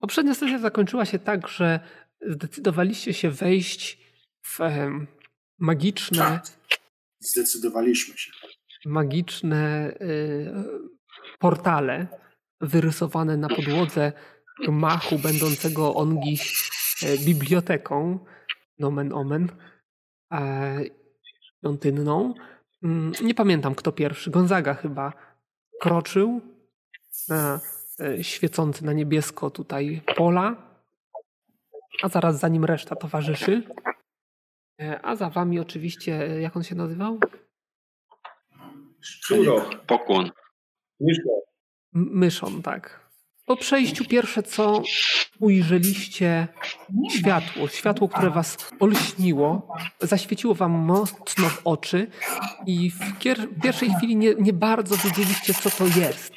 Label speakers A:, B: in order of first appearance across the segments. A: Poprzednia sesja zakończyła się tak, że zdecydowaliście się wejść w em, magiczne,
B: Tak. Zdecydowaliśmy się.
A: magiczne y, portale wyrysowane na podłodze gmachu będącego ongiś e, biblioteką, nomen omen, e, świątynną. Mm, Nie pamiętam kto pierwszy, Gonzaga chyba kroczył na e, świecące na niebiesko tutaj pola, a zaraz za nim reszta towarzyszy. E, A za wami oczywiście, e, jak on się nazywał?
B: Szczurok.
C: Pokłon.
A: M- Myszą, tak. Po przejściu pierwsze co ujrzeliście światło, światło, które was olśniło, zaświeciło wam mocno w oczy i w kier- pierwszej chwili nie, nie bardzo wiedzieliście co to jest.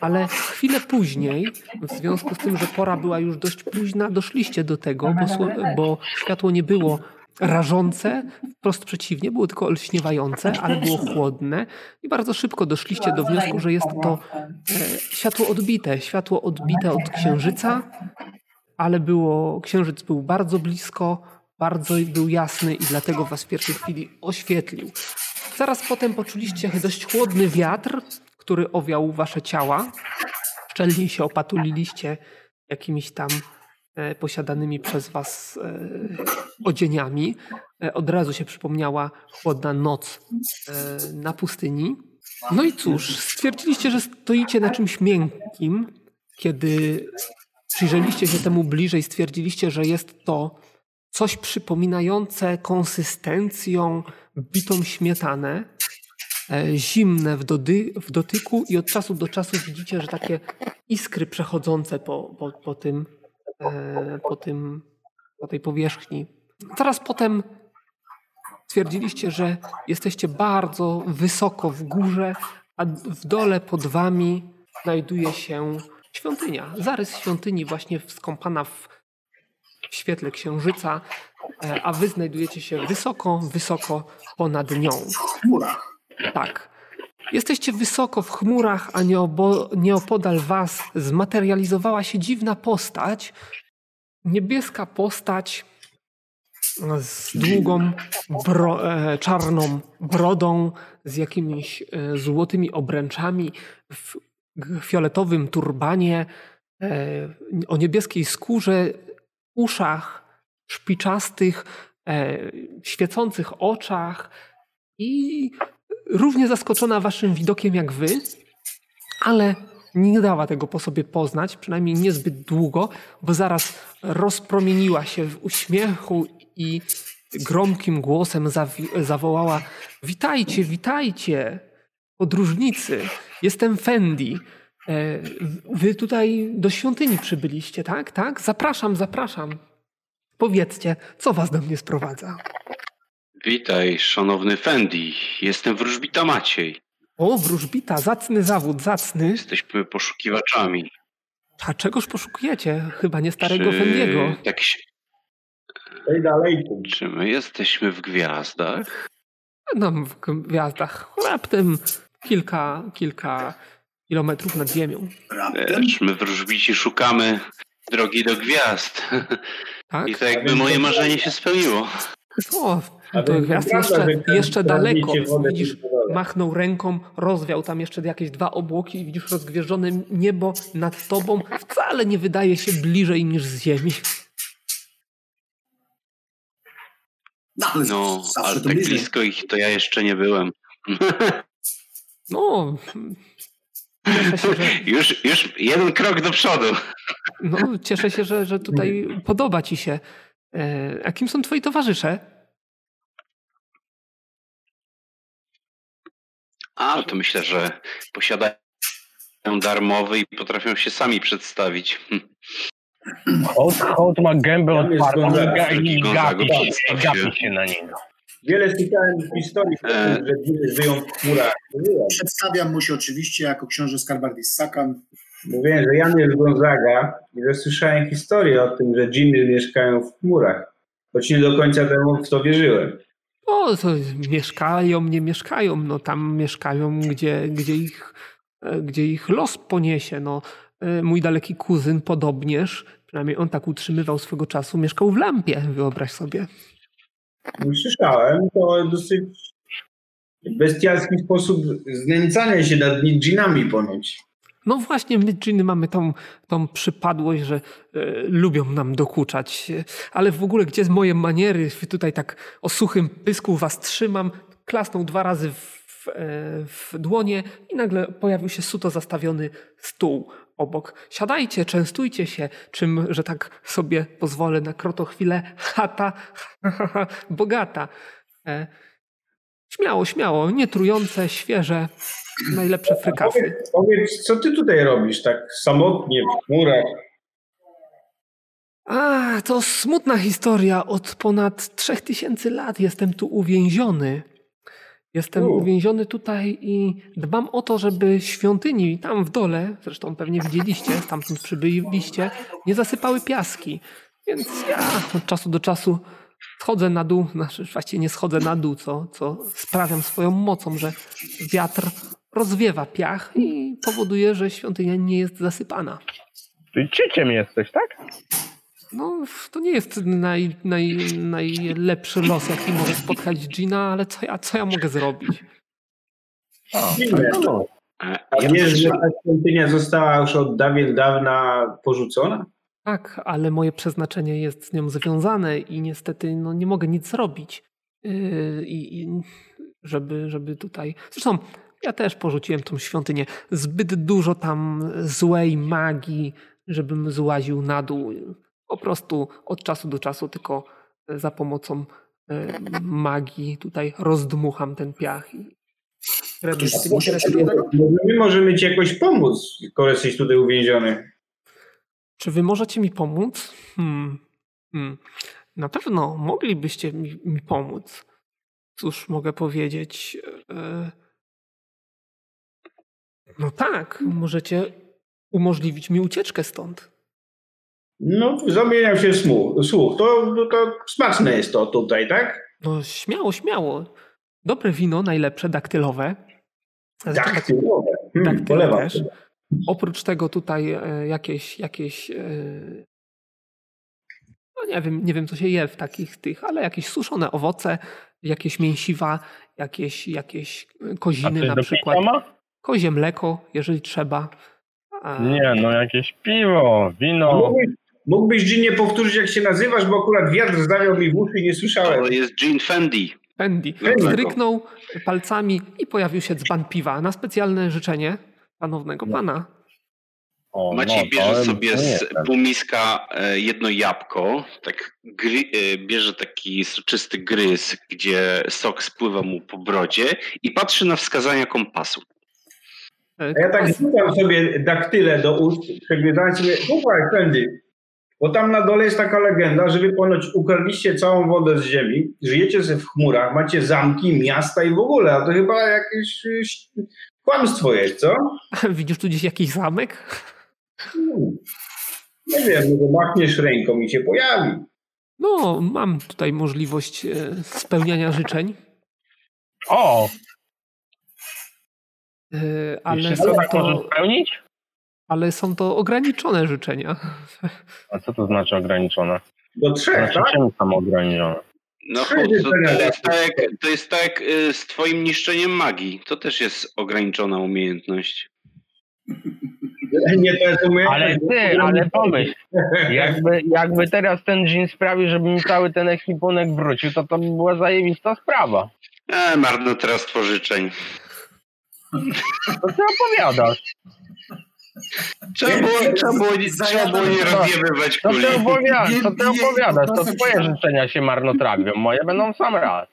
A: Ale chwilę później, w związku z tym, że pora była już dość późna, doszliście do tego, bo, sło- bo światło nie było rażące, wprost przeciwnie, było tylko olśniewające, ale było chłodne i bardzo szybko doszliście do wniosku, że jest to E, Światło odbite, światło odbite od księżyca, ale było, księżyc był bardzo blisko, bardzo był jasny i dlatego was w pierwszej chwili oświetlił. Zaraz potem poczuliście dość chłodny wiatr, który owiał wasze ciała. Szczelnie się opatuliliście jakimiś tam e, posiadanymi przez was e, odzieniami. E, Od razu się przypomniała chłodna noc e, na pustyni. No i cóż, stwierdziliście, że stoicie na czymś miękkim. Kiedy przyjrzeliście się temu bliżej, stwierdziliście, że jest to coś przypominające konsystencją bitą śmietanę, e, zimne w, dody, w dotyku i od czasu do czasu widzicie, że takie iskry przechodzące po, po, po, tym, e, po, tym, po tej powierzchni. Zaraz potem twierdziliście, że jesteście bardzo wysoko w górze, a w dole pod wami znajduje się świątynia. Zarys świątyni właśnie skąpana w w świetle księżyca, e, a wy znajdujecie się wysoko, wysoko ponad nią.
B: W chmurach.
A: Tak. Jesteście wysoko w chmurach, a nieobo, nieopodal was zmaterializowała się dziwna postać. Niebieska postać z długą, bro, e, czarną brodą, z jakimiś e, złotymi obręczami, w g- fioletowym turbanie, e, o niebieskiej skórze, uszach szpiczastych, e, świecących oczach i równie zaskoczona waszym widokiem jak wy, ale nie dała tego po sobie poznać, przynajmniej niezbyt długo, bo zaraz rozpromieniła się w uśmiechu i gromkim głosem zawi- zawołała: Witajcie, witajcie, podróżnicy, jestem Fendi. E, Wy tutaj do świątyni przybyliście, tak? Tak? Zapraszam, zapraszam. Powiedzcie, co was do mnie sprowadza?
C: Witaj, szanowny Fendi. Jestem wróżbita Maciej.
A: O, wróżbita, zacny zawód, zacny.
C: Jesteśmy poszukiwaczami.
A: A czegoż poszukujecie? Chyba nie starego
C: Czy
A: Fendiego.
C: Tak się...
B: Ej dalej.
C: Czy my jesteśmy w gwiazdach?
A: Nam No, w gwiazdach. Raptem kilka, kilka kilometrów nad ziemią.
B: Raptem.
C: Lecz my wróżbici szukamy drogi do gwiazd.
A: Tak?
C: I to jakby moje marzenie się spełniło.
A: O, do gwiazd jeszcze, jeszcze daleko. Widzisz, machnął ręką, rozwiał tam jeszcze jakieś dwa obłoki i widzisz rozgwieżdżone niebo nad tobą. Wcale nie wydaje się bliżej niż z ziemi.
B: No, ale
C: No,
B: zawsze
C: ale
B: to
C: tak
B: bliżej.
C: blisko ich to ja jeszcze nie byłem.
A: No, cieszę się, że,
C: Już, już jeden krok do przodu.
A: no, cieszę się, że, że tutaj podoba ci się. E, A kim są twoi towarzysze?
C: A, to myślę, że posiadają darmowy i potrafią się sami przedstawić. Hm.
D: Hołd, hołd ma gębę
E: Ja mnie
D: otwartą i,
E: zgodzę.
D: ga, i
C: Gonzaga,
D: gapi, się,
C: przedstaw się.
D: gapi się na niego.
E: Wiele słyszałem historii,
C: E.
E: że dziwy żyją w chmurach. Mówiłem,
B: Przedstawiam mu się oczywiście jako książę Skarbardis Sakan.
E: mówiłem że Jan jest Gonzaga i że słyszałem historię o tym, że dzimy mieszkają w chmurach. Choć nie do końca temu w to wierzyłem.
A: O, No, to mieszkają, nie mieszkają, no tam mieszkają, gdzie, gdzie, ich, e, gdzie ich los poniesie. No, e, mój daleki kuzyn podobnież, przynajmniej on tak utrzymywał swego czasu, mieszkał w lampie, wyobraź sobie.
E: No, Słyszałem, to dosyć bestialski sposób znęcania się nad dżinami ponoć.
A: No właśnie, my dżiny mamy tą, tą przypadłość, że e, lubią nam dokuczać. E, Ale w ogóle, gdzie z moje maniery? Wy Tutaj tak o suchym pysku was trzymam. Klasnął dwa razy w, e, w dłonie i nagle pojawił się suto zastawiony stół obok. Siadajcie, częstujcie się, czym, że tak sobie pozwolę na krotochwilę, chata bogata. E, Śmiało, śmiało, nietrujące, świeże, najlepsze frykasy.
E: Powiedz, powiedz, co ty tutaj robisz tak samotnie w chmurach?
A: A, to smutna historia. Od ponad 3000 lat jestem tu uwięziony. Jestem
E: U.
A: uwięziony tutaj i dbam o to, żeby świątyni tam w dole, zresztą pewnie widzieliście, stamtąd przybyliście, nie zasypały piaski. Więc ja od czasu do czasu schodzę na dół, znaczy właściwie nie schodzę na dół, co, co sprawiam swoją mocą, że wiatr rozwiewa piach i powoduje, że świątynia nie jest zasypana.
D: Ty cieciem jesteś, tak?
A: No, f- to nie jest naj, naj, najlepszy los, jaki może spotkać Gina, ale co ja, co ja mogę zrobić?
E: Dziwne.
D: No,
C: E,
E: A
C: ja
E: wiesz, że
C: słyszałem-
E: ta świątynia została już od dawien dawna porzucona?
A: Tak, ale moje przeznaczenie jest z nią związane i niestety no, nie mogę nic zrobić, yy, i, i żeby, żeby tutaj. Zresztą ja też porzuciłem tą świątynię. Zbyt dużo tam złej magii, żebym złaził na dół. Po prostu od czasu do czasu tylko e, za pomocą yy, magii tutaj rozdmucham ten piach i kredyt
B: Ktoś
A: tym
B: zgłosił się
A: kredytem-
B: do tego?
E: Może my możemy ci jakoś pomóc, skoro jesteś tutaj uwięziony.
A: Czy wy możecie mi pomóc? Hmm. Hmm. Na pewno moglibyście mi, mi pomóc. Cóż mogę powiedzieć? E, No tak, możecie umożliwić mi ucieczkę stąd.
E: No, zamieniam się w smu- słuch. To, to, to smaczne jest to tutaj, tak?
A: No śmiało, śmiało. Dobre wino, najlepsze, daktylowe. Zresztą tak-
E: Daktylowe. Hmm,
A: Daktyl
E: polewam
A: też.
E: sobie.
A: Oprócz tego tutaj e, jakieś, jakieś e, no nie wiem, nie wiem co się je w takich tych, ale jakieś suszone owoce, jakieś mięsiwa, jakieś, jakieś e,
D: A
A: koziny
D: coś
A: na
D: do
A: przykład,
D: piwa ma?
A: kozie mleko, jeżeli trzeba. A,
D: Nie, no jakieś piwo, wino.
E: No. Mógłbyś, mógłbyś Ginie powtórzyć, jak się nazywasz, bo akurat wiatr zdawiał mi w uszy i nie słyszałem.
C: To jest Gene Fendi.
A: Fendi.
C: Fendi.
A: Stryknął palcami i pojawił się dzban piwa na specjalne życzenie
E: No.
A: szanownego pana.
D: O, no,
C: Maciej bierze
D: to-
C: sobie
D: to nie
C: z
D: jestem.
C: półmiska e, jedno jabłko, tak gry, e, bierze taki soczysty gryz, gdzie sok spływa mu po brodzie i patrzy na wskazania kompasu.
A: E,
E: A ja tak
A: kompas-
E: wrzucam sobie daktyle do ust, przeglądając sobie, słuchaj, Fendi, bo tam na dole jest taka legenda, że wy ponoć ukradliście całą wodę z ziemi, żyjecie sobie w chmurach, macie zamki, miasta i w ogóle, a to chyba jakieś y, ś- kłamstwo jest, co?
A: Widzisz tu gdzieś jakiś zamek?
E: Hmm. Nie wiem, może machniesz ręką i się pojawi.
A: No, mam tutaj możliwość e, spełniania życzeń.
D: O,
A: Yy,
D: ale
A: ale,
D: co
A: są
D: tak możesz
A: to,
D: spełnić?
A: ale są to ograniczone życzenia.
D: A co to znaczy ograniczone?
E: Do trzech,
D: Znaczy
E: tak?
D: czym tam ograniczone?
C: No
E: Trzy
C: chłop, to,
E: życzenia
C: to, jest
E: dasz.
C: tak, to jest tak e, z twoim niszczeniem magii. To też jest ograniczona umiejętność.
E: tak? Nie, to jest umiejętność.
D: Ale ty, ale pomyśl, jakby, jakby teraz ten dżin sprawił, żeby mi cały ten ekwipunek wrócił, to to by była zajebista sprawa.
C: E, marnotrawstwo życzeń.
D: To ty opowiadasz.
C: Trzeba było, trzeba było, trzeba było nie rozjebywać
D: To
C: kuli.
D: ty opowiadasz, No to ty
B: Nie, nie,
D: opowiadasz. To
B: nie, nie.
D: twoje życzenia się marnotrawią, moje będą w sam raz.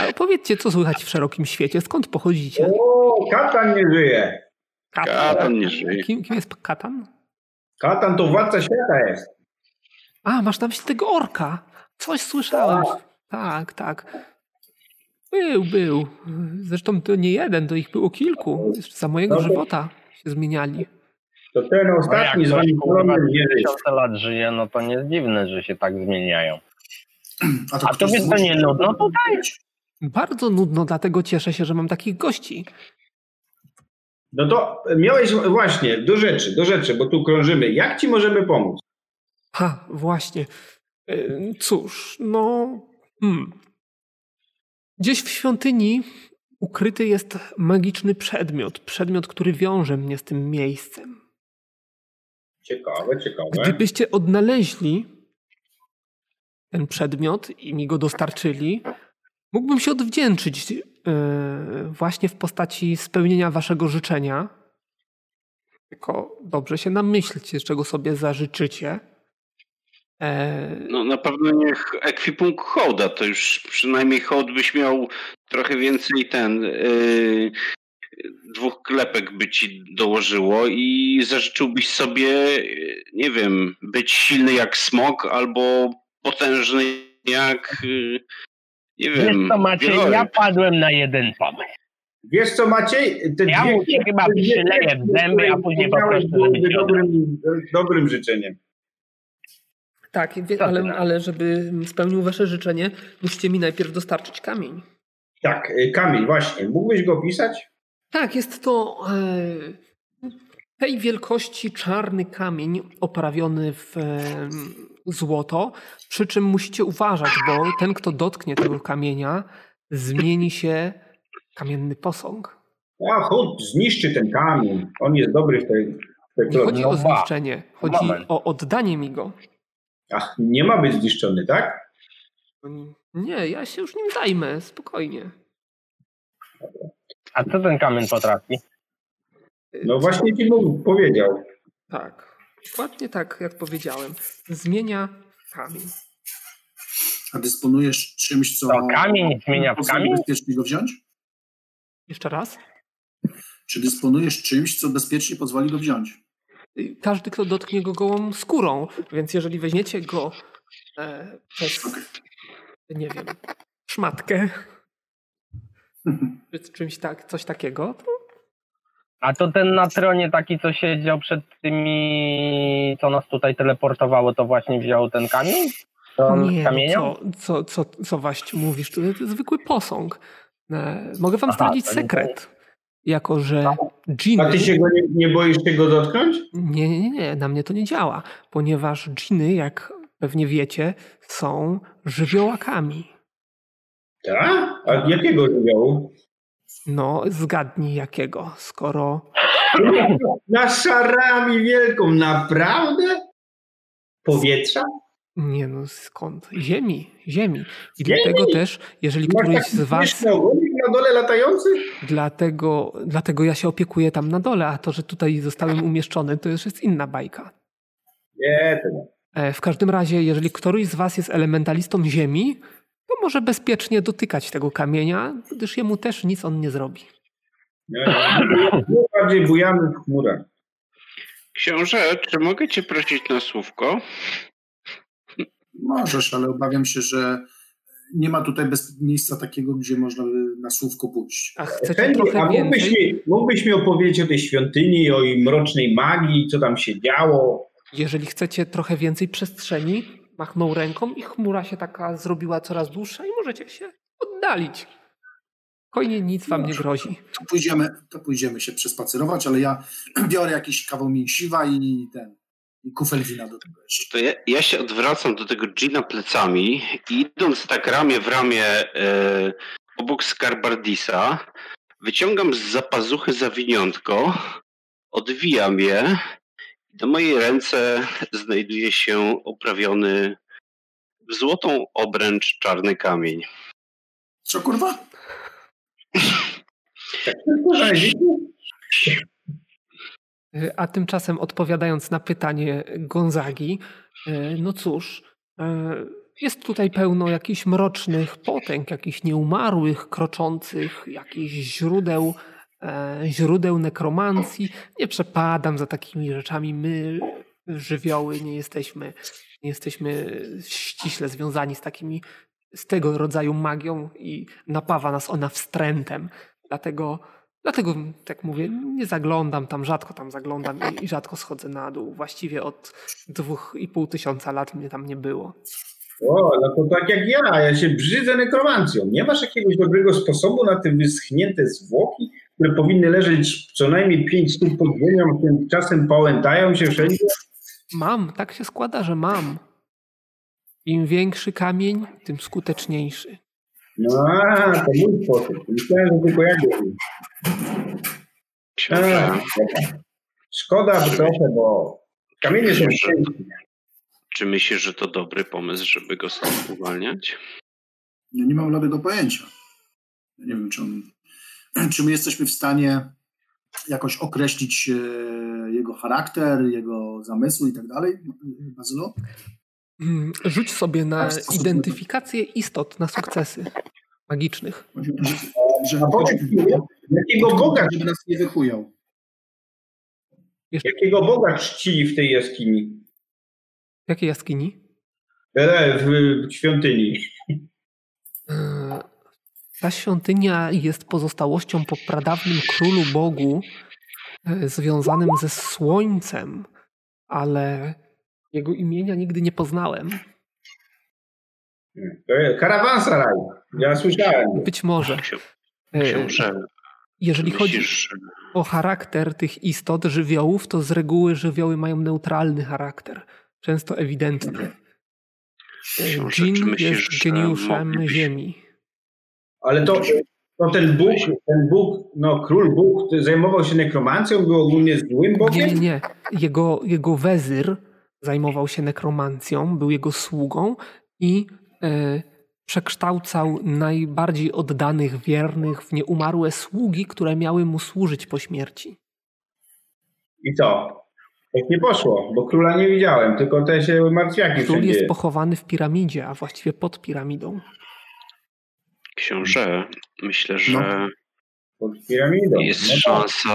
A: A opowiedzcie, co słychać w szerokim świecie? Skąd pochodzicie?
E: O, katan nie żyje.
C: Katan nie żyje.
A: Kim, kim jest Katan?
E: Katan to władca świata jest.
A: A, masz na myśli tego orka. Coś słyszałem. Tak, tak. Był, był. Zresztą to nie jeden, to ich było kilku. Jeszcze za mojego
E: No to-
A: żywota się zmieniali.
E: To ten
D: No jak
E: ostatni z
D: ktoś,
E: wami
D: kurwa
E: nie żyje.
D: tysiące lat żyje, no to nie jest dziwne, że się tak zmieniają. A
B: ktoś
D: tobie to no,
B: zgłosił
D: nie
B: się do
D: nudno?
B: tego?
D: To
A: Bardzo nudno, dlatego cieszę się, że mam takich gości.
E: No to miałeś właśnie, do rzeczy, do rzeczy, bo tu krążymy. Jak ci możemy pomóc?
A: Ha, właśnie. Y, Cóż, no. Hmm. Gdzieś w świątyni ukryty jest magiczny przedmiot. Przedmiot, który wiąże mnie z tym miejscem.
E: Ciekawe, ciekawe.
A: Gdybyście odnaleźli ten przedmiot i mi go dostarczyli, mógłbym się odwdzięczyć yy, właśnie w postaci spełnienia waszego życzenia. Tylko dobrze się namyślcie, czego sobie zażyczycie. E,
C: No na pewno niech ekwipunkt hołda, to już przynajmniej hołd byś miał trochę więcej ten yy, dwóch klepek by ci dołożyło i zażyczyłbyś sobie, yy, nie wiem, być silny jak smok albo potężny jak, yy, nie
D: Wiesz
C: wiem,
D: co Maciej,
C: wieloryb.
D: ja padłem na jeden pomysł.
E: Wiesz co Maciej? Te
D: Ja mu się chyba
E: te dwie
D: przyleję w zęby, a później po prostu żeby
E: byłyby
D: się odrobił.
E: dobrym, dobrym życzeniem.
A: tak, wie-
D: Co ty
A: ale,
D: na to?
A: ale żeby spełnił wasze życzenie, musicie mi najpierw dostarczyć kamień.
E: Tak, y, Kamil, właśnie. Mógłbyś go pisać?
A: Tak, jest to e, tej wielkości czarny kamień oprawiony w e, złoto. Przy czym musicie uważać, bo ten, kto dotknie tego kamienia, zmieni się w kamienny posąg.
E: A chód, zniszczy ten kamień. On jest dobry w tej, w tej
A: Nie chodzi
E: No
A: o
E: ba.
A: zniszczenie, chodzi
E: Moment.
A: o oddanie mi go.
E: Ach, nie ma być zniszczony, tak?
A: Nie, ja się już nim zajmę, spokojnie.
D: A co ten kamień potrafi?
E: No właśnie ci Bóg powiedział.
A: Tak, dokładnie tak, jak powiedziałem. Zmienia kamień.
B: A dysponujesz czymś, co...
D: To kamień zmienia w
B: pozwoli
D: kamień?
B: bezpiecznie go wziąć?
A: Jeszcze raz.
B: Czy dysponujesz czymś, co bezpiecznie pozwoli go wziąć?
A: Y, każdy, kto dotknie go gołą skórą. Więc jeżeli weźmiecie go e, przez, nie wiem, szmatkę,
D: Mhm.
A: czy czymś tak, coś takiego, to
D: A to ten na tronie taki, co siedział przed tymi, co nas tutaj teleportowało, to właśnie wziął ten kamień? To on
A: nie, no
D: kamienią?
A: co, co, co, co właśnie mówisz, to jest zwykły posąg. E, mogę wam
D: Aha,
A: zdradzić
D: to nie
A: sekret, jako że dżiny...
E: A ty się go nie, nie boisz się go dotknąć?
A: Nie, nie, nie, nie, na mnie to nie działa, ponieważ dżiny, jak pewnie wiecie, są żywiołakami.
E: Tak? A jakiego żywiołu?
A: No, zgadnij jakiego, skoro
E: Na szarami wielką, naprawdę? Powietrza?
A: Nie no, skąd? Ziemi, ziemi. I
E: Ziemi?
A: dlatego też, jeżeli
E: Masz
A: któryś
E: taki
A: z was,
E: śmieszny ogonik na dole latający?
A: dlatego, dlatego ja się opiekuję tam na dole, a to, że tutaj zostałem umieszczony, to już jest inna bajka.
E: Nie, to nie.
A: E, W każdym razie, jeżeli któryś z was jest elementalistą ziemi, to może bezpiecznie dotykać tego kamienia, gdyż jemu też nic on nie zrobi.
E: nie. My bardziej bujamy w chmurach.
C: Książę, czy mogę cię prosić na słówko?
B: Możesz, ale obawiam się, że nie ma tutaj bez miejsca takiego, gdzie można by na słówko pójść.
A: A chcecie
E: Henry, a
A: trochę
E: mógłbyś
A: więcej?
E: mi, mógłbyś mi opowiedzieć o tej świątyni, o jej mrocznej magii, co tam się działo?
A: Jeżeli chcecie trochę więcej przestrzeni, machnął ręką i chmura się taka zrobiła coraz dłuższa i możecie się oddalić. Spokojnie, nic wam nie grozi.
B: To pójdziemy, to pójdziemy się przespacerować, ale ja biorę jakiś kawał mięsiwa i ten i kufel wina do tego jeszcze.
C: To ja, ja się odwracam do tego Gina plecami i idąc tak ramię w ramię e, obok Skarbardisa, wyciągam z zapazuchy zawiniątko, odwijam je i do mojej ręce znajduje się oprawiony w złotą obręcz czarny kamień.
B: Co kurwa?
A: Y, A tymczasem odpowiadając na pytanie Gonzagi, e, no cóż, e, jest tutaj pełno jakichś mrocznych potęg, jakichś nieumarłych, kroczących, jakichś źródeł, e, źródeł nekromancji. Nie przepadam za takimi rzeczami. My, żywioły, nie jesteśmy, nie jesteśmy ściśle związani z takimi, z tego rodzaju magią i napawa nas ona wstrętem. Dlatego Dlatego, tak mówię, nie zaglądam tam, rzadko tam zaglądam i, i rzadko schodzę na dół. Właściwie od dwóch i pół tysiąca lat mnie tam nie było.
E: O, no to tak jak ja, ja się brzydzę nekromancją. Nie masz jakiegoś dobrego sposobu na te wyschnięte zwłoki które powinny leżeć co najmniej 5 stóp pod ziemią, tymczasem pałętają się wszędzie.
A: Mam, tak się składa, że mam. Im większy kamień, tym skuteczniejszy.
E: No, a, to mój sposób. Myślałem, że tylko ja go wiem. A,
C: Książę,
A: Eee.
E: dobra. Szkoda że trochę, bo kamienie są piękne.
C: czy myślisz, że to dobry pomysł, żeby go stąd uwalniać?
B: Ja nie mam bladego pojęcia. Ja nie wiem, czy, on, czy my jesteśmy w stanie jakoś określić e, jego charakter, jego zamysł i tak dalej. Bazylo?
A: Mm, Rzuć sobie na
B: Tak, stosunkowo.
A: identyfikację istot, na sukcesy magicznych.
B: Że, że- że,
E: A powiedz mi, jakiego Boga,
B: żeby nas nie wychujał.
E: jakiego Boga czcili w tej jaskini?
A: W jakiej jaskini?
E: E, w, w świątyni.
A: Yy, Ta świątynia jest pozostałością po pradawnym królu bogu yy, związanym ze słońcem, ale jego imienia nigdy nie poznałem.
E: To jest Karawanseraj. Ja słyszałem.
A: Być może.
C: Ksią-
A: Yy,
C: Książę,
A: Jeżeli chodzi
C: myślisz, że
A: o charakter tych istot, żywiołów, to z reguły żywioły mają neutralny charakter, często ewidentny.
C: Książę, czy
A: Jin
C: myślisz,
A: jest
C: że
A: geniuszem
C: moglibyś-
A: ziemi.
E: Ale to, to ten Bóg, ten Bóg, no król Bóg to zajmował się nekromancją, był ogólnie złym
A: Nie,
E: Bogiem.
A: nie. Jego, jego wezyr zajmował się nekromancją, był jego sługą i e, przekształcał najbardziej oddanych wiernych w nieumarłe sługi, które miały mu służyć po śmierci.
E: I co? Tak nie poszło, bo króla nie widziałem, tylko te Tak się martwiaki
A: Król
E: wszędzie.
A: jest pochowany w piramidzie, a właściwie pod piramidą.
C: książę, myślę, że
A: No.
E: Pod piramidą.
C: Jest
E: No tak.
C: szansa,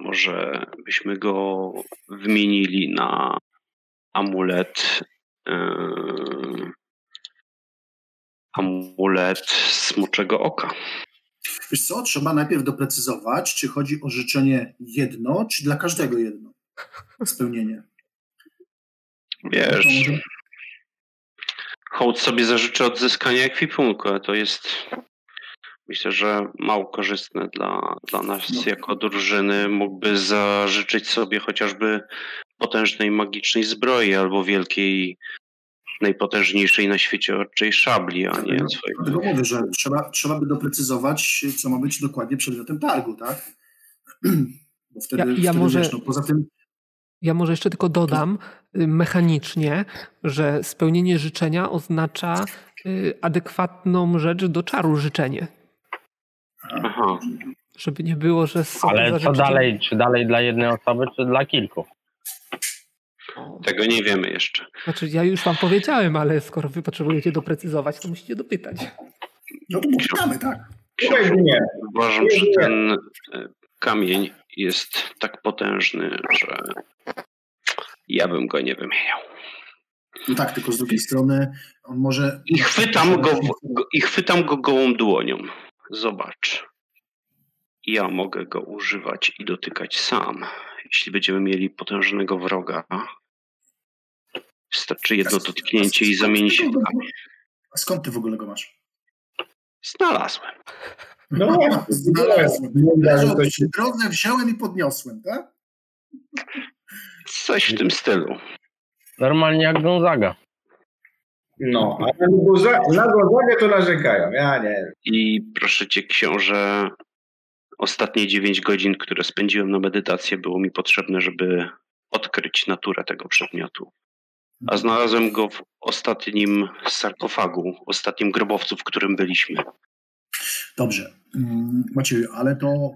C: może byśmy go wymienili na amulet. e, em, amulet smuczego oka.
B: Wiesz co, trzeba najpierw doprecyzować, czy chodzi o życzenie jedno, czy dla każdego jedno spełnienie. To
C: Wiesz,
B: może-
C: hołd sobie zażyczy odzyskania ekwipunku, ale to jest myślę, że mało korzystne dla, dla nas
B: No.
C: jako drużyny. Mógłby zażyczyć sobie chociażby potężnej magicznej zbroi albo wielkiej, najpotężniejszej na świecie odczej szabli, a nie
B: No.
C: swojego
B: Dlatego mówię, że trzeba, trzeba by doprecyzować, co ma być dokładnie przedmiotem targu, tak? Bo wtedy,
A: Ja- ja
B: wtedy
A: może-
B: wiesz, no, poza tym
A: Ja może jeszcze tylko dodam y, mechanicznie, że spełnienie życzenia oznacza y, adekwatną rzecz do czaru życzenie.
C: Aha,
A: Żeby nie było, że sobie
D: Ale co
A: zażyczycie-
D: dalej? Czy dalej dla jednej osoby, czy dla kilku?
A: O,
C: tego nie wiemy jeszcze.
A: Znaczy, ja już wam powiedziałem, ale skoro wy potrzebujecie doprecyzować, to musicie dopytać.
B: no to pytamy, tak?
E: Tutaj nie.
C: Uważam, że ten e, kamień jest tak potężny, że ja bym go nie wymieniał.
B: No tak, tylko z drugiej strony on może...
C: I chwytam go, go, i chwytam go gołą dłonią. Zobacz. Ja mogę go używać i dotykać sam. Jeśli będziemy mieli potężnego wroga, wystarczy jedno dotknięcie i zamieni się w kamień.
B: A skąd ty w ogóle go masz?
C: Znalazłem.
E: No właśnie,
B: Znalazłem.
E: wygląda, że
B: Leżał
E: to się...
B: przy drodze, wziąłem i podniosłem, tak?
C: Coś w tym stylu.
D: Normalnie jak Gonzaga.
E: No, a na Guza- na Gonzagę to narzekają. Ja nie.
C: I proszę cię, książę, ostatnie 9 godzin, które spędziłem na medytację, było mi potrzebne, żeby odkryć naturę tego przedmiotu. A znalazłem go w ostatnim sarkofagu, w ostatnim grobowcu, w którym byliśmy.
B: Dobrze. Mm, Macieju, ale to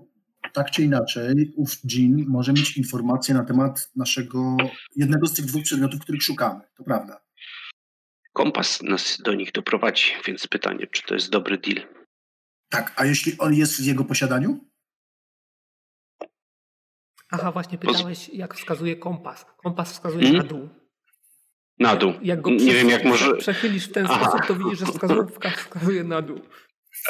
B: tak czy inaczej, ów Jean może mieć informacje na temat naszego, jednego z tych dwóch przedmiotów, których szukamy. To prawda.
C: Kompas nas do nich doprowadzi, więc pytanie, czy to jest dobry deal?
B: Tak, a jeśli on jest w jego posiadaniu?
A: Aha, właśnie
C: Poz-
A: pytałeś, jak wskazuje kompas. Kompas wskazuje
C: Mhm.
A: na dół.
C: Na dół.
A: Jak go
C: Nie
A: prze-
C: wiem, jak może-
A: przechylisz w ten
C: Aha.
A: sposób, to widzisz, że wskazówka wskazuje na dół.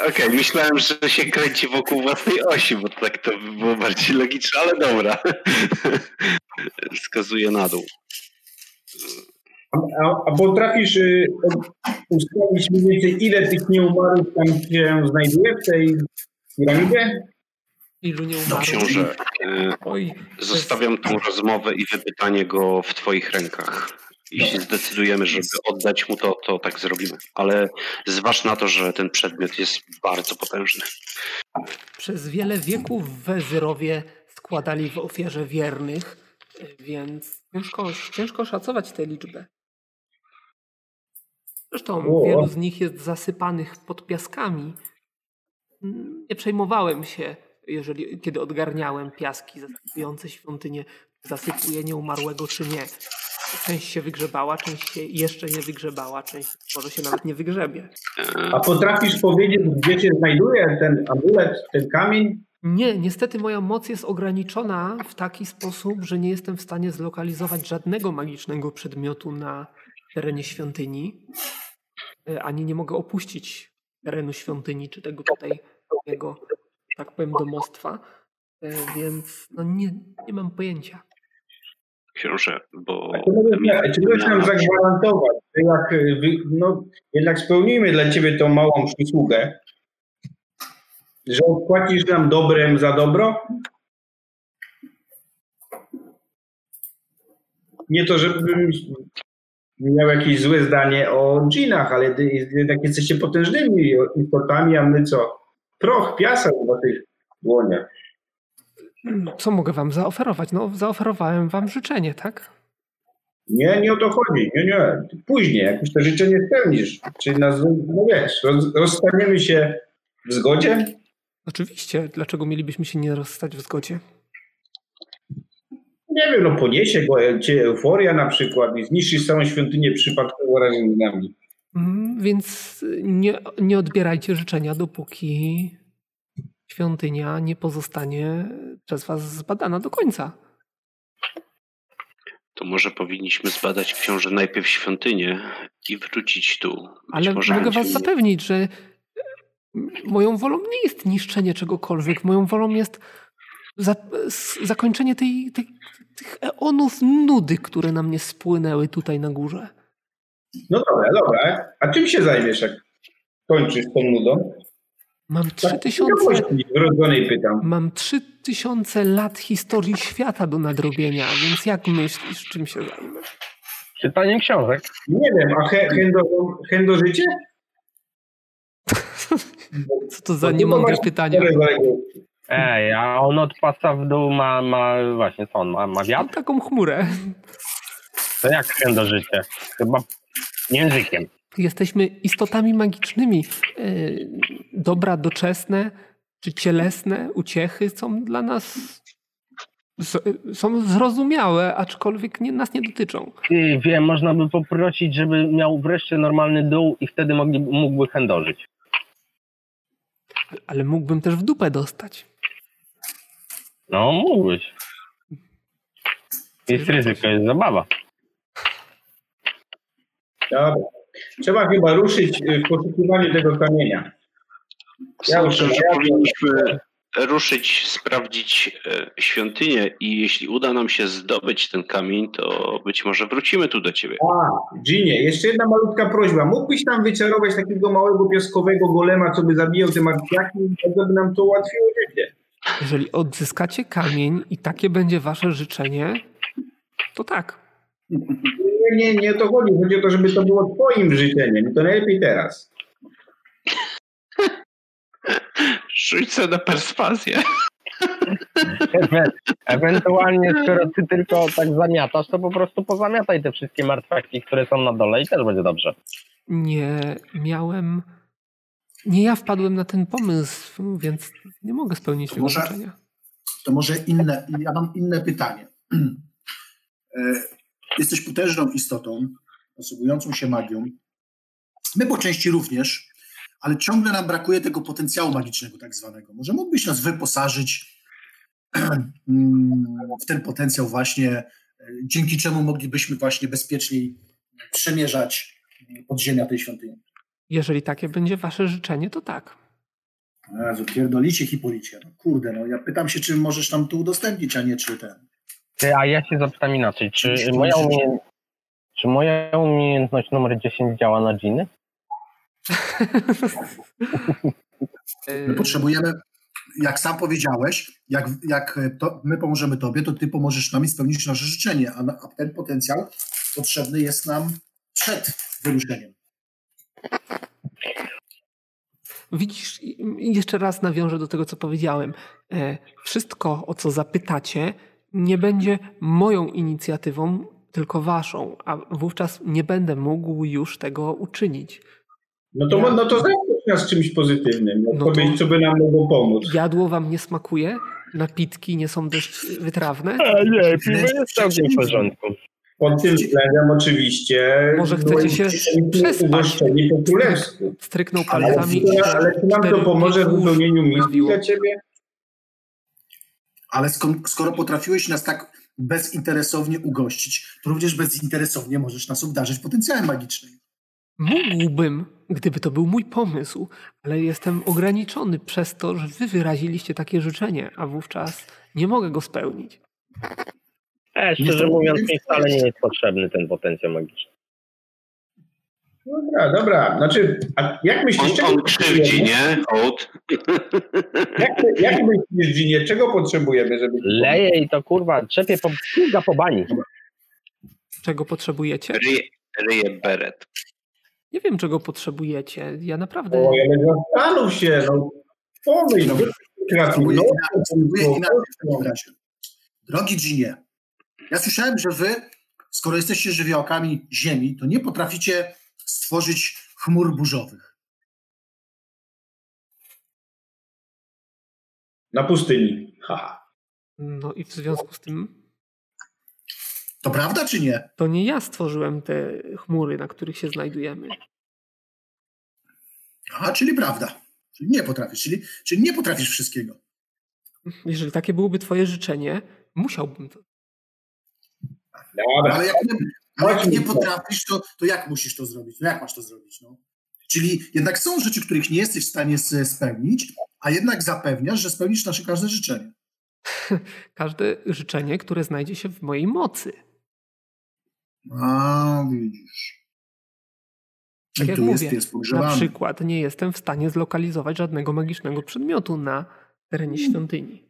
C: Okej, myślałem, że się kręci wokół własnej osi, bo tak to by było bardziej logiczne, ale dobra. Wskazuje na dół.
E: A, a potrafisz y, ustalić mniej więcej, ile tych nieumarłych tam się znajduje w tej piramidzie?
A: Ilu nie umarło?
B: Dobrze.
C: Książę, e,
A: Oj,
C: zostawiam tą rozmowę i wypytanie go w twoich rękach. Jeśli zdecydujemy, żeby oddać mu to, to tak zrobimy. Ale zważ na to, że ten przedmiot jest bardzo potężny.
A: Przez wiele wieków wezyrowie składali w ofierze wiernych, więc ciężko, ciężko szacować tę liczbę. Zresztą
E: O.
A: wielu z nich jest zasypanych pod piaskami. Mm, Nie przejmowałem się, jeżeli, kiedy odgarniałem piaski zasypujące świątynię, czy zasypuje nieumarłego czy nie. Część się wygrzebała, część się jeszcze nie wygrzebała, część może się nawet nie wygrzebie.
C: E,
E: A potrafisz powiedzieć, gdzie się znajduje ten amulet, ten kamień?
A: Nie, niestety moja moc jest ograniczona w taki sposób, że nie jestem w stanie zlokalizować żadnego magicznego przedmiotu na terenie świątyni, e, ani nie mogę opuścić terenu świątyni czy tego tutaj, tego, tak powiem, domostwa, E, więc no nie, nie mam pojęcia.
C: Książę, bo...
E: A Czy możesz, czy możesz nam zagwarantować, że jak, y, wy- no, jednak spełnimy dla ciebie tą małą przysługę, że odpłacisz nam dobrem za dobro? Nie to, żebym miał jakieś złe zdanie o dżinach, ale ty- jednak jesteście potężnymi istotami, a my co? Proch, piasek na tych dłoniach.
A: Mm, Co mogę wam zaoferować? No, zaoferowałem wam życzenie, tak?
E: Nie, nie o to chodzi. Nie, nie. Później, jak już te życzenie spełnisz, czyli nas, no wiesz, roz, rozstaniemy się w zgodzie.
A: Oczywiście, dlaczego mielibyśmy się nie rozstać w zgodzie?
E: Nie wiem, no poniesie go e, cię euforia na przykład i zniszczysz całą świątynię przypadkowo razem z nami.
A: Mm, Więc y, nie, nie odbierajcie życzenia, dopóki świątynia nie pozostanie przez was zbadana do końca.
C: To może powinniśmy zbadać książę najpierw świątynię i wrócić tu. Być
A: Ale
C: może
A: mogę
C: będzie
A: was
C: miał-
A: zapewnić, że y, moją wolą nie jest niszczenie czegokolwiek. Moją wolą jest za, s- zakończenie tej, tej, tych eonów nudy, które na mnie spłynęły tutaj na górze.
E: No dobra, dobra. A czym się zajmiesz, jak kończysz tą nudą?
A: Mam trzy
E: Tak,
A: tysiące
E: Wrodzonej pytam.
A: Mam 3000 lat historii świata do nadrobienia, więc jak myślisz, czym się zajmę?
D: Czytaniem książek.
E: Nie wiem, a he, hendo, hendo życie?
A: Co to za niemądre pytanie?
D: Ej, a on od pasa w dół ma, ma właśnie co on ma, ma
A: Mam
D: wiatr?
A: taką chmurę.
D: To jak ten do życia? Chyba językiem.
A: Jesteśmy istotami magicznymi. Yy, Dobra doczesne czy cielesne uciechy są dla nas z, są zrozumiałe, aczkolwiek nie, nas nie dotyczą.
D: Ty, wiem, można by poprosić, żeby miał wreszcie normalny dół i wtedy mogli, mógłby chędożyć.
A: Ale mógłbym też w dupę dostać.
D: No, mógłbyś. Jest ryzyko, jest zabawa.
E: Dobra. Trzeba chyba ruszyć y, w poszukiwaniu tego kamienia.
C: Sądzę,
E: Ja-
C: że
E: ja-
C: powinniśmy ruszyć, sprawdzić e, świątynię i jeśli uda nam się zdobyć ten kamień, to być może wrócimy tu do ciebie.
E: A, Tak, Ginie, jeszcze jedna malutka prośba. Mógłbyś nam wyczarować takiego małego piaskowego golema, co by zabijał te martwiaki, to by nam to ułatwiło życie.
A: Jeżeli odzyskacie kamień i takie będzie wasze życzenie, to tak.
E: Nie, nie, nie o to chodzi. Chodzi o to, żeby to było twoim życzeniem. I To najlepiej teraz.
C: Rzucę na perswazję.
D: Ewe- Ewentualnie, skoro ty tylko tak zamiatasz, to po prostu pozamiataj te wszystkie martwaki, które są na dole i też będzie dobrze.
A: nie miałem. Nie ja wpadłem na ten pomysł, więc nie mogę spełnić tego
B: Może-
A: życzenia.
B: To może inne, ja mam inne pytanie. E, Jesteś potężną istotą, posługującą się magią. My po części również, ale ciągle nam brakuje tego potencjału magicznego tak zwanego. Może mógłbyś nas wyposażyć mm, w ten potencjał właśnie, e, dzięki czemu moglibyśmy właśnie bezpieczniej przemierzać mm, podziemia tej świątyni.
A: Jeżeli takie będzie wasze życzenie, to tak.
B: Jezu, pierdolicie hipolicie. No, kurde, no ja pytam się, czy możesz nam to udostępnić, a nie czy ten.
D: Ty, a ja się zapytam inaczej. Czy moja, umie... czy moja umiejętność numer 10 działa na dżiny?
B: My
A: Yy,
B: potrzebujemy, jak sam powiedziałeś, jak, jak to, my pomożemy tobie, to ty pomożesz nam i spełnisz nasze życzenie, a, na- a ten potencjał potrzebny jest nam przed wyruszeniem.
A: Widzisz, i- i jeszcze raz nawiążę do tego, co powiedziałem. E, Wszystko, o co zapytacie, nie będzie moją inicjatywą, tylko waszą, a wówczas nie będę mógł już tego uczynić.
E: No to,
A: Ja-
E: no to zaskoczysz nas czymś pozytywnym.
A: No to-
E: Odpowiedź, co by nam mogło pomóc.
A: Jadło wam nie smakuje, napitki nie są dość wytrawne.
F: A E, nie, piwo jest całkiem w porządku.
E: Pod tym względem oczywiście...
A: Może chcecie
E: byłem-
A: się
E: byliśmy
A: przespać.
E: ugoszczeni po królewsku.
A: Stryknął
B: Ale-
E: Ale,
A: palcami.
E: ale czy nam to
A: cztery
E: pomoże w
A: pięć
E: wypełnieniu
A: łóż
E: misji
A: trafiło.
E: dla ciebie?
B: Ale skoro, skoro potrafiłeś nas tak bezinteresownie ugościć, to również bezinteresownie możesz nas obdarzyć potencjałem magicznym.
A: Mógłbym, gdyby to był mój pomysł, ale jestem ograniczony przez to, że wy wyraziliście takie życzenie, a wówczas nie mogę go spełnić.
F: E, szczerze mówiąc, mi wcale nie jest potrzebny ten potencjał magiczny.
E: Dobra, dobra. Znaczy, a jak myślisz,
C: On,
E: czego
C: on
E: potrzebujemy?
C: krzywdzi, nie? Hołd.
E: Jak, jak myślisz, Ginie, czego potrzebujemy, żeby...
F: Leje i to kurwa, trzepie po, pizga po bani.
A: Czego potrzebujecie?
C: Ryje, ryje beret.
A: Nie wiem, czego potrzebujecie. Ja naprawdę.
E: Oj, ale zastanów się, no. Pomyśl,
B: Dobra. Spróbuję
E: gratuluję.
B: inaczej, spróbuję inaczej w takim razie. Drogi Ginie, ja słyszałem, że wy, skoro jesteście żywiołkami Ziemi, to nie potraficie stworzyć chmur burzowych.
E: Na pustyni. Haha.
A: No i w związku z tym
B: To prawda czy nie?
A: to nie ja stworzyłem te chmury, na których się znajdujemy.
B: Aha, czyli prawda. Czyli nie potrafisz, czyli, czyli nie potrafisz wszystkiego.
A: Jeżeli takie byłoby twoje życzenie, musiałbym to.
E: Dobra. Tak.
B: Ale jak nie, ale jak nie
E: Chodźmy.
B: potrafisz, to, to jak musisz to zrobić? No jak masz to zrobić? No? Czyli jednak są rzeczy, których nie jesteś w stanie s- spełnić, a jednak zapewniasz, że spełnisz nasze każde życzenie.
A: Każde życzenie, które znajdzie się w mojej mocy.
B: A, widzisz.
A: Tak
B: I
A: jak
B: tu jest
A: mówię,
B: pies pogrzebany.
A: Na przykład nie jestem w stanie zlokalizować żadnego magicznego przedmiotu na terenie świątyni.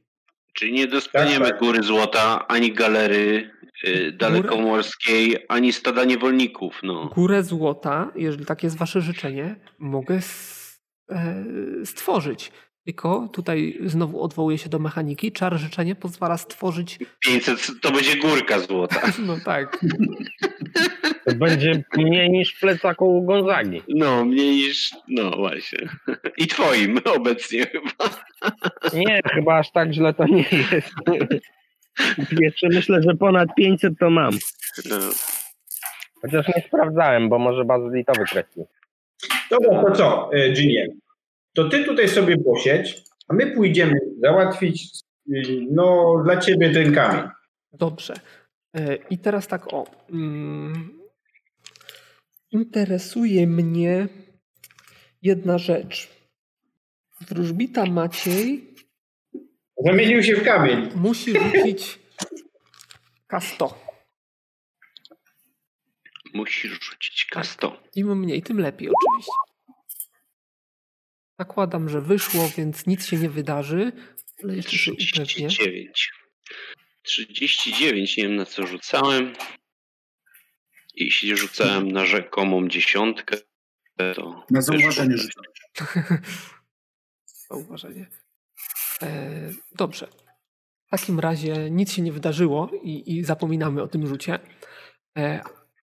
C: Czyli nie dostaniemy
E: Tak, tak.
C: góry złota, ani galery y, dalekomorskiej, ani stada niewolników. No.
A: Górę złota, jeżeli takie jest wasze życzenie, mogę s- e, stworzyć. Tylko tutaj znowu odwołuję się do mechaniki. Czar życzenie pozwala stworzyć.
C: 500 to będzie górka złota.
A: No tak,
F: To będzie mniej niż w plecaku u Gonzagi.
C: No, mniej niż. No właśnie. I twoim obecnie chyba.
F: Nie, chyba aż tak źle to nie jest. Jeszcze myślę, że ponad 500 to mam.
C: No.
F: Chociaż nie sprawdzałem, bo może bazylitowy trafi.
E: Dobra, to co, e, Ginie? To ty tutaj sobie posiedź, a my pójdziemy załatwić y, no, dla ciebie ten kamień.
A: Dobrze. E, I teraz tak o. mm, Interesuje mnie jedna rzecz. Wróżbita Maciej
E: Zamienił się w kamień.
A: musi rzucić K100.
C: Musisz rzucić kasto.
A: Im mniej, tym lepiej oczywiście. Zakładam, że wyszło, więc nic się nie wydarzy, ale jeszcze się upewnię.
C: 39. 39, nie wiem na co rzucałem. Jeśli rzucałem na rzekomą dziesiątkę, to.
B: Na zauważenie
C: wyszło-
B: życzę.
A: Zauważenie. E, dobrze. W takim razie nic się nie wydarzyło i, i zapominamy o tym rzucie. E,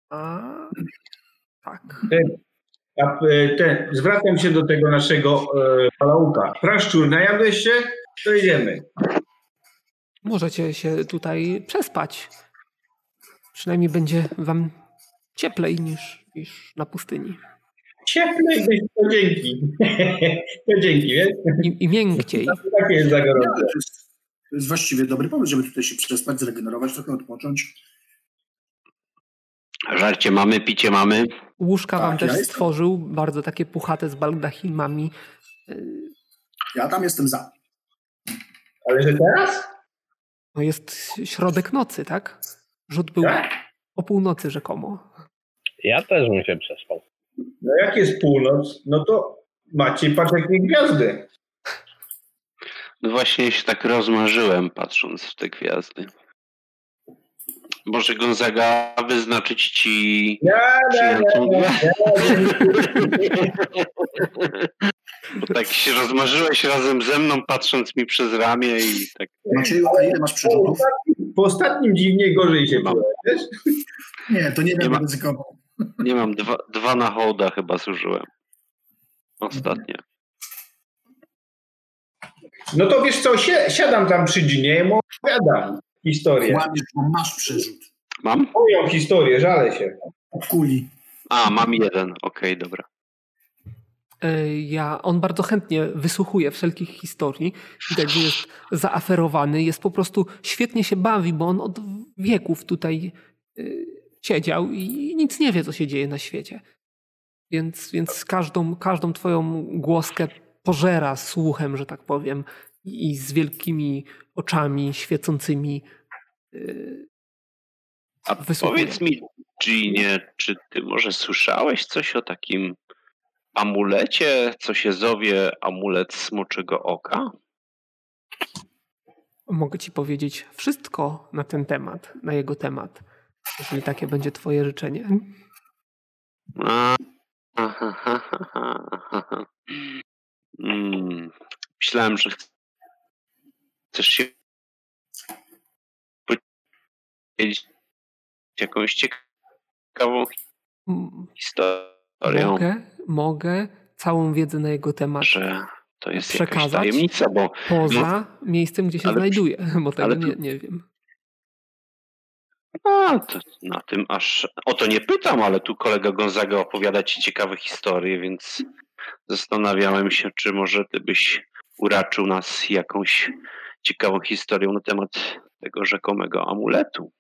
A: a tak.
E: A, e, ten, zwracam się do tego naszego e, palauka. Praszczur, najadłeś się? To idziemy.
A: Możecie się tutaj przespać. Przynajmniej będzie wam cieplej niż, niż na pustyni.
E: Cieplej byś, to dzięki. to dzięki, wiesz?
A: I, i miękkiej.
E: Takie jest
B: Nie,
E: zagrożenie.
B: ale to jest- To jest właściwie dobry pomysł, żeby tutaj się przespać, zregenerować, trochę odpocząć.
C: Żarcie mamy, picie mamy.
A: Łóżka wam
B: Tak,
A: też
B: ja jestem.
A: stworzył, bardzo takie puchate z baldachimami. E,
B: Ja tam jestem za.
E: Ale że teraz?
A: No jest środek nocy, tak? Rzut był
E: Tak.
A: o północy rzekomo.
F: Ja też bym się przespał.
E: No jak jest północ, no to macie patrz jakie gwiazdy.
C: No właśnie się tak rozmarzyłem, patrząc w te gwiazdy. Może Gonzaga wyznaczyć ci
E: Nie, nie,
C: przyjaciół?
E: nie.
C: Bo tak się rozmarzyłeś razem ze mną, patrząc mi przez ramię i tak.
B: Macieju, a ile masz
E: Po
B: przerzutów?
E: ostatnim- Po ostatnim dziwnie gorzej się
C: Mam.
E: czułem, wiesz?
B: Nie, to nie
C: Nie
B: wiem
C: ma.
B: ryzykowo.
C: Nie mam, dwa, dwa na hołda chyba zużyłem. Ostatnio.
E: No to wiesz co, si- siadam tam przy dzinie i mu opowiadam historię.
B: Łamiesz, bo masz przerzut.
C: Mam?
E: Moją historię, żalę się.
B: Kuli.
C: A, mam jeden. Okej, dobra.
A: E, Ja, on bardzo chętnie wysłuchuje wszelkich historii. Widać, że jest zaaferowany, jest po prostu świetnie się bawi, bo on od wieków tutaj y, siedział i nic nie wie, co się dzieje na świecie. Więc, więc każdą, każdą twoją głoskę pożera słuchem, że tak powiem, i i z wielkimi oczami świecącymi. y,
C: A
A: wysłuchuje.
C: Powiedz mi, Ginie, czy ty może słyszałeś coś o takim amulecie, co się zowie amulet smoczego oka?
A: Mogę ci powiedzieć wszystko na ten temat, na jego temat, jeżeli takie będzie twoje życzenie.
C: A, aha, aha, aha, aha. Mm, myślałem, że chc- chcesz się podzielić jakąś ciekawą
A: Mm,
C: historią,
A: Mogę, mogę całą wiedzę na jego temat
C: że to jest jakaś
A: przekazać?
C: tajemnica, bo
A: poza miejscem, gdzie się
C: Ale-
A: znajduje, bo tego
C: ale-
A: nie, nie wiem.
C: a, to na tym aż o to nie pytam, ale tu kolega Gonzaga opowiada ci ciekawe historie, więc zastanawiałem się, czy może ty byś uraczył nas jakąś ciekawą historią na temat tego rzekomego amuletu.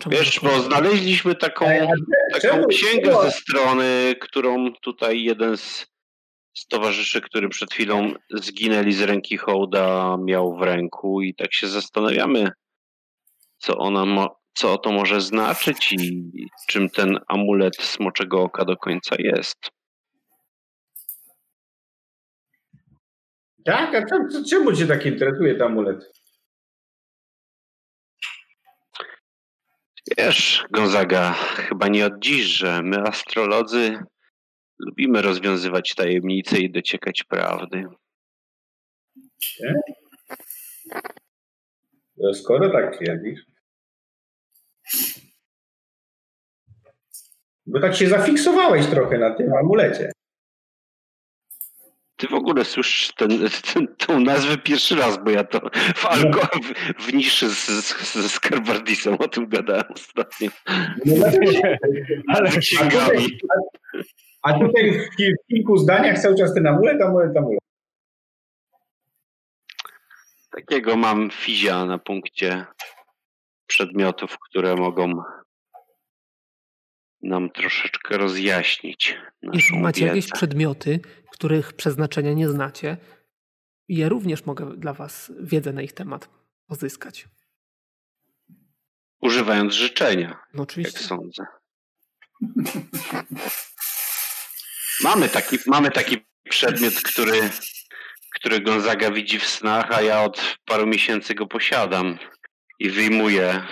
A: Czemu
C: Wiesz,
A: tak
C: bo
A: powiem?
C: znaleźliśmy taką, taką
E: czemu-
C: Tak, księgę
E: czemu-
C: ze strony, którą tutaj jeden z, z towarzyszy, który przed chwilą zginęli z ręki hołda, miał w ręku i tak się zastanawiamy, co ona mo- co to może znaczyć i czym ten amulet smoczego oka do końca jest.
E: Tak, a co- co- czemu cię tak interesuje ten amulet?
C: Wiesz, Gonzaga, chyba nie od dziś, że my astrolodzy lubimy rozwiązywać tajemnice i dociekać prawdy.
E: No, Skoro tak twierdzisz. Bo tak się zafiksowałeś trochę na tym amulecie.
C: Ty w ogóle słyszysz ten, ten, tą nazwę pierwszy raz, bo ja to w, alko, w, w niszy z, z, z Skarbardisem o tym gadałem ostatnio.
E: No, dlatego się-
C: Ale z
E: a, tutaj,
C: księgami.
E: a tutaj w ki- w kilku zdaniach cały czas ten amulet, amulet, amulet.
C: Takiego mam fizia na punkcie przedmiotów, które mogą nam troszeczkę rozjaśnić
A: Jeśli
C: naszą
A: macie jakieś
C: wiedzę.
A: przedmioty, których przeznaczenia nie znacie, ja również mogę dla was wiedzę na ich temat pozyskać.
C: Używając życzenia.
A: No
C: jak
A: oczywiście.
C: sądzę. Mamy taki, mamy taki przedmiot, który, który Gonzaga widzi w snach, a ja od paru miesięcy go posiadam. I wyjmuję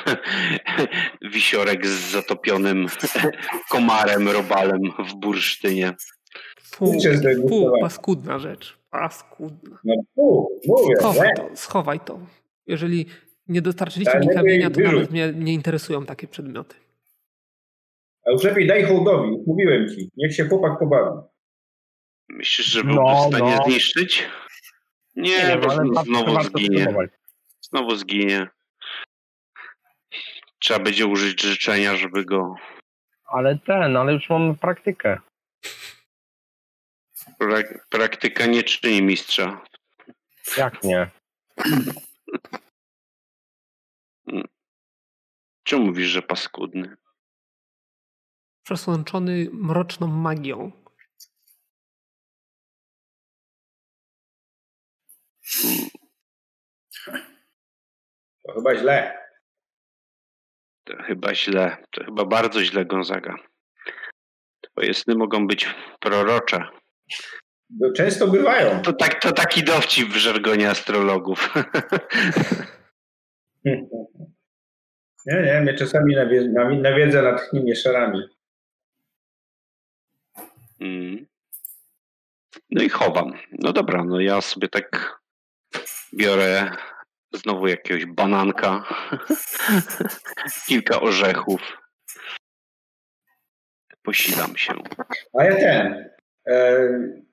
C: wisiorek z zatopionym komarem, robalem w bursztynie.
A: Fu,
E: Cię
A: fu,
E: zdegustowałem.
A: paskudna rzecz. Paskudna.
E: No fu, mówię,
A: Schowaj
E: nie?
A: to, schowaj to. Jeżeli nie dostarczyliście
E: Ale
A: mi
E: lepiej
A: kamienia, to
E: wyrzuć.
A: nawet mnie nie interesują takie przedmioty.
E: A już lepiej daj hołdowi, mówiłem ci. Niech się chłopak pobawi.
C: Myślisz, że byłby
D: No,
C: w stanie
D: no.
C: zniszczyć? Nie,
D: Nie wiem,
C: bo
D: ale
C: znowu,
D: warto-
C: znowu
D: warto
C: zginie.
D: spróbować.
C: Znowu zginie. Trzeba będzie użyć życzenia, żeby go
D: Ale ten, ale już mam praktykę.
C: Prak- praktyka nie czyni mistrza.
D: Jak nie?
C: Czemu mówisz, że paskudny?
A: Przesłączony mroczną magią.
E: To chyba źle.
C: To chyba źle. To chyba bardzo źle, Gonzaga. Twoje sny mogą być prorocze.
E: Często bywają.
C: To, tak, to taki dowcip w żargonie astrologów.
E: Nie, nie, mnie czasami nawie- nawi- nawiedza natchnienie szarami.
C: Mm. No i chowam. No dobra, no ja sobie tak biorę znowu jakiegoś bananka, kilka orzechów. Posilam się.
E: A ja ten. E,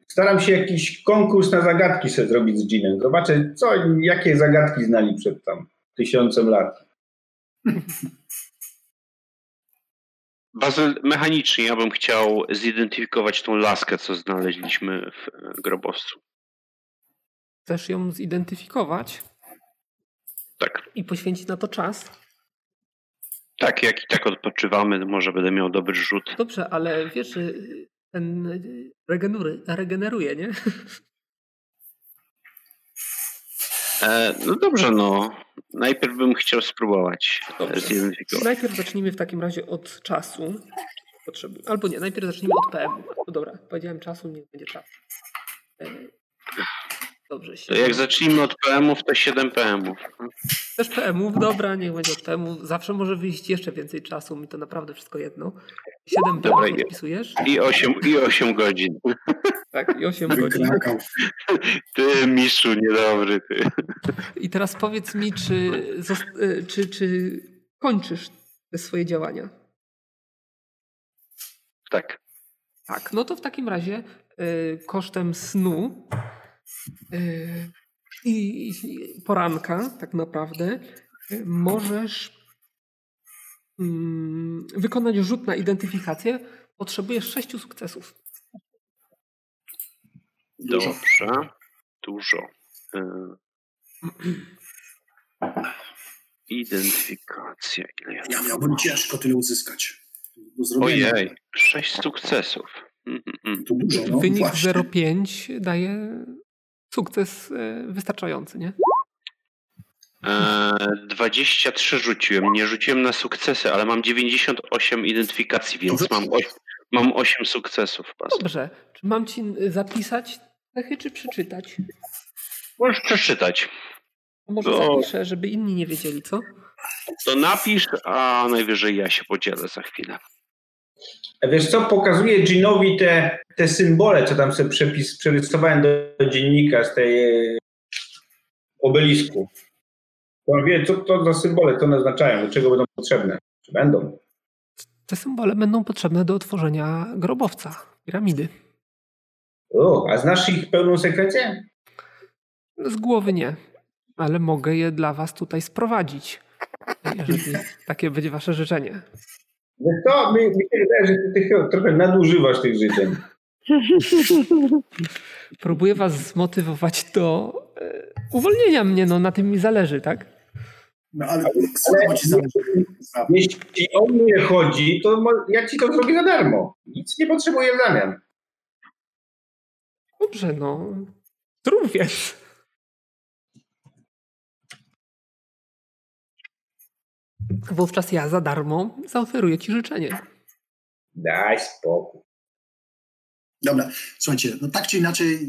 E: staram się jakiś konkurs na zagadki sobie zrobić z Ginem. Zobaczę, co, jakie zagadki znali przed tam tysiącem lat.
C: Bazyl, mechanicznie ja bym chciał zidentyfikować tą laskę, co znaleźliśmy w e, grobowcu.
A: Chcesz ją zidentyfikować
C: Tak,
A: i poświęcić na to czas?
C: tak, jak i tak odpoczywamy, może będę miał dobry rzut.
A: Dobrze, ale wiesz, że ten regeneru- regeneruje, nie?
C: E, no dobrze, no. Najpierw bym chciał spróbować
A: Dobrze.
C: e, zidentyfikować.
A: Najpierw zacznijmy w takim razie od czasu. Potrzeby. Albo nie, najpierw zacznijmy od PM. No dobra, powiedziałem czasu, nie będzie czas. E, Dobrze się.
C: To jak zacznijmy od PM-ów, to 7 PM-ów.
A: Też PM-ów, dobra, niech będzie od PM-ów. Zawsze może wyjść jeszcze więcej czasu, mi to naprawdę wszystko jedno. 7
C: Dobra,
A: PM
C: idę.
A: podpisujesz?
C: I 8, i 8 godzin.
A: Tak, i 8 godzin.
B: Wykrakał.
C: Ty, Miszu, niedobry ty.
A: I teraz powiedz mi, czy, zos- e, czy, czy kończysz te swoje działania?
C: Tak.
A: Tak, no to w takim razie y, kosztem snu y, i i poranka, tak naprawdę, y, możesz mm, wykonać rzut na identyfikację. Potrzebujesz sześciu sukcesów.
B: Dużo.
C: Dobrze. Dużo. E, Identyfikacja. Ile ja
B: Ja miałbym ciężko tyle uzyskać. Do zrobienia.
C: Ojej, 6 sukcesów. Mhm, mhm.
B: To dużo, no
A: Wynik
B: właśnie.
A: 0,5 daje sukces y, wystarczający, nie?
C: E, 23 rzuciłem. Nie rzuciłem na sukcesy, ale mam 98 identyfikacji, więc mam 8, mam 8 sukcesów. Bas.
A: Dobrze, czy mam ci y, zapisać cechy, czy przeczytać?
C: Możesz przeczytać.
A: Może
C: No.
A: zapiszę, żeby inni nie wiedzieli, co?
C: To napisz, a najwyżej ja się podzielę za chwilę.
E: A Wiesz co, pokazuję Ginowi te, te symbole, co tam sobie przepis, przerysowałem do, do dziennika z tej e, obelisku. On wie, co to za symbole, co one oznaczają, do czego będą potrzebne. Czy będą?
A: Te symbole będą potrzebne do otworzenia grobowca, piramidy.
E: O, a znasz ich pełną sekwencję?
A: Z głowy nie, ale mogę je dla was tutaj sprowadzić, jeżeli takie będzie wasze życzenie.
E: Wiesz co, mi, mi się wydaje, że ty, ty chyba trochę nadużywasz tych życzeń.
A: Próbuję was zmotywować do e, uwolnienia mnie, no na tym mi zależy, tak?
B: No ale słowo ci za... za-
E: Jeśli o mnie chodzi, to mo- ja ci to zrobię za darmo. Nic nie potrzebuję w zamian.
A: Dobrze, no. Zrób więc. Wówczas ja za darmo zaoferuję ci życzenie.
E: Daj spokój.
B: Dobra, słuchajcie, no tak czy inaczej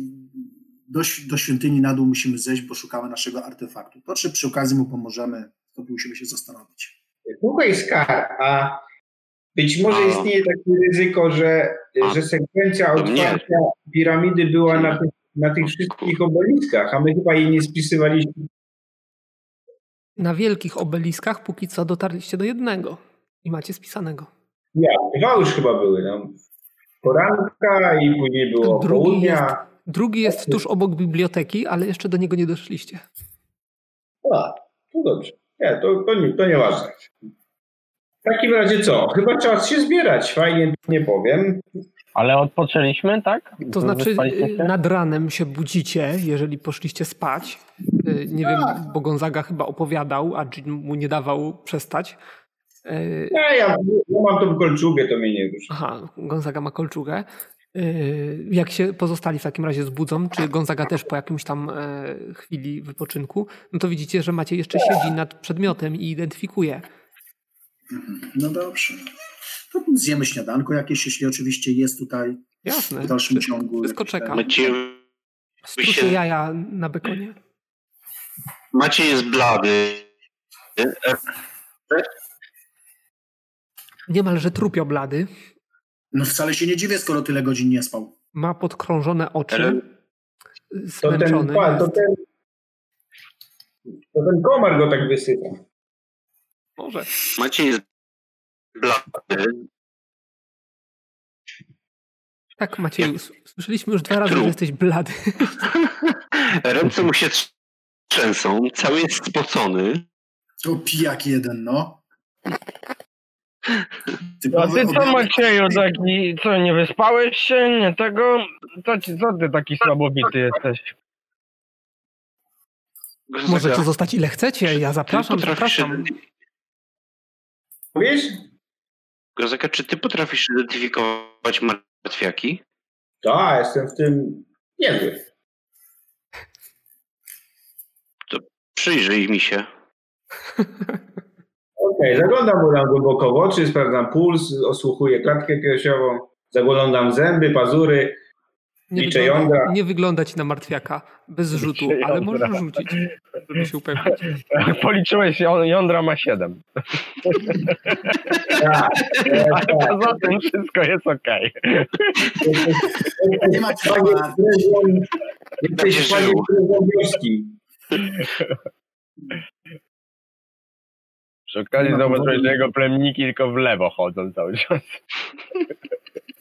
B: do, św- do świątyni na dół musimy zejść, bo szukamy naszego artefaktu. To czy przy okazji mu pomożemy, to musimy się zastanowić.
E: Słuchaj, Skar, a być może
C: A.
E: istnieje takie ryzyko, że,
C: A.
E: że sekwencja
C: To mnie.
E: otwarcia piramidy była na tych, na tych
C: O,
E: wszystkich obeliskach, a my chyba jej nie spisywaliśmy.
A: Na wielkich obeliskach póki co dotarliście do jednego i macie spisanego.
E: Ja, dwa już chyba były. No. Poranka i później było
A: Drugi
E: południa.
A: Drugi jest tuż obok biblioteki, ale jeszcze do niego nie doszliście.
E: A, to dobrze. Nie, to, to, nie, to nieważne. W takim razie co? Chyba czas się zbierać. Fajnie, nie powiem.
D: Ale odpoczęliśmy, tak?
A: To znaczy
D: Wyspaliście
A: y,
D: się?
A: nad ranem się budzicie, jeżeli poszliście spać. Y, Nie wiem, bo Gonzaga chyba opowiadał, a Jin mu nie dawał przestać. Y,
E: Ja, ja, ja mam tą kolczugę, to mnie nie ruszy.
A: Aha, Gonzaga ma kolczugę. Y, Jak się pozostali w takim razie zbudzą, czy Gonzaga też po jakimś tam e, chwili wypoczynku, no to widzicie, że macie jeszcze siedzi nad przedmiotem i identyfikuje.
B: Mhm. No dobrze. To zjemy śniadanko jakieś, jeśli oczywiście jest tutaj
A: Jasne.
B: w dalszym ciągu.
A: wszystko
B: jakieś
A: czeka.
B: tam-
C: Macie,
A: Strusie jaja na bekonie.
C: Macie jest blady.
A: Niemalże trupio blady.
B: No wcale się nie dziwię, skoro tyle godzin nie spał.
A: Ma podkrążone oczy.
E: To ten,
A: Zmęczony.
E: pa- to
A: jest.
E: ten, to ten komar go tak wysypa.
A: Może.
C: Macie jest blady.
A: Tak, Macieju, s- słyszeliśmy już dwa razy, że jesteś blady.
C: Ręce mu się trz- trzęsą, cały jest spocony.
B: To pijak jeden, no.
F: A No, ty co
B: objawy-
F: Macieju taki, co nie wyspałeś się, nie tego? Co, ci- co ty taki słabowity jesteś?
A: Może tu
C: Zagra-
A: zostać ile chcecie. Ja zapraszam,
C: Ty potrafisz
A: zapraszam.
C: identy-
E: Wiesz?
C: Grozeka, czy ty potrafisz identyfikować martwiaki?
E: Tak, jestem w tym niezły.
C: Przyjrzyj mi się.
E: Okej, zaglądam mu tam głęboko w oczy, sprawdzam puls, osłuchuję klatkę piersiową, zaglądam zęby, pazury.
A: Nie
E: Liczę
A: wygląda,
E: jądra.
A: nie wygląda ci na martwiaka. Bez rzutu,
F: Liczę
A: ale
F: jądra.
A: możesz rzucić, żeby się upewnić.
F: Policzyłeś, ją- jądra ma 7.
E: Tak,
F: Ale poza tym wszystko jest okej.
B: Nie ma
E: panie
B: ciała.
E: królem- jesteś
C: Będzie
E: panie
C: żył.
E: królem wioski.
F: Przy okazji
B: Nie ma
F: zobaczyłeś,
B: powodu.
F: że jego plemniki tylko w lewo chodzą cały czas.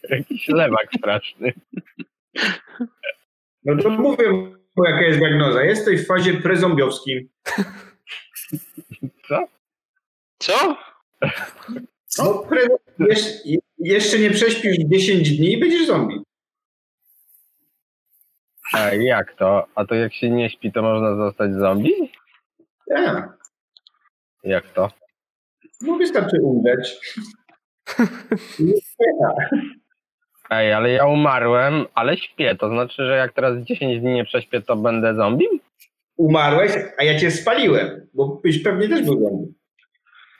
F: Jakiś lewak straszny.
E: No to mówię mu, jaka jest diagnoza. Jesteś w fazie prezombiowskim.
C: Co?
E: No,
B: Co?
E: pre- jesz- jeszcze nie prześpisz 10 dni i będziesz zombie.
F: A jak to? A to jak się nie śpi, to można zostać zombie?
E: Tak.
F: Jak to?
E: No wystarczy umrzeć. Nie,
F: Ej, ale ja umarłem, ale śpię. To znaczy, że jak teraz 10 dni nie prześpię, to będę zombie?
E: Umarłeś, a ja cię spaliłem, bo byś pewnie też był zombie.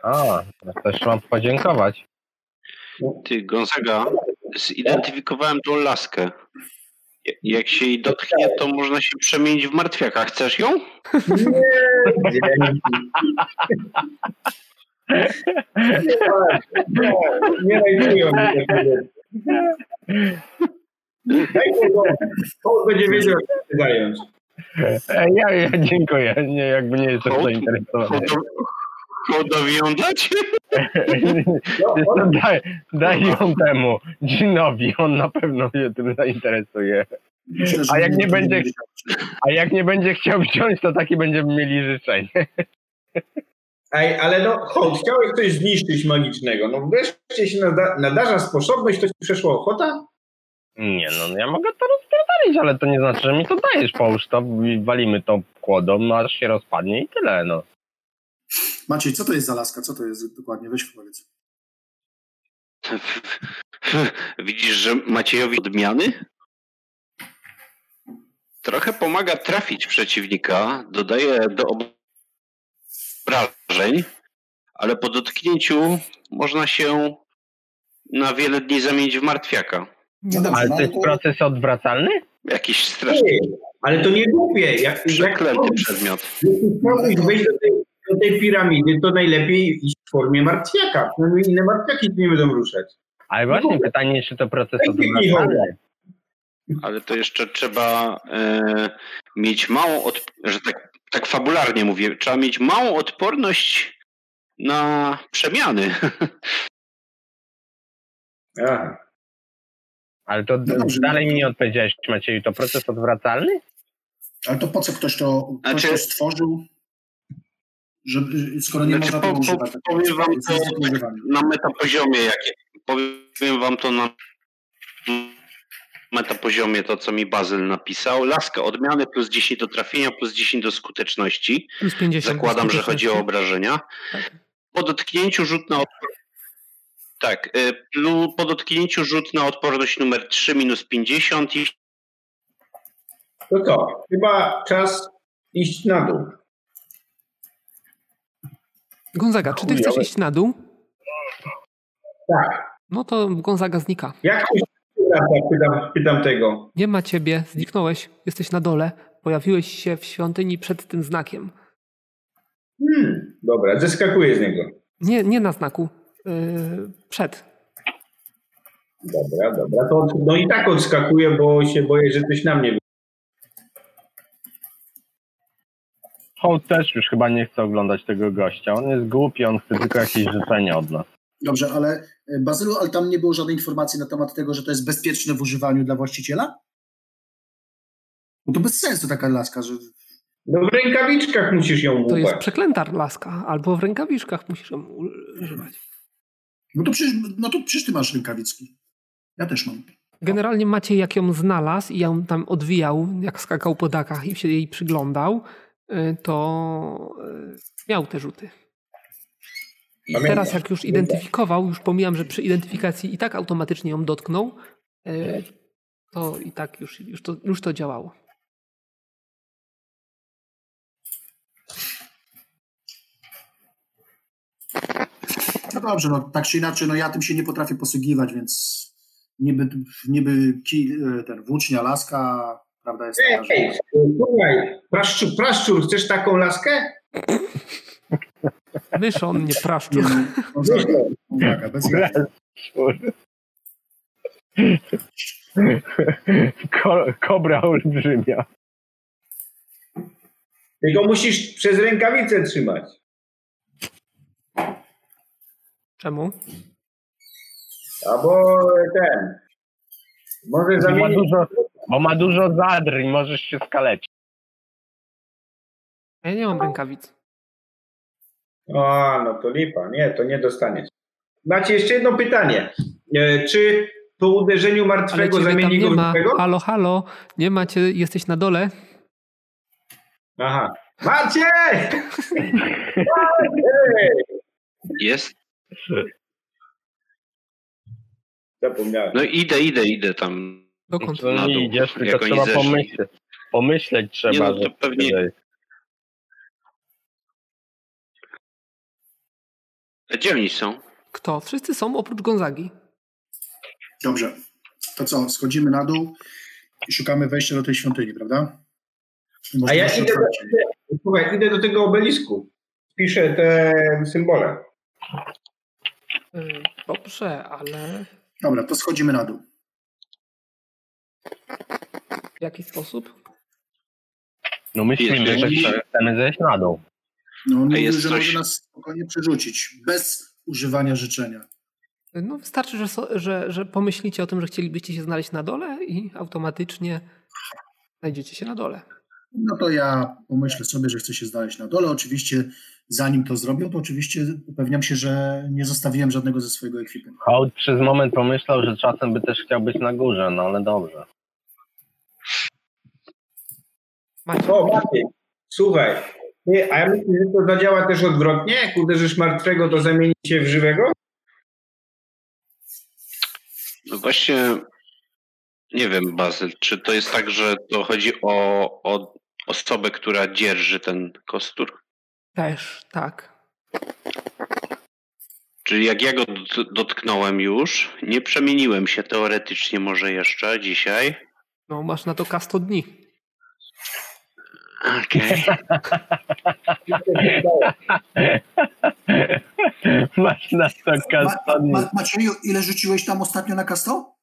F: A, ja też mam podziękować.
C: Ty, Gonzaga, zidentyfikowałem tą laskę. Ja- Jak się jej dotknie, to można się przemienić w martwiaka. Chcesz ją?
E: Nie, dzięki. Nie, nie najdują mnie te kobiety. Daj kogo, kogo będzie wiedział, jak się zająć.
F: Ej, ja, ja dziękuję. Nie, jakby nie jestem
C: Hołd-
F: zainteresowany.
C: Hołdowi ją dać?
E: No,
F: Jestem,
E: on,
F: daj, daj ją temu, Dzinowi, on na pewno się tym zainteresuje.
B: Myślę, że
F: A jak nie
B: to
F: będzie- A jak nie będzie chciał wziąć, to takie będziemy mieli życzenie.
E: Ej, ale no, hołd, chciałeś coś zniszczyć magicznego. No wreszcie się nada, nadarza sposobność, to ci przeszła ochota?
F: Nie no, ja mogę to rozpierdolić, ale to nie znaczy, że mi to dajesz, połóż to, i walimy tą kłodą, aż się rozpadnie i tyle, no.
B: Maciej, co to jest za laska? Co to jest dokładnie? Weź powiedz.
C: Widzisz, że Maciejowi odmiany? Trochę pomaga trafić przeciwnika, dodaje do ob- obrażeń, ale po dotknięciu można się na wiele dni zamienić w martwiaka.
B: No dobrze,
F: Ale
B: no
F: to jest proces odwracalny?
C: Jakiś straszny,
E: Ej, ale to nie głupie. Jak, jak
C: przeklęty przedmiot.
E: Jeśli chciałbyś wejść do tej, do tej piramidy, to najlepiej iść w formie martwiaka. No inne martwiaki nie będą ruszać.
F: Ale właśnie pytanie, czy to proces
E: Taki
F: odwracalny?
C: Ale to jeszcze trzeba e, mieć małą, odp- że tak, tak fabularnie mówię, trzeba mieć małą odporność na przemiany.
E: Aha.
F: Ale to
B: No dobrze,
F: dalej
B: no.
F: mi nie odpowiedziałeś, Macieju, to proces odwracalny?
B: Ale to po co ktoś to, ktoś
C: Znaczy-
B: to stworzył? Żeby, skoro nie
C: Znaczy,
B: można tego
C: po- po-
B: używać. tak
C: powiem wam,
B: jest
C: co-
B: do używania.
C: na metapoziomie jakie. Powiem wam to na metapoziomie, to co mi Bazyl napisał. Laska odmiany plus 10 do trafienia, plus 10 do skuteczności.
A: Plus 50.
C: Zakładam, że chodzi o
A: skuteczności.
C: obrażenia.
A: Tak.
C: Po dotknięciu rzut na odporność. Tak, y, plu- po dotknięciu rzut na odporność numer 3 minus 50 i
E: To co? Chyba czas iść na dół.
A: Gonzaga, czy ty chcesz iść na dół?
E: Tak.
A: No to Gonzaga znika.
E: Jak ktoś pyta, pytam, pytam tego.
A: Nie ma ciebie, zniknąłeś, jesteś na dole. Pojawiłeś się w świątyni przed tym znakiem.
E: Hmm, dobra, zeskakuję z niego.
A: Nie, nie na znaku. Yy, przed.
E: Dobra, dobra. To, no i tak odskakuję, bo się boję, że ktoś na mnie
F: Hołd też już chyba nie chce oglądać tego gościa. On jest głupi, on chce tylko jakieś życzenia od nas.
B: Dobrze, ale e, Bazylu, ale tam nie było żadnej informacji na temat tego, że to jest bezpieczne w używaniu dla właściciela? Bo to bez sensu taka laska, że
E: No w rękawiczkach musisz ją
A: To jest
E: łupać.
A: przeklęta laska, albo w rękawiczkach musisz ją u- używać.
B: No to przecież, no to przecież ty masz rękawiczki. Ja też mam.
A: Generalnie Maciej jak ją znalazł i ją tam odwijał, jak skakał po dakach i się jej przyglądał, yy, to yy, miał te rzuty.
E: Pamiętam.
A: Teraz jak już identyfikował, już pomijam, że przy identyfikacji i tak automatycznie ją dotknął, yy, to i tak już, już, to, już to działało.
B: No dobrze, no tak czy inaczej, no ja tym się nie potrafię posługiwać, więc niby, niby ki, e, ten włócznia, laska, prawda jest taka,
E: Ej,
B: że...
E: słuchaj, praszczur, praszczur, chcesz taką laskę?
A: Myszon, nie
B: Nie,
A: praszczur.
B: no, Gonzaga, Gonzaga, bez jaj.
F: Ko- kobra olbrzymia.
E: Tylko musisz przez rękawicę trzymać.
A: Czemu?
E: Albo ten. Może
F: Bo ma
E: zamienić.
F: dużo, bo ma dużo zadr i możesz się skaleczyć.
A: Ja nie mam rękawic.
E: A, no to lipa. Nie, to nie dostaniesz. Macie jeszcze jedno pytanie. E, Czy po uderzeniu
A: Ale
E: martwego
A: ciebie tam
E: zamieni go
A: nie
E: w
A: ma.
E: żywego?
A: Halo, halo, nie macie, jesteś na dole.
E: Aha. Maciej! Maciej!
C: Jest?
E: Zapomniałem.
C: No idę, idę, idę tam.
A: Dokąd?
C: Na
F: To
C: dół,
F: nie idziesz, tylko
C: jak oni
F: trzeba
C: zeszli.
F: pomyśleć. Pomyśleć trzeba.
C: Nie, no to
F: że-
C: pewnie- A Gdzie oni są?
A: Kto? Wszyscy są oprócz Gonzagi.
B: Dobrze, to co, schodzimy na dół i szukamy wejścia do tej świątyni, prawda?
E: A ja
B: Możliwości
E: idę do,
B: otwarcia.
E: idę- słuchaj, idę do tego obelisku. Piszę te symbole.
A: Y, Dobrze, ale
B: Dobra, to schodzimy na dół.
A: w jaki sposób?
F: No myślimy, że
C: Jeżeli-
F: chcemy zejść na dół.
B: No, on mówił,
C: jest
B: że
C: coś-
B: może nas spokojnie przerzucić, bez używania życzenia.
A: Y, No wystarczy, że, so, że, że pomyślicie o tym, że chcielibyście się znaleźć na dole i automatycznie znajdziecie się na dole.
B: No to ja pomyślę sobie, że chcę się znaleźć na dole. Oczywiście, zanim to zrobią, to oczywiście upewniam się, że nie zostawiłem żadnego ze swojego ekwipunku.
F: Hołd przez moment pomyślał, że czasem by też chciał być na górze, no ale dobrze.
A: Macie.
E: O, Maciej, słuchaj. Nie, a ja myślę, że to zadziała też odwrotnie. Jak uderzysz martwego, to zamieni się w żywego?
C: No właśnie, nie wiem, Bazyl, czy to jest tak, że to chodzi o, o osobę, która dzierży ten kostur?
A: Też, tak.
C: Czyli jak ja go dot- dotknąłem już, nie przemieniłem się teoretycznie może jeszcze dzisiaj.
A: No masz na to kasto dni.
C: Okej.
F: Masz na to kastanie.
B: Ma, Macieju, ile rzuciłeś tam ostatnio na kasto?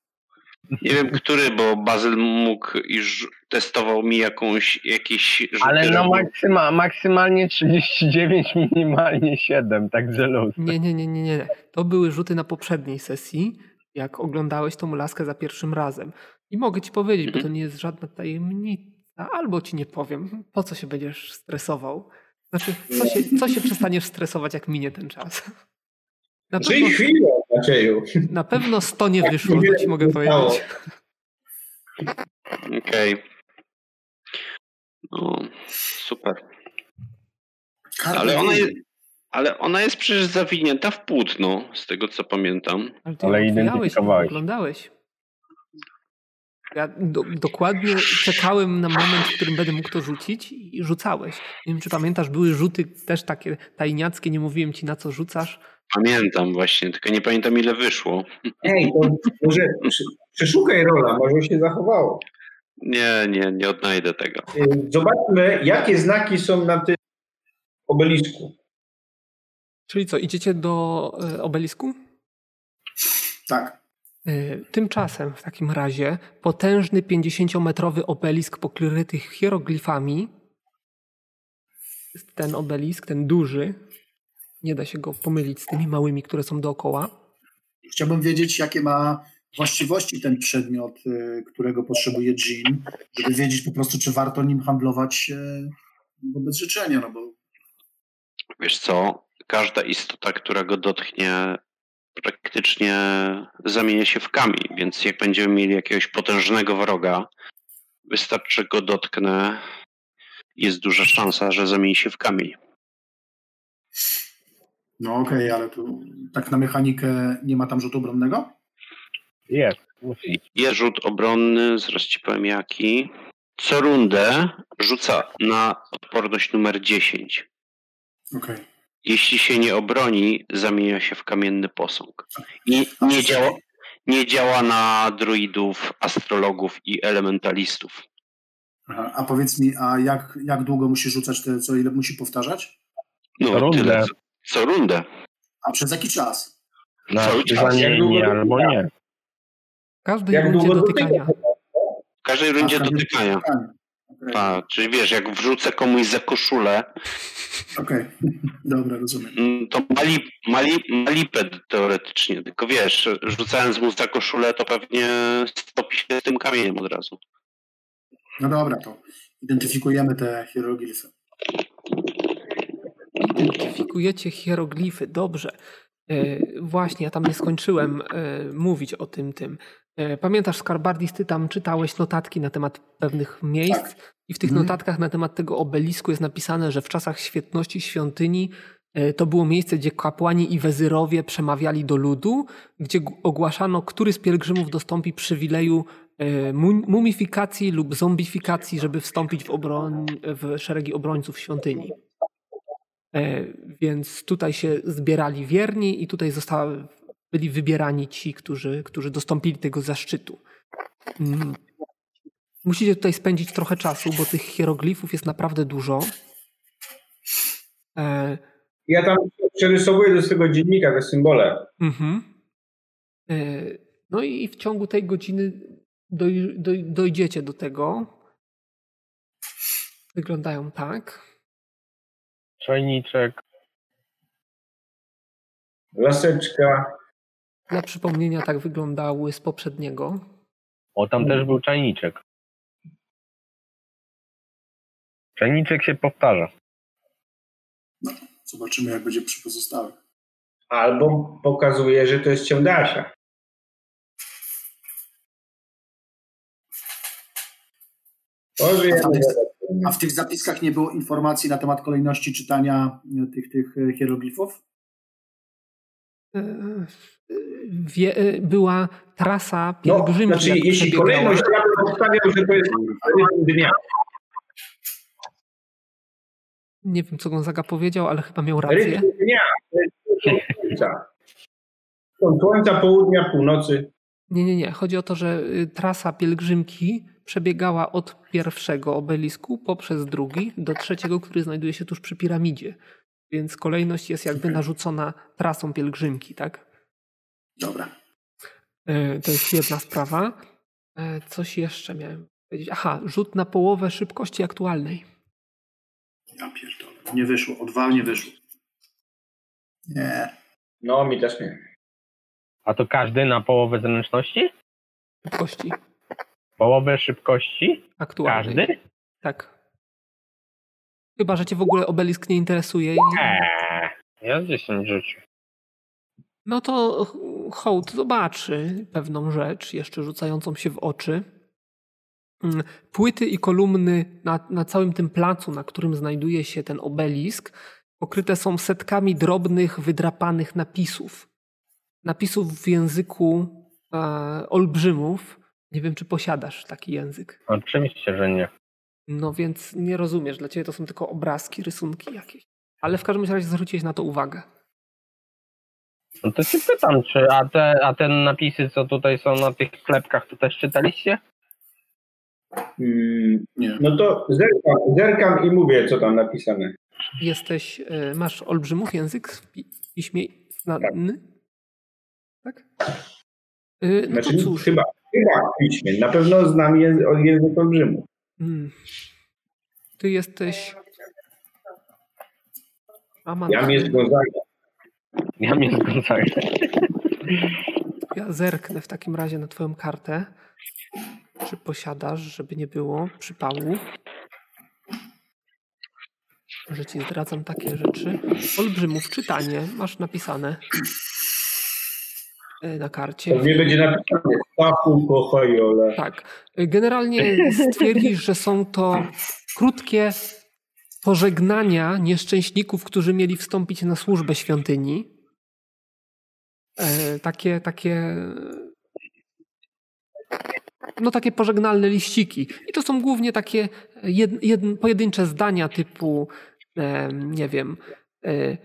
C: Nie wiem, który, bo Bazyl mógł i rzu- testował mi jakąś, jakiś rzut
F: Ale no
C: robił.
F: maksyma, maksymalnie 39, minimalnie 7, także luz.
A: Nie, nie, nie, nie, nie. nie. To były rzuty na poprzedniej sesji, jak oglądałeś tą laskę za pierwszym razem. I mogę ci powiedzieć, bo to nie jest żadna tajemnica, albo ci nie powiem, po co się będziesz stresował. Znaczy, co się, co się przestaniesz stresować, jak minie ten czas? Na
E: Czyli
A: pewno,
E: chwilę, Macieju.
A: na pewno 100 nie wyszło, to ci mogę powiedzieć.
C: Okej. No, super.
B: Karta
C: Ale ona,
B: wiedzy.
C: jest, ale ona jest przecież zawinięta w płótno, z tego co pamiętam.
A: Ale ty
F: Ale
A: ją otwierałeś,
F: identyfikowałeś.
A: ją Oglądałeś. Ja do, dokładnie czekałem na moment, w którym będę mógł to rzucić i rzucałeś. Nie wiem, czy pamiętasz, były rzuty też takie tajniackie, nie mówiłem ci na co rzucasz.
C: Pamiętam właśnie, tylko nie pamiętam ile wyszło.
E: Ej, to może przy- przeszukaj rola, może się zachowało.
C: Nie, nie, nie odnajdę tego.
E: Y, Zobaczmy, jakie znaki są na tym obelisku.
A: Czyli co, idziecie do e, obelisku?
B: Tak.
A: Y, Tymczasem w takim razie potężny 50-metrowy obelisk pokryty hieroglifami. Ten obelisk, ten duży, nie da się go pomylić z tymi małymi, które są dookoła.
B: Chciałbym wiedzieć, jakie ma właściwości ten przedmiot, y, którego potrzebuje Jean, żeby wiedzieć po prostu, czy warto nim handlować y, wobec życzenia, no bo
C: Wiesz co, każda istota, która go dotknie, praktycznie zamienia się w kamień, więc jak będziemy mieli jakiegoś potężnego wroga, wystarczy go dotknę, jest duża szansa, że zamieni się w kamień.
B: no okej, ale tu tak na mechanikę nie ma tam rzutu obronnego?
F: Jest, musi.
C: Jest rzut obronny, zaraz ci powiem jaki. Co rundę rzuca na odporność numer 10.
B: Okej.
C: Jeśli się nie obroni, zamienia się w kamienny posąg. I nie działa, nie działa na druidów, astrologów i elementalistów.
B: Aha, A powiedz mi, a jak, jak długo musi rzucać te, co ile musi powtarzać?
C: No,
F: Co rundę.
C: tyle. co- Co rundę.
B: A przez jaki czas?
F: Na
C: Cały czas.
F: nie, albo nie.
A: W każdej
E: Jak
A: rundzie
E: długo
A: dotykania.
E: dotyka?
C: W każdej rundzie
B: A, każdy-
C: dotykania.
B: Okej,
C: Tak, czyli wiesz, jak wrzucę komuś za koszulę,
B: okej. dobra, rozumiem.
C: mm, to mali, mali, maliped teoretycznie. Tylko wiesz, rzucając mu za koszulę, to pewnie stopi się tym kamieniem od razu.
B: No dobra, to identyfikujemy te hieroglify.
A: Identyfikujecie hieroglify, dobrze. Y, właśnie, ja tam nie skończyłem y, mówić o tym tym. Y, pamiętasz, Skarbardis, ty tam czytałeś notatki na temat pewnych miejsc i w tych
B: Mhm.
A: notatkach na temat tego obelisku jest napisane, że w czasach świetności świątyni y, to było miejsce, gdzie kapłani i wezyrowie przemawiali do ludu, gdzie g- ogłaszano, który z pielgrzymów dostąpi przywileju y, mu- mumifikacji lub zombifikacji, żeby wstąpić w, obroń, w szeregi obrońców świątyni. E, Więc tutaj się zbierali wierni i tutaj zostały, byli wybierani ci, którzy, którzy dostąpili tego zaszczytu. Mm. Musicie tutaj spędzić trochę czasu, bo tych hieroglifów jest naprawdę dużo. E,
E: Ja tam przerysowuję do swojego dziennika te symbole.
A: Mhm. E, No i w ciągu tej godziny doj, doj, dojdziecie do tego. Wyglądają tak.
F: Czajniczek.
E: Laseczka.
A: Dla przypomnienia tak wyglądały z poprzedniego.
F: O, tam też był czajniczek. Czajniczek się powtarza.
B: Zobaczymy, jak będzie przy pozostałych.
E: Albo pokazuje, że to jest ciądasia. Boże, ja
B: A
E: nie
B: w, tych,
E: wiem.
B: a w tych zapiskach nie było informacji na temat kolejności czytania e, tych, tych e, hieroglifów?
A: E, Wie, e, była trasa
E: no,
A: pielgrzymki.
E: znaczy,
A: jak
E: jeśli
A: przebiegała.
E: kolejność, ja bym obstawiał, że to jest dnia.
A: Nie wiem, co Gonzaga powiedział, ale chyba miał rację.
E: Rytm dnia. to jest słońca. Słońca, południa, północy.
A: Nie, nie, nie. Chodzi o to, że y, trasa pielgrzymki przebiegała od pierwszego obelisku poprzez drugi do trzeciego, który znajduje się tuż przy piramidzie. Więc kolejność jest jakby narzucona trasą pielgrzymki, tak?
B: Dobra.
A: E, To jest jedna sprawa. E, Coś jeszcze miałem powiedzieć. Aha, rzut na połowę szybkości aktualnej.
B: Ja pierdolę. Nie wyszło. O dwa nie wyszło. Nie.
E: No, mi też nie.
F: A to każdy na połowę zręczności?
A: Szybkości
F: Połowę szybkości?
A: aktualnej.
F: Każdy?
A: Tak. Chyba, że cię w ogóle obelisk nie interesuje. I...
F: Eee, ja z 10 rzucił.
A: No to ch- hołd zobaczy pewną rzecz, jeszcze rzucającą się w oczy. Mm, Płyty i kolumny na, na całym tym placu, na którym znajduje się ten obelisk, pokryte są setkami drobnych, wydrapanych napisów. Napisów w języku e, olbrzymów. Nie wiem, czy posiadasz taki język.
F: No, Oczywiście, że nie.
A: No więc nie rozumiesz, dla ciebie to są tylko obrazki, rysunki jakieś. Ale w każdym razie zwróciłeś na to uwagę.
F: No to się pytam, czy a te, a te napisy, co tutaj są na tych klepkach, to też czytaliście?
E: Mm,
B: Nie.
E: No to zerkam, zerkam i mówię, co tam napisane.
A: Jesteś, y, masz olbrzymów język w pi- piśmie znany? Tak? Y, No to
E: Znaczy,
A: cóż.
E: chyba, chyba piśmie. Na pewno znam język, język olbrzymu.
A: mm. Ty jesteś... Aman,
E: Ja mnie związałem.
F: Ja mnie zgadzam.
A: ja zerknę w takim razie na twoją kartę. Czy posiadasz, żeby nie było przypału? Że ci zdradzam takie rzeczy. Olbrzymów czytanie masz napisane y, na karcie.
E: To nie będzie napisane Stachu Kochojole.
A: Tak. Generalnie stwierdzisz, że są to krótkie pożegnania nieszczęśników, którzy mieli wstąpić na służbę świątyni. E, takie, takie. No, takie pożegnalne liściki. I to są głównie takie jed, jed, pojedyncze zdania typu, em, nie wiem, e,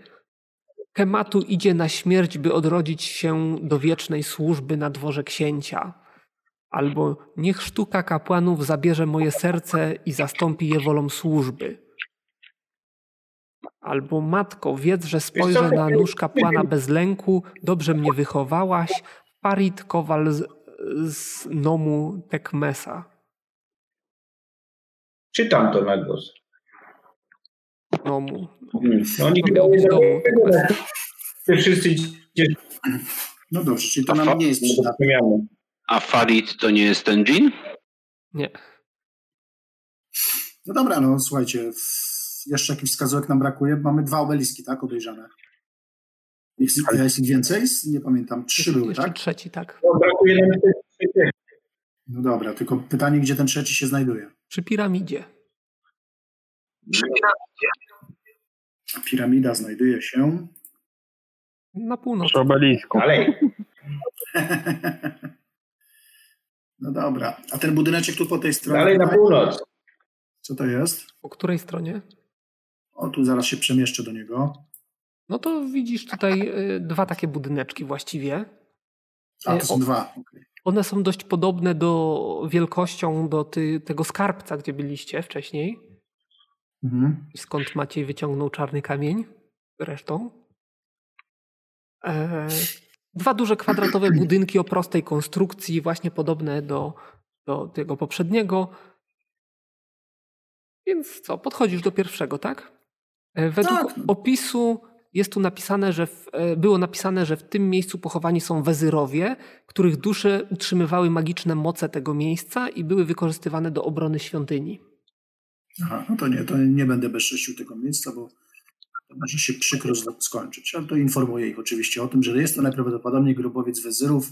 A: Kematu idzie na śmierć, by odrodzić się do wiecznej służby na dworze księcia. Albo niech sztuka kapłanów zabierze moje serce i zastąpi je wolą służby. Albo matko, wiedz, że spojrzę na nóż kapłana bez lęku, dobrze mnie wychowałaś, parit kowal z, z nomu tekmesa.
E: Czytam to na głos.
A: Nomu.
E: Mm. No, Oni
A: To
E: chyba
A: miał
E: nie
A: być
E: dają
A: domu.
E: tego, ale Te wszyscy cię
B: No dobrze, czyli to nam nie jest przydatne.
E: zrozumiano.
C: A Farid to nie jest ten dżin?
A: Nie.
B: No dobra, no słuchajcie, w- jeszcze jakichś wskazówek nam brakuje. Mamy dwa obeliski, tak, obejrzane. Jest, jest ich więcej? Nie pamiętam. Trzy były,
A: Jeszcze
B: tak?
A: trzeci, tak.
E: No, brakuje nam tych trzeciego.
B: No dobra, tylko pytanie, gdzie ten trzeci się znajduje?
A: Przy piramidzie.
B: Piramida znajduje się...
A: Na północ.
F: Przy obelisku.
E: Dalej.
B: No dobra, a ten budyneczek tu po tej stronie,
E: Dalej na północ.
B: co to jest?
A: Po której stronie?
B: O, tu zaraz się przemieszczę do niego.
A: No to widzisz tutaj y, dwa takie budyneczki właściwie.
B: A,
A: E,
B: to są
A: o-
B: dwa. Okej.
A: One są dość podobne do wielkością do ty, tego skarbca, gdzie byliście wcześniej.
B: Mhm.
A: I skąd Maciej wyciągnął czarny kamień zresztą. E, dwa duże kwadratowe budynki o prostej konstrukcji, właśnie podobne do, do tego poprzedniego. Więc co, podchodzisz do pierwszego, tak? E, według
B: Tak.
A: opisu jest tu napisane, że w, e, było napisane, że w tym miejscu pochowani są wezyrowie, których dusze utrzymywały magiczne moce tego miejsca i były wykorzystywane do obrony świątyni.
B: Aha, no to nie, to nie będę bezcześcił tego miejsca, bo to może się przykro z- skończyć. Ale to informuję ich oczywiście o tym, że jest to najprawdopodobniej grobowiec wezyrów.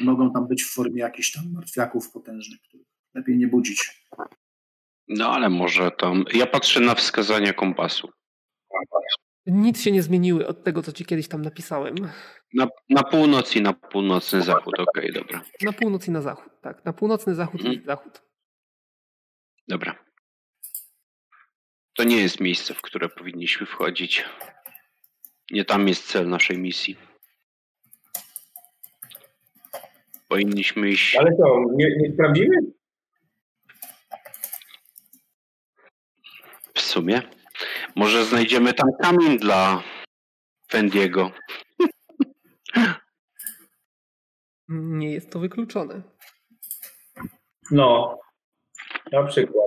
B: Mogą tam być w formie jakichś tam martwiaków potężnych, których lepiej nie budzić.
C: No ale może tam. Ja patrzę na wskazania kompasu.
A: Nic się nie zmieniły od tego, co ci kiedyś tam napisałem.
C: Na, na północ i na północny zachód, okej, dobra.
A: Na północ i na zachód, tak. Na północny zachód i zachód.
C: Dobra. To nie jest miejsce, w które powinniśmy wchodzić. Nie tam jest cel naszej misji. Powinniśmy iść.
E: Ale co, nie, nie sprawdzimy?
C: W sumie. Może znajdziemy tam kamień dla Fendiego.
A: Nie jest to wykluczone.
E: No. Na przykład.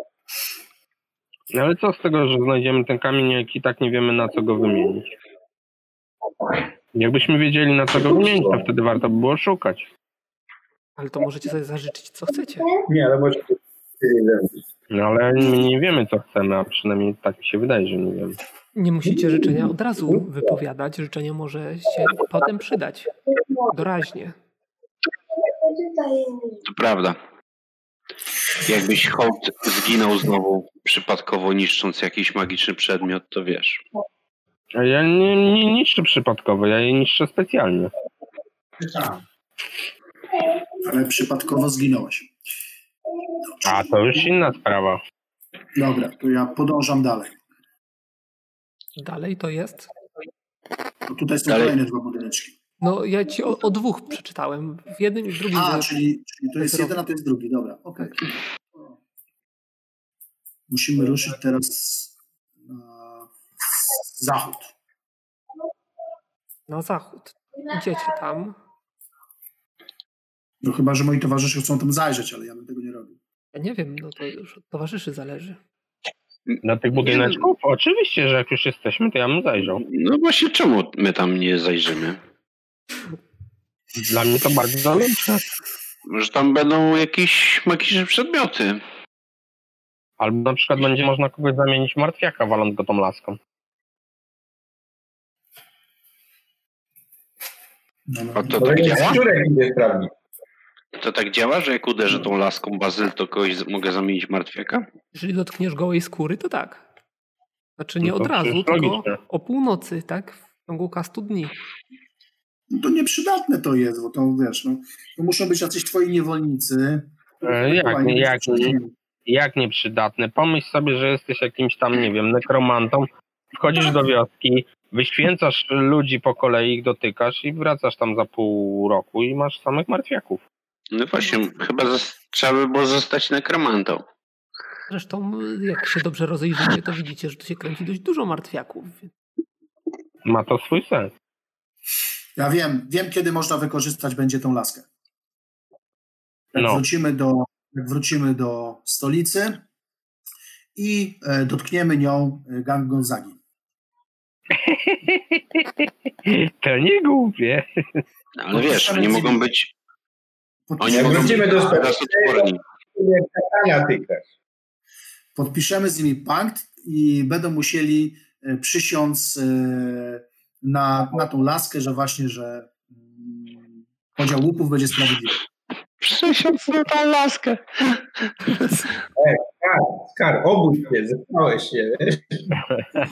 F: No ale co z tego, że znajdziemy ten kamień, jak i tak nie wiemy na co go wymienić? Jakbyśmy wiedzieli na co go wymienić, to wtedy warto by było szukać.
A: Ale to możecie sobie zażyczyć, co chcecie.
E: Nie, ale może...
F: No ale my nie wiemy co chcemy, a przynajmniej tak mi się wydaje, że nie wiemy.
A: Nie musicie życzenia od razu wypowiadać. Życzenie może się potem przydać. Doraźnie.
C: To prawda. Jakbyś hołd zginął znowu, przypadkowo niszcząc jakiś magiczny przedmiot, to wiesz.
F: A ja nie, nie niszczę przypadkowo, ja je niszczę specjalnie.
B: Ale przypadkowo zginąłeś.
F: A to już inna sprawa.
B: Dobra, to ja podążam dalej.
A: Dalej to jest.
B: No tutaj są
C: Dalej.
B: kolejne dwa budyneczki.
A: No ja ci o, o dwóch przeczytałem. W jednym i w drugim.
B: A,
A: było-
B: czyli, czyli to jest jeden, a to jest drugi. Dobra, okej. Musimy ruszyć teraz na zachód.
A: Na zachód. Idziecie tam.
B: No chyba, że moi towarzysze chcą tam zajrzeć, ale ja bym tego nie robił.
A: Ja nie wiem, no to już od towarzyszy zależy.
F: Na tych budyneczków? Oczywiście, że jak już jesteśmy, to ja bym zajrzał.
C: No właśnie, czemu my tam nie zajrzymy?
F: Dla mnie to bardzo zalęczne.
C: Może tam będą jakieś magiczne przedmioty.
F: Albo na przykład będzie można kogoś zamienić w martwiaka, waląc go tą laską.
B: No, no.
C: A to
E: Może
C: tak
E: nie
C: działa?
E: szczurek idzie sprawdzić.
C: To tak działa, że jak uderzę tą laską bazyl, to kogoś z- mogę zamienić w martwiaka?
A: Jeżeli dotkniesz gołej skóry, to tak. Znaczy nie
F: No
A: od
F: to
A: razu,
F: przecież
A: tylko
F: logiczne.
A: o północy, tak? W ciągu kastu dni.
B: No to nieprzydatne to jest, bo to wiesz, no, to muszą być jacyś twoi niewolnicy.
F: E, jak,
B: Chyba nie
F: jak,
B: jest-
F: jak nieprzydatne. Pomyśl sobie, że jesteś jakimś tam, nie wiem, nekromantą, wchodzisz do wioski, wyświęcasz ludzi po kolei, ich dotykasz i wracasz tam za pół roku i masz samych martwiaków.
C: No właśnie, chyba zas- trzeba by było zostać nekromantą.
A: Zresztą, jak się dobrze rozejrzycie, to widzicie, że tu się kręci dość dużo martwiaków. więc
F: Ma to swój sens.
B: Ja wiem, wiem kiedy można wykorzystać będzie tą laskę. Jak,
F: No.
B: wrócimy, do, jak wrócimy do stolicy i e, dotkniemy nią e, gang Gonzagi.
F: To nie głupie.
C: No,
E: No,
C: Ale wiesz, oni mogą być, oni
B: Podpiszemy,
C: mogą
E: wrócimy
C: być
E: do sprawy.
C: teraz odporni.
E: Nie, katana tyka.
B: podpiszemy z nimi pakt i będą musieli e, przysiąc e, na, na tą laskę, że właśnie, że mm, podział łupów będzie sprawiedliwy.
C: Przysiąc na tą laskę.
E: Skar, skar, obudź się, zepnąłeś się. wiesz?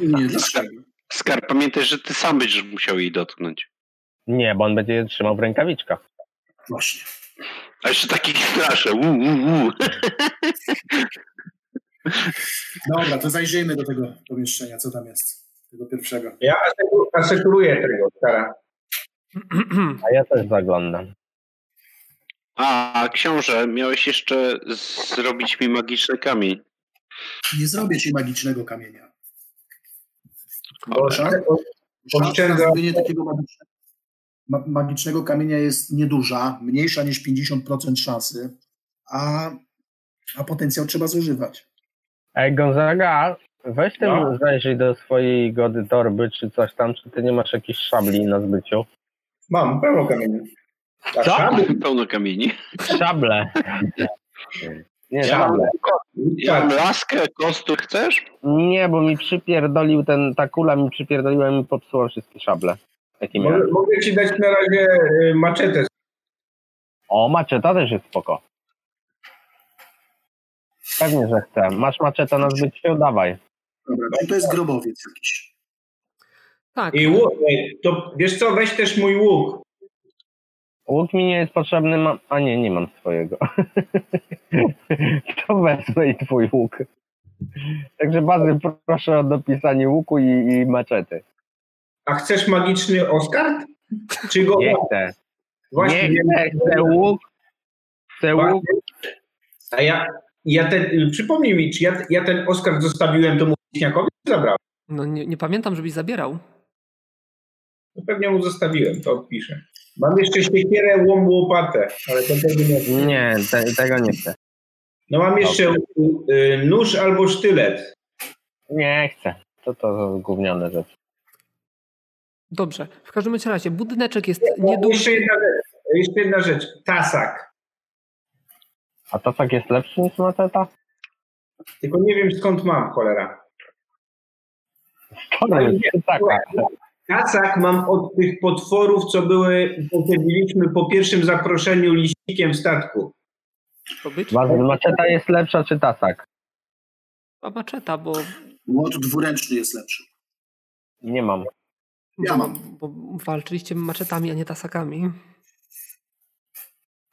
B: Nie, dlaczego?
C: Skarb, pamiętaj, że ty sam będziesz musiał jej dotknąć.
F: Nie, bo on będzie je trzymał w rękawiczkach.
B: Właśnie.
C: A jeszcze takich straszę. Uu, uu, uu.
B: Dobra, to zajrzyjmy do tego pomieszczenia, co tam jest. Tego pierwszego.
E: Ja aseku- asekuruję tego, skara.
F: A ja też zaglądam.
C: A, książę, miałeś jeszcze zrobić mi magiczny kamień.
B: Nie zrobię ci magicznego kamienia.
E: Bo
B: Szansa- Szansa na
E: Oszczędzam.
B: zrobienie takiego magicznego, ma, magicznego kamienia jest nieduża, mniejsza niż 50% szansy, a, a potencjał trzeba zużywać.
F: Ej, Gonzaga, weź ten
E: No.
F: zajrzyj do swojej gody torby czy coś tam, czy ty nie masz jakichś szabli na zbyciu.
E: mam pełno kamieni. Tak,
F: Co?
E: szabli,
C: Pełno kamieni.
F: Szable. Nie,
E: Ja mam-
F: szable.
C: Ja mam
E: tak.
C: laskę, kostur chcesz?
F: Nie, bo mi przypierdolił ten, ta kula mi przypierdoliła i mi popsuła wszystkie szable. Taki
E: Mogę,
F: miałem.
E: mogę ci dać na razie y, maczetę.
F: O, maczeta też jest spoko. Pewnie, że chcę. Masz maczetę na zbyciu? Dawaj.
B: Dobra, czyli No to jest grobowiec jakiś.
A: Tak,
E: I łuk. Ej, To wiesz co, weź też mój łuk.
F: Łuk mi nie jest potrzebny, mam... A nie, nie mam swojego. to wezmę i twój łuk. Także Bazy, proszę o dopisanie łuku i, i maczety.
E: A chcesz magiczny Oskar? Czy go
F: Nie chcę.
E: właśnie
F: Nie chcę, chcę łuk. Chcę łuk.
E: A ja, ja ten, przypomnij mi, czy ja, ja ten Oskar zostawiłem temu wieśniakowi, czy zabrałem?
A: no nie, nie pamiętam, żebyś zabierał.
E: No pewnie mu zostawiłem, to odpiszę. Mam jeszcze siekierę, łom, łopatę, ale to pewnie nie.
F: Nie, te, tego nie chcę.
E: No mam jeszcze y, nóż albo sztylet.
F: Nie chcę. To to za gówniane rzeczy.
A: Dobrze. W każdym bądź razie, budyneczek jest
E: O,
A: nieduży.
E: jeszcze, jedna rzecz, jeszcze jedna rzecz, tasak.
F: A to tak jest lepszy niż maceta?
E: Tylko nie wiem skąd mam, cholera.
F: To jest
E: Tak,
F: tak. taka.
E: Tacak mam od tych potworów, co były, podzieliliśmy po pierwszym zaproszeniu liścikiem w statku.
A: Zdobycz.
F: Bazy, Maczeta jest lepsza czy tasak?
A: A maczeta, bo,
B: Łot dwuręczny jest lepszy.
F: Nie mam.
B: Ja
A: bo,
B: mam.
A: bo walczyliście maczetami, a nie tasakami.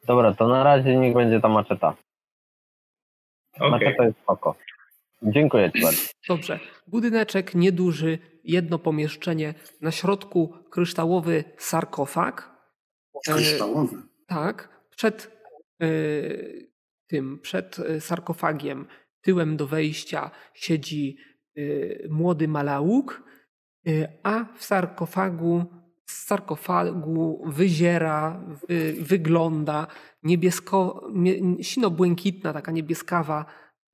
F: Dobra, to na razie niech będzie ta maczeta.
E: Okej.
F: Maczeta jest spoko. Dziękuję ci bardzo.
A: Dobrze. Budyneczek nieduży, jedno pomieszczenie. Na środku kryształowy sarkofag. E,
B: Kryształowy.
A: Tak. Przed y, tym, przed y, sarkofagiem, tyłem do wejścia siedzi y, młody malauk, y, a w sarkofagu, z sarkofagu wyziera, wy, wygląda niebiesko, nie- sino-błękitna, taka niebieskawa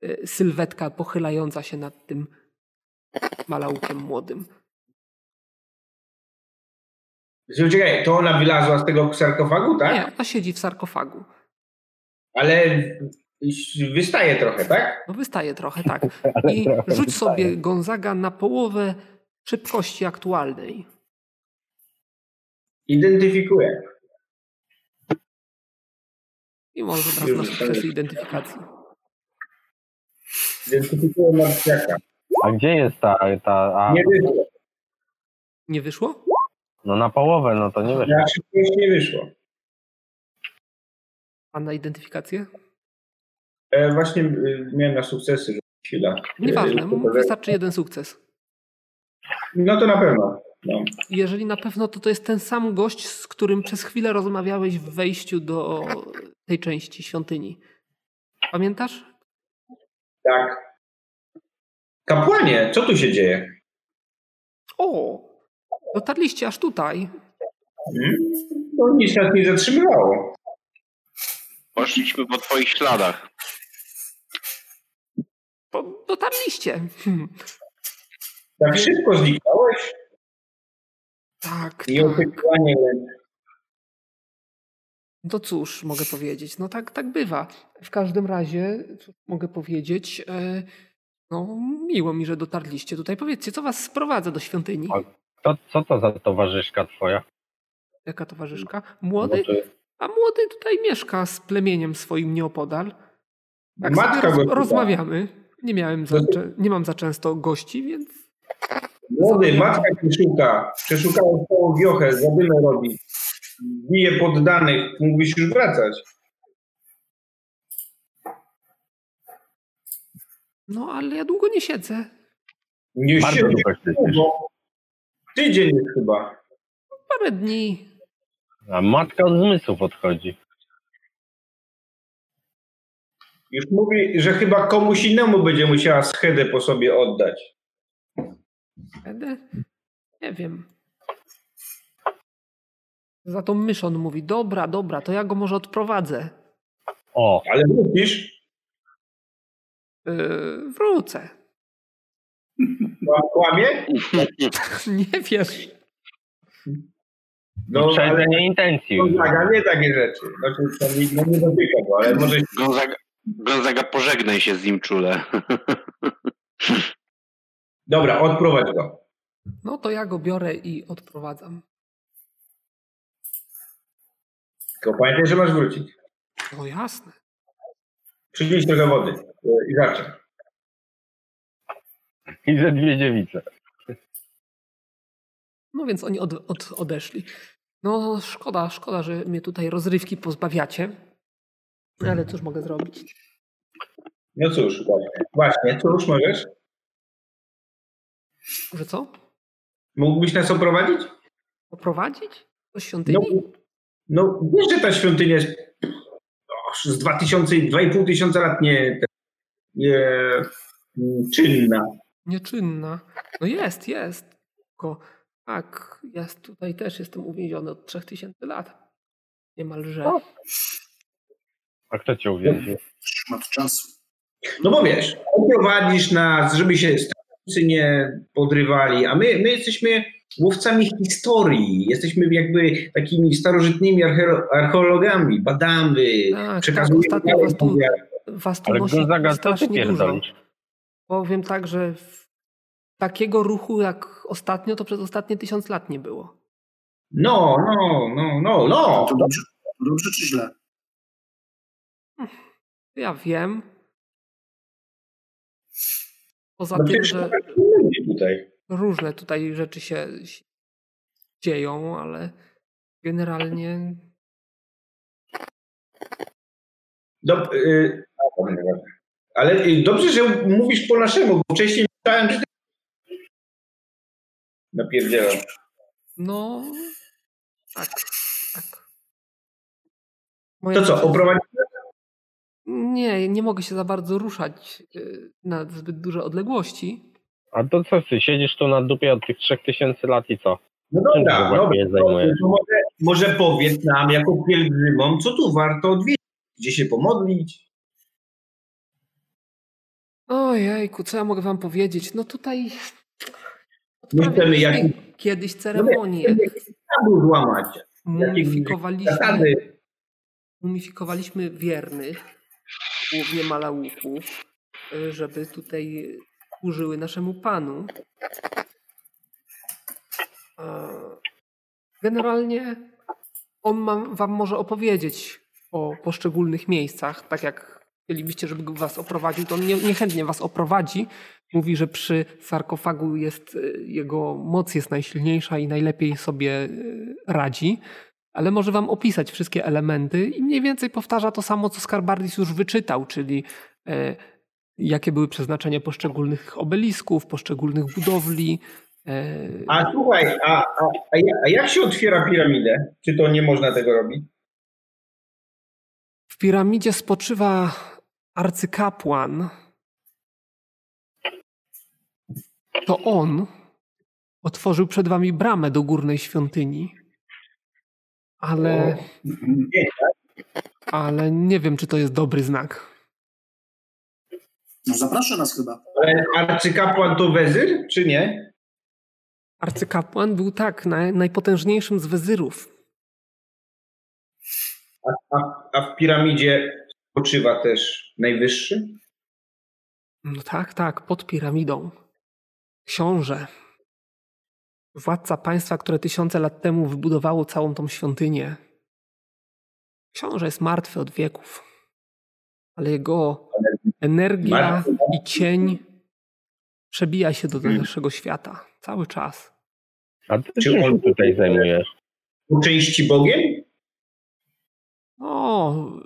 A: y, sylwetka pochylająca się nad tym malaukiem młodym.
E: Słuchaj, Czekaj, to ona wylazła z tego sarkofagu, tak?
A: Nie, ona siedzi w sarkofagu.
E: Ale wystaje trochę, tak?
A: No wystaje trochę, tak. I rzuć sobie Gonzaga na połowę szybkości aktualnej.
E: Identyfikuje.
A: I może od razu
E: Już
A: na
E: wystaje.
A: sukcesy identyfikacji.
E: Identyfikuje martwiaka.
F: A gdzie jest ta... ta a,
E: Nie wyszło.
A: Nie wyszło?
F: no na połowę, no to nie wiesz.
E: Na szybkość nie wyszło.
A: A na identyfikację?
E: E, właśnie e, miałem na sukcesy że chwila.
A: Nieważne,
E: E,
A: m- wystarczy jeden sukces.
E: No to na pewno. No.
A: Jeżeli na pewno, to to jest ten sam gość, z którym przez chwilę rozmawiałeś w wejściu do tej części świątyni. Pamiętasz?
E: Tak. Kapłanie, co tu się dzieje?
A: O! Dotarliście aż tutaj.
E: Hmm? To nic nas nie zatrzymywało.
C: Poszliśmy po twoich śladach.
A: Po- Dotarliście. Hmm.
E: Tak szybko zniknąłeś?
A: Tak, tak.
E: Nieoczekiwanie.
A: No cóż, mogę powiedzieć. No tak, tak bywa. W każdym razie cóż mogę powiedzieć. E, No, miło mi, że dotarliście tutaj. Powiedzcie, co was sprowadza do świątyni?
E: Tak.
F: A- To, co to za towarzyszka twoja?
A: Jaka towarzyszka?
F: Bo
E: No
A: Młody?
F: to-
A: A młody tutaj mieszka z plemieniem swoim nieopodal. Tak
E: Matka
A: sobie
E: go
A: roz,
E: pyta.
A: rozmawiamy. Nie miałem za, cze- nie mam za często gości, więc
E: Młody, matka przeszuka. Przeszukała całą wiochę, zadymę robi. Bije poddanych. Mógłbyś już wracać.
A: no ale ja długo nie siedzę.
E: Nie
F: Bardzo
E: siedzi
F: długo siedzisz.
E: długo. No. Tydzień jest chyba.
A: Parę dni.
F: A matka od zmysłów odchodzi.
E: Już mówi, że chyba komuś innemu będzie musiała schedę po sobie oddać.
A: Będę? Nie wiem. Za to myszon mówi, dobra, dobra, to ja go może odprowadzę.
F: O,
E: Ale wrócisz,
A: Yy, wrócę.
E: kła- no, kłamie?
A: Nie wiesz.
E: No, ale No tak,
F: uprzedzenie intencji.
E: Gonzaga nie takie rzeczy. Znaczy, to nie- no nie dotyka go, ale może
C: Gonzaga, Gonzaga pożegnaj się z nim czule.
E: Dobra, odprowadź go.
A: No to ja go biorę i odprowadzam.
E: Tylko pamiętaj, że masz wrócić.
A: No jasne.
E: Przynieś trochę wody e, i zacznę.
F: I ze dwie dziewice.
A: No więc oni od, od, odeszli. No szkoda, szkoda, że mnie tutaj rozrywki pozbawiacie. Ale cóż mogę zrobić?
E: No cóż, właśnie. Właśnie, cóż możesz?
A: Że co?
E: Mógłbyś nas oprowadzić?
A: Poprowadzić? Do świątyni?
E: No, no wiesz, że ta świątynia jest och, z 2000, 2,5 tysiąca lat nie, nie mm, czynna.
A: Nieczynna. No jest, jest. Tylko tak, ja z- tutaj też jestem uwięziony od 3000 lat. Niemalże.
F: A kto cię uwięził?
B: Szmat czasu.
E: No bo wiesz, oprowadzisz nas, żeby się strażnicy nie podrywali, a my, my jesteśmy łowcami historii. Jesteśmy jakby takimi starożytnymi archeo- archeologami. Badamy,
A: Tak,
E: przekazujemy
A: tak, ostatnio
E: dalej
A: was tu-
E: wiedzę.
A: Was tu
F: Ale
A: nosi
F: Gonzaga, co ty
A: strasznie dużo.
F: pierdolisz?
A: Powiem tak, że w- takiego ruchu jak ostatnio, to przez ostatnie tysiąc lat nie było.
E: No, no, no, no, no.
B: To dobrze, to dobrze czy źle?
A: Ja wiem. Poza
E: No
A: tym,
E: przecież
A: że
E: tak nie będzie tutaj.
A: różne tutaj rzeczy się się dzieją, ale generalnie
E: Do, y, a, dobra, dobra. Ale y, dobrze, że mówisz po naszemu, bo wcześniej myślałem, że ty... Napierdzielam.
A: No. Tak, tak. Moja
E: To co, oprowadzić?
A: Nie, nie mogę się za bardzo ruszać y, na zbyt duże odległości.
F: A to co ty, siedzisz tu na dupie od tych 3000 lat i co?
E: No
F: Czym się
E: dobra,
F: właściwie
E: dobra.
F: zajmujesz?
E: To może, może powiedz nam, jako pielgrzymom, co tu warto odwiedzić, gdzie się pomodlić.
A: Ojejku, co ja mogę wam powiedzieć? No tutaj
E: My chcemy No jakieś
A: kiedyś ceremonię.
E: tabu złamać,
A: Mumifikowaliśmy,
E: zasady.
A: mumifikowaliśmy wiernych, głównie malauków, y, żeby tutaj służyły naszemu panu. E, Generalnie on ma, wam może opowiedzieć o poszczególnych miejscach, tak jak chcielibyście, żeby go was oprowadził, to on nie, niechętnie was oprowadzi. Mówi, że przy sarkofagu jest, y, jego moc jest najsilniejsza i najlepiej sobie y, radzi ale może wam opisać wszystkie elementy i mniej więcej powtarza to samo, co Skarbardis już wyczytał, czyli e, jakie były przeznaczenia poszczególnych obelisków, poszczególnych budowli. E,
E: A słuchaj, a, a, a, ja- a jak się otwiera piramidę? Czy to nie można tego robić?
A: w piramidzie spoczywa arcykapłan. To on otworzył przed wami bramę do górnej świątyni. Ale, ale nie wiem, czy to jest dobry znak.
B: No, zaprasza nas chyba.
E: Ale arcykapłan to wezyr, czy nie?
A: Arcykapłan był tak, naj, najpotężniejszym z wezyrów.
E: A, a w piramidzie spoczywa też najwyższy?
A: No tak, tak, pod piramidą. Książę. Władca państwa, które tysiące lat temu wybudowało całą tą świątynię. Książę jest martwy od wieków. Ale jego energia
E: Martwy.
A: i cień przebija się do naszego świata. Cały czas.
F: A ty
E: Czy
F: czym
E: on-
F: się tutaj zajmujesz?
E: Po części Bogiem?
A: No,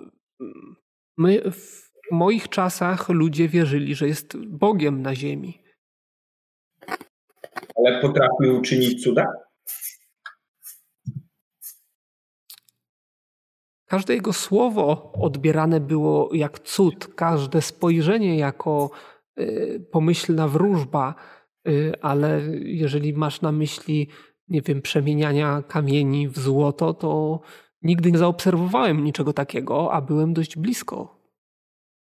A: my w moich czasach ludzie wierzyli, że jest Bogiem na ziemi.
E: Ale potrafił czynić cuda?
A: Każde jego słowo odbierane było jak cud, każde spojrzenie jako y, pomyślna wróżba, y, ale jeżeli masz na myśli, nie wiem, przemieniania kamieni w złoto, to nigdy nie zaobserwowałem niczego takiego, a byłem dość blisko.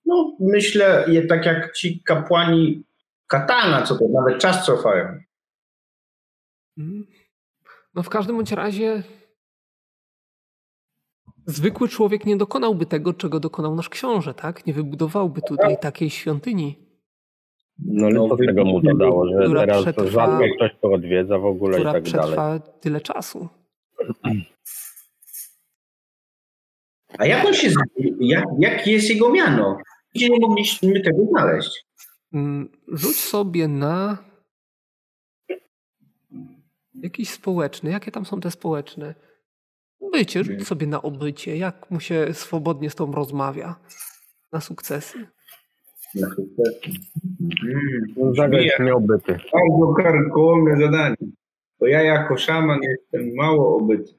E: No, myślę, je tak jak ci kapłani katana, co to nawet czas cofają.
A: Mm. No w każdym bądź razie zwykły człowiek nie dokonałby tego, czego dokonał nasz książę, tak? Nie wybudowałby tutaj takiej świątyni.
F: No ale co
E: wy-
F: z tego mu dodało, że
A: Która
F: teraz
A: przetrwa-
F: rzadko ktoś to odwiedza w ogóle i
A: która
F: tak dalej.
A: przetrwa tyle czasu.
E: A jak on się z- jak, jak jest jego miano? Gdzie nie mogliśmy tego znaleźć?
A: Mm, Rzuć sobie na jakiś społeczny. Jakie tam są te społeczne? Bycie, rzuć sobie na obycie. Jak mu się swobodnie z tą rozmawia? Na sukcesy.
E: Na sukces. Mm.
F: Zagrać nieobyty.
E: Bardzo karkołomne zadanie. Bo ja jako szaman jestem mało obyty.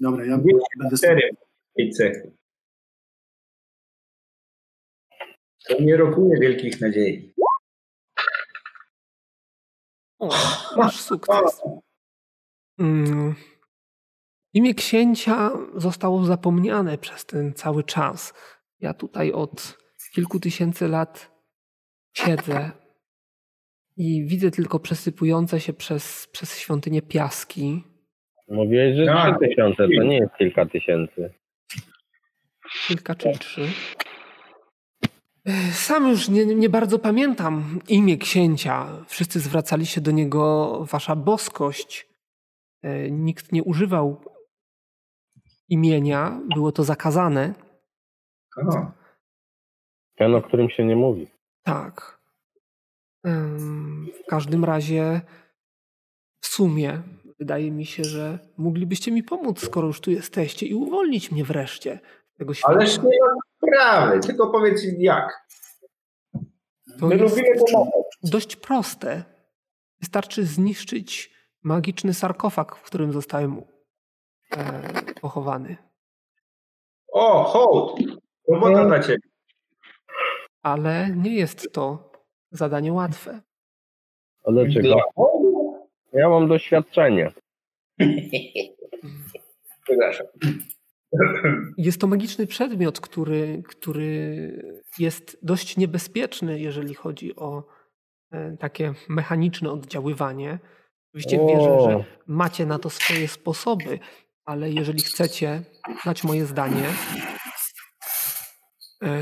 B: Dobra, ja
E: Wiecie,
B: będę stał.
E: Serio. I cechy. To nie rokuje wielkich nadziei.
A: O, masz sukces. Mm. Imię księcia zostało zapomniane przez ten cały czas. Ja tutaj od kilku tysięcy lat siedzę i widzę tylko przesypujące się przez, przez świątynię piaski.
F: Mówiłeś, że
E: Tak.
F: 3000 to nie jest kilka tysięcy.
A: Kilka czy trzy. Ech, Sam już nie, nie bardzo pamiętam imię księcia. Wszyscy zwracali się do niego wasza boskość. E, Nikt nie używał imienia, było to zakazane.
E: O,
F: Ten, o którym się nie mówi.
A: Tak. Ym, W każdym razie w sumie wydaje mi się, że moglibyście mi pomóc, skoro już tu jesteście i uwolnić mnie wreszcie. tego świata.
E: Ależ nie ma sprawy, tylko powiedz im jak.
A: To
E: My
A: jest
E: lubimy pomagać.
A: dość proste. Wystarczy zniszczyć magiczny sarkofag, w którym zostałem e, pochowany.
E: O, hołd! Robota dla ciebie.
A: Ale nie jest to zadanie łatwe.
F: A dlaczego?
E: Dla hołdu?
F: Ja mam doświadczenie.
E: Przepraszam.
A: Jest to magiczny przedmiot, który, który jest dość niebezpieczny, jeżeli chodzi o e, takie mechaniczne oddziaływanie. Oczywiście wierzę,
F: O.
A: że macie na to swoje sposoby, ale jeżeli chcecie znać moje zdanie, e,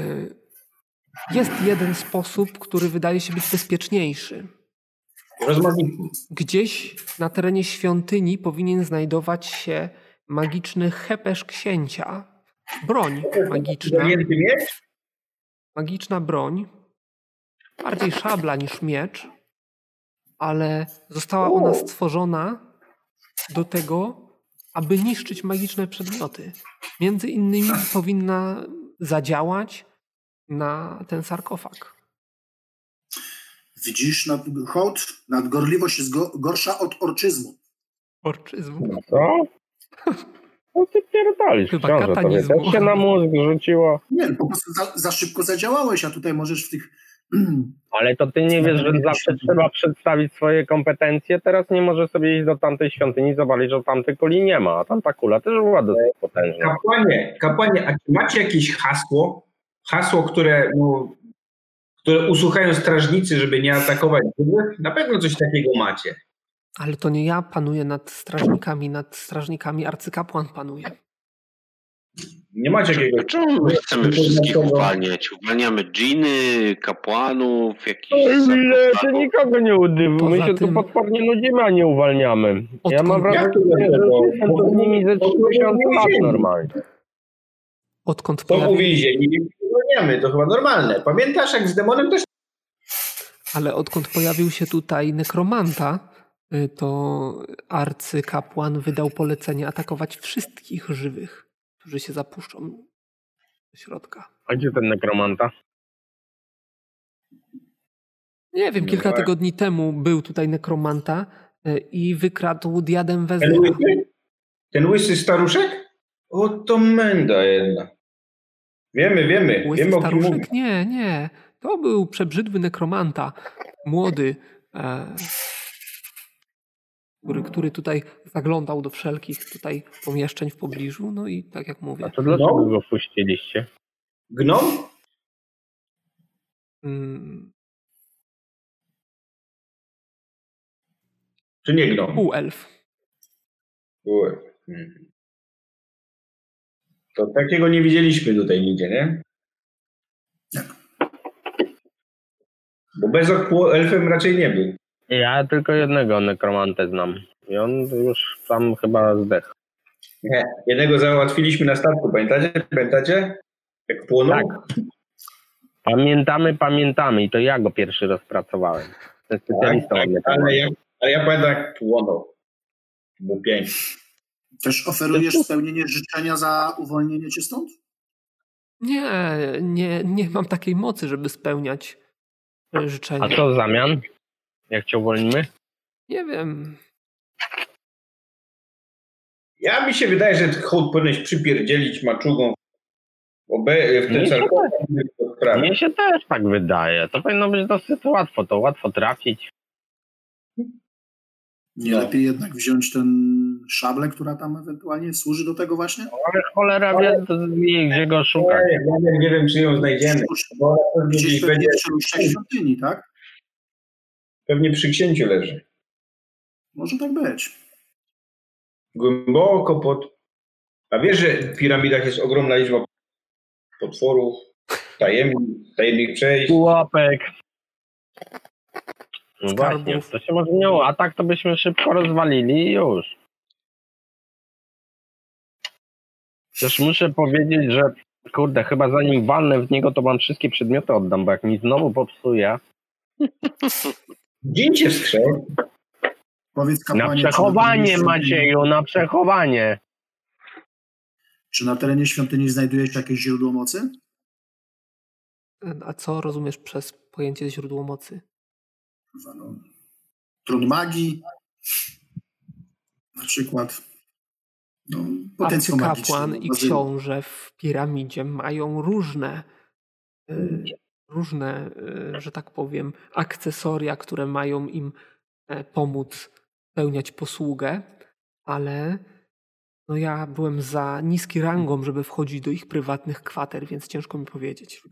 A: jest jeden sposób, który wydaje się być bezpieczniejszy.
E: Rozmawiamy.
A: Gdzieś na terenie świątyni powinien znajdować się magiczny hepesz księcia. Broń magiczna,
E: Zawięty miecz?
A: magiczna broń. Bardziej szabla niż miecz, ale została ona stworzona do tego, aby niszczyć magiczne przedmioty. Między innymi powinna zadziałać na ten sarkofag.
B: Widzisz, nad, hołd, nadgorliwość jest go, gorsza od orczyzmu.
A: Orczyzmu.
F: Co? No ty pierdolisz,
A: Chyba
F: książę tobie.
A: katanizmu.
F: Tak się na mózg rzuciło.
B: Nie, po prostu za, za szybko zadziałałeś, a tutaj możesz w tych...
F: Ale to ty
E: Znaczy,
F: nie wiesz, że zawsze trzeba przedstawić swoje kompetencje. Teraz nie może sobie iść do tamtej świątyni, zobaczyć, że tamtej kuli nie ma, a tamta kula też była dosyć potężna.
E: Kapłanie, kapłanie, a czy macie jakieś hasło? Hasło, które, no, które usłuchają strażnicy, żeby nie atakować drugich? Na pewno coś takiego macie.
A: Ale to nie ja panuję nad strażnikami, nad strażnikami arcykapłan panuje.
E: Nie macie jakiegoś...
C: Czemu my chcemy wszystkich uwalniać? Uwalniamy dżiny, kapłanów, jakichś...
F: Ile, ty
C: zakładników.
F: nikogo nie udywu. My
A: Poza
F: się tu
A: tym-
F: potwornie nudzimy, a nie uwalniamy. Ja
A: Odkąd-
F: mam wrażenie,
E: Jak to
F: że
E: dlaczego?
F: jestem tu z nimi ze 3000 lat normalnie.
A: Odkąd
E: To
A: pojawi-
E: uwięzieni nie uwalniamy, to chyba normalne. Pamiętasz, jak z demonem też
A: Ale odkąd pojawił się tutaj nekromanta, y, to arcykapłan wydał polecenie atakować wszystkich żywych, którzy się zapuszczą do środka.
F: A gdzie ten nekromanta?
A: Nie wiem, kilka
E: tak.
A: tygodni temu był tutaj nekromanta y, i wykradł diadem
E: Ten
A: Wezera.
E: łysy? Ten łysy staruszek? O, to menda jedna. Wiemy, wiemy,
A: Łysy
E: wiemy o kim mówię.
A: staruszek? Nie, nie. To był przebrzydły nekromanta. Młody, e, który, który tutaj zaglądał do wszelkich tutaj pomieszczeń w pobliżu. No i tak jak mówię.
F: A to dlaczego
E: No.
F: go wpuściliście?
E: Gnom?
A: mm,
E: Czy nie gnom?
A: Półelf.
E: Były. Mhm. To takiego nie widzieliśmy tutaj nigdzie, nie? Bo bez okpu elfem raczej nie był.
F: Ja tylko jednego nekromantę znam. I on już tam chyba zdechł.
E: Nie. Jednego załatwiliśmy na statku, pamiętacie? Pamiętacie? Jak płonął?
F: Tak. Pamiętamy, pamiętamy. I to ja go pierwszy raz pracowałem. Ten specjalistą od nekromantów.
E: ale, ja, ale ja pamiętam jak płonął. Był piękny.
B: Też oferujesz spełnienie życzenia za uwolnienie cię stąd?
A: Nie, nie, nie mam takiej mocy, żeby spełniać e, życzenia.
F: A co w zamian? Jak cię uwolnimy?
A: Nie wiem.
E: Ja mi się wydaje, że hołd powinieneś przypierdzielić maczugą w obe- w ten
F: Nie,
E: sarkofag.
F: Mnie się też tak wydaje. To powinno być dosyć łatwo. To łatwo trafić.
B: Nie lepiej jednak wziąć ten szablę, która tam ewentualnie służy do tego właśnie?
F: Ale cholera wie, wie gdzie go szukać.
E: Ej, Nawet nie wiem, czy ją znajdziemy. Bo pewnie
B: Gdzieś
E: gdzieś
B: pewnie
E: będzie,
B: w czeluściach świątyni, tak?
E: pewnie przy księciu leży.
B: Może tak być.
E: Głęboko pod... A wiesz, że w piramidach jest ogromna liczba potworów, tajemnic, tajemnych przejść.
F: Pułapek. No
A: Skarbów.
F: właśnie, to się może nie uda. A tak to byśmy szybko rozwalili i już. Też muszę powiedzieć, że kurde, chyba zanim walnę w niego, to wam wszystkie przedmioty oddam, bo jak mi znowu popsuje,
E: Dzięcie skrzeł.
B: Powiedz
F: na
B: kapłanie... czy
F: przechowanie
B: będą-
F: Macieju, na przechowanie.
B: Czy na terenie świątyni znajduje się jakieś źródło mocy?
A: A co rozumiesz przez pojęcie źródło mocy?
B: Kurwa, No, tron magii, na przykład. No, potencjał magiczny.
A: Arcykapłan
B: no,
A: i
B: bazyl-
A: książę w piramidzie mają różne, y,
B: Mm.
A: różne, y, że tak powiem, akcesoria, które mają im e, pomóc pełniać posługę, ale no ja byłem za niski rangą, żeby wchodzić do ich prywatnych kwater, więc ciężko mi powiedzieć.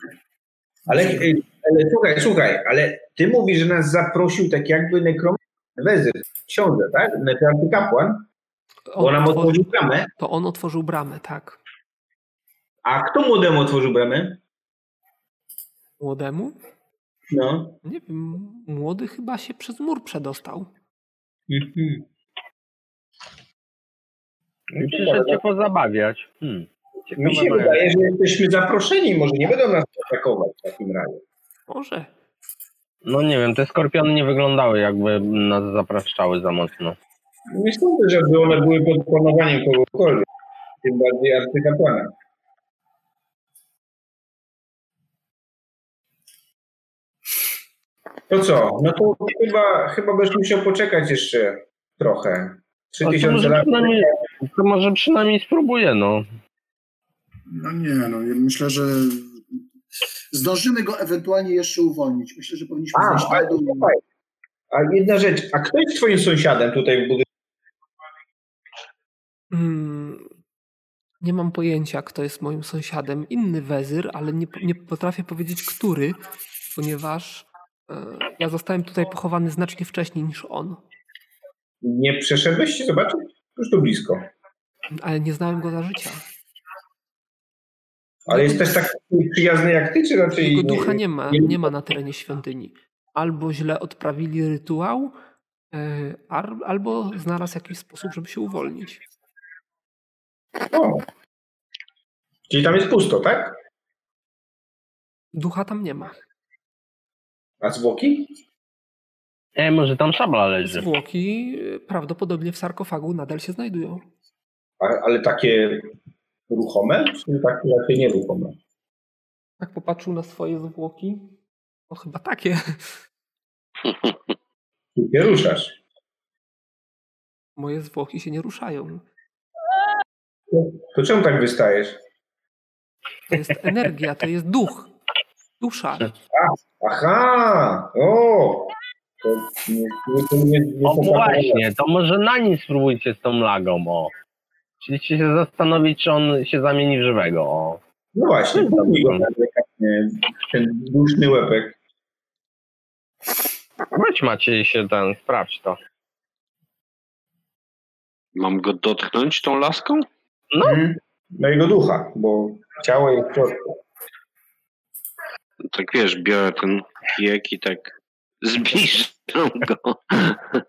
E: Ale, ej, ale słuchaj, słuchaj, ale ty mówisz, że nas zaprosił tak jakby nekrom wezyr, książę, tak? Neferty kapłan, bo
A: On
E: nam
A: otworzył,
E: otworzył bramę.
A: to on otworzył bramę, tak.
E: A kto młodemu otworzył bramę?
A: Młodemu?
E: No.
A: Nie wiem, młody chyba się przez mur przedostał.
E: Mhm.
F: Przyszedł cię pozabawiać. Hmm.
E: Mi się
F: Ciekawe,
E: wydaje, że jesteśmy zaproszeni, może nie będą nas atakować w takim razie.
A: Może.
F: No nie wiem, te skorpiony nie wyglądały jakby nas zapraszczały za mocno.
E: Nie sądzę, żeby one były pod panowaniem kogokolwiek, tym bardziej arcykapłana. To co? No to chyba, chyba będziesz musiał poczekać jeszcze trochę.
F: A to
E: 3000
F: może,
E: lat.
F: przynajmniej, to może przynajmniej spróbuję, no.
B: No nie, no ja myślę, że zdążymy go ewentualnie jeszcze uwolnić. Myślę, że powinniśmy
E: A, no
B: zejść na
E: ale
B: dół.
E: słuchaj, a jedna rzecz, a kto jest twoim sąsiadem tutaj w budynku?
A: Mm, nie mam pojęcia, kto jest moim sąsiadem. Inny wezyr, ale nie, nie potrafię powiedzieć, który, ponieważ e, ja zostałem tutaj pochowany znacznie wcześniej niż on.
E: Nie przeszedłeś się zobaczyć? Już tu blisko.
A: Ale nie znałem go za życia.
E: Ale jest też tak przyjazny jak ty, czy raczej...
A: Jego ducha nie ma,
E: nie-
A: nie ma na terenie świątyni. Albo źle odprawili rytuał, e, ar- albo znalazł jakiś sposób, żeby się uwolnić.
E: O. Czyli tam jest pusto, tak?
A: Ducha tam nie ma.
E: A zwłoki?
F: E, może tam szabla leży.
A: Zwłoki e, prawdopodobnie w sarkofagu nadal się znajdują.
E: A, ale takie ruchome, czy takie raczej nieruchome?
A: Tak popatrzył na swoje zwłoki. No chyba takie.
E: Ty się ruszasz.
A: Moje zwłoki się nie ruszają.
E: To czemu tak wystajesz?
A: To jest energia, to jest duch. Dusza.
E: Aha! O! To nie, nie, to nie, nie
F: O
E: są kapłani.
F: właśnie, to może na nim spróbujcie z tą lagą, o. Chcieliście się zastanowić, czy on się zamieni w żywego, o.
E: No właśnie, to mi go delikatnie, ten duszny łebek.
F: Weź Maciej się ten, sprawdź to.
C: Mam go dotknąć tą laską?
F: No.
E: Mhm. No jego ducha, bo ciało jest w środku.
C: Tak wiesz, biorę ten kijek i tak zbliżam go.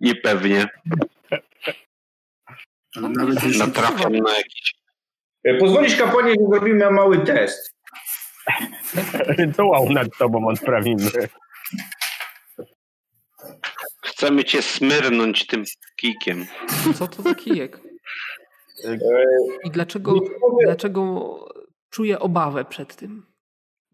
C: Niepewnie.
B: Ale nawet jeśli
C: Natrafiam na jakiś...
E: E, Pozwolisz kapłanie, że zrobimy mały test.
F: Rytuał nad tobą odprawimy.
C: Chcemy cię smyrnąć tym kijkiem.
A: Co to za kijek?
E: E,
A: I dlaczego, dlaczego czuję obawę przed tym?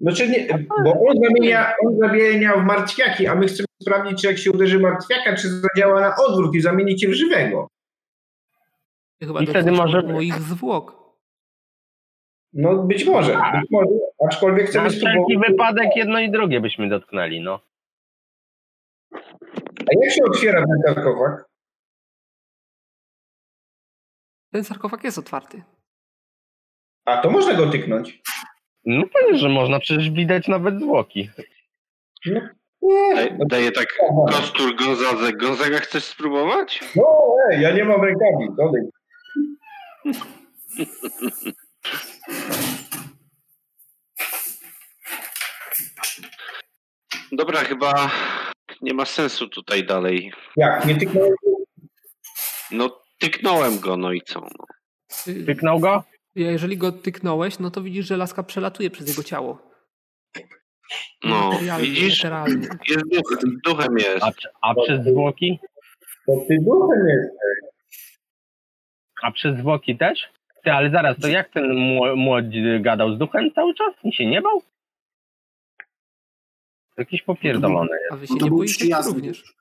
E: Znaczy nie, bo on zamienia, on zamienia w martwiaki, a my chcemy sprawdzić, czy jak się uderzy martwiaka, czy zadziała na odwrót i zamieni cię w żywego.
A: Ja Chyba
F: I wtedy
A: dotknął
F: może-
A: moich zwłok.
E: No być może, być może. Aczkolwiek
F: Tak. Na
E: chcemy
F: wszelki
E: spróbować.
F: wypadek jedno i drugie byśmy dotknęli, no.
E: A jak się otwiera ten sarkofag?
A: Ten sarkofag jest otwarty.
E: A to można go tyknąć.
F: No pewnie, że można, przecież widać nawet zwłoki.
E: No,
C: Daj- Daję tak kostur Gonzadze. Gonzaga, chcesz spróbować?
E: No ej, ja nie mam rękawi, dodaj.
C: Dobra, chyba nie ma sensu tutaj dalej.
E: Jak, nie tyknąłeś?
C: No, tyknąłem go, no i co? No.
A: Y,
F: Tyknął go?
A: ja- Jeżeli go tyknąłeś, no to widzisz, że laska przelatuje przez jego ciało.
C: No,
A: Materialnie,
C: widzisz?
A: literalnie.
C: Jest duchem, duchem jest.
F: A, a przez zwłoki?
E: To ty duchem jesteś.
D: A przez zwłoki też? Ty, ale zaraz, to jak ten mło- młodzi gadał z duchem cały czas? I się nie bał? Jakiś popierdolony jest.
A: A wy się
B: No to
A: nie
B: był
A: boicie
B: przyjazny
A: również.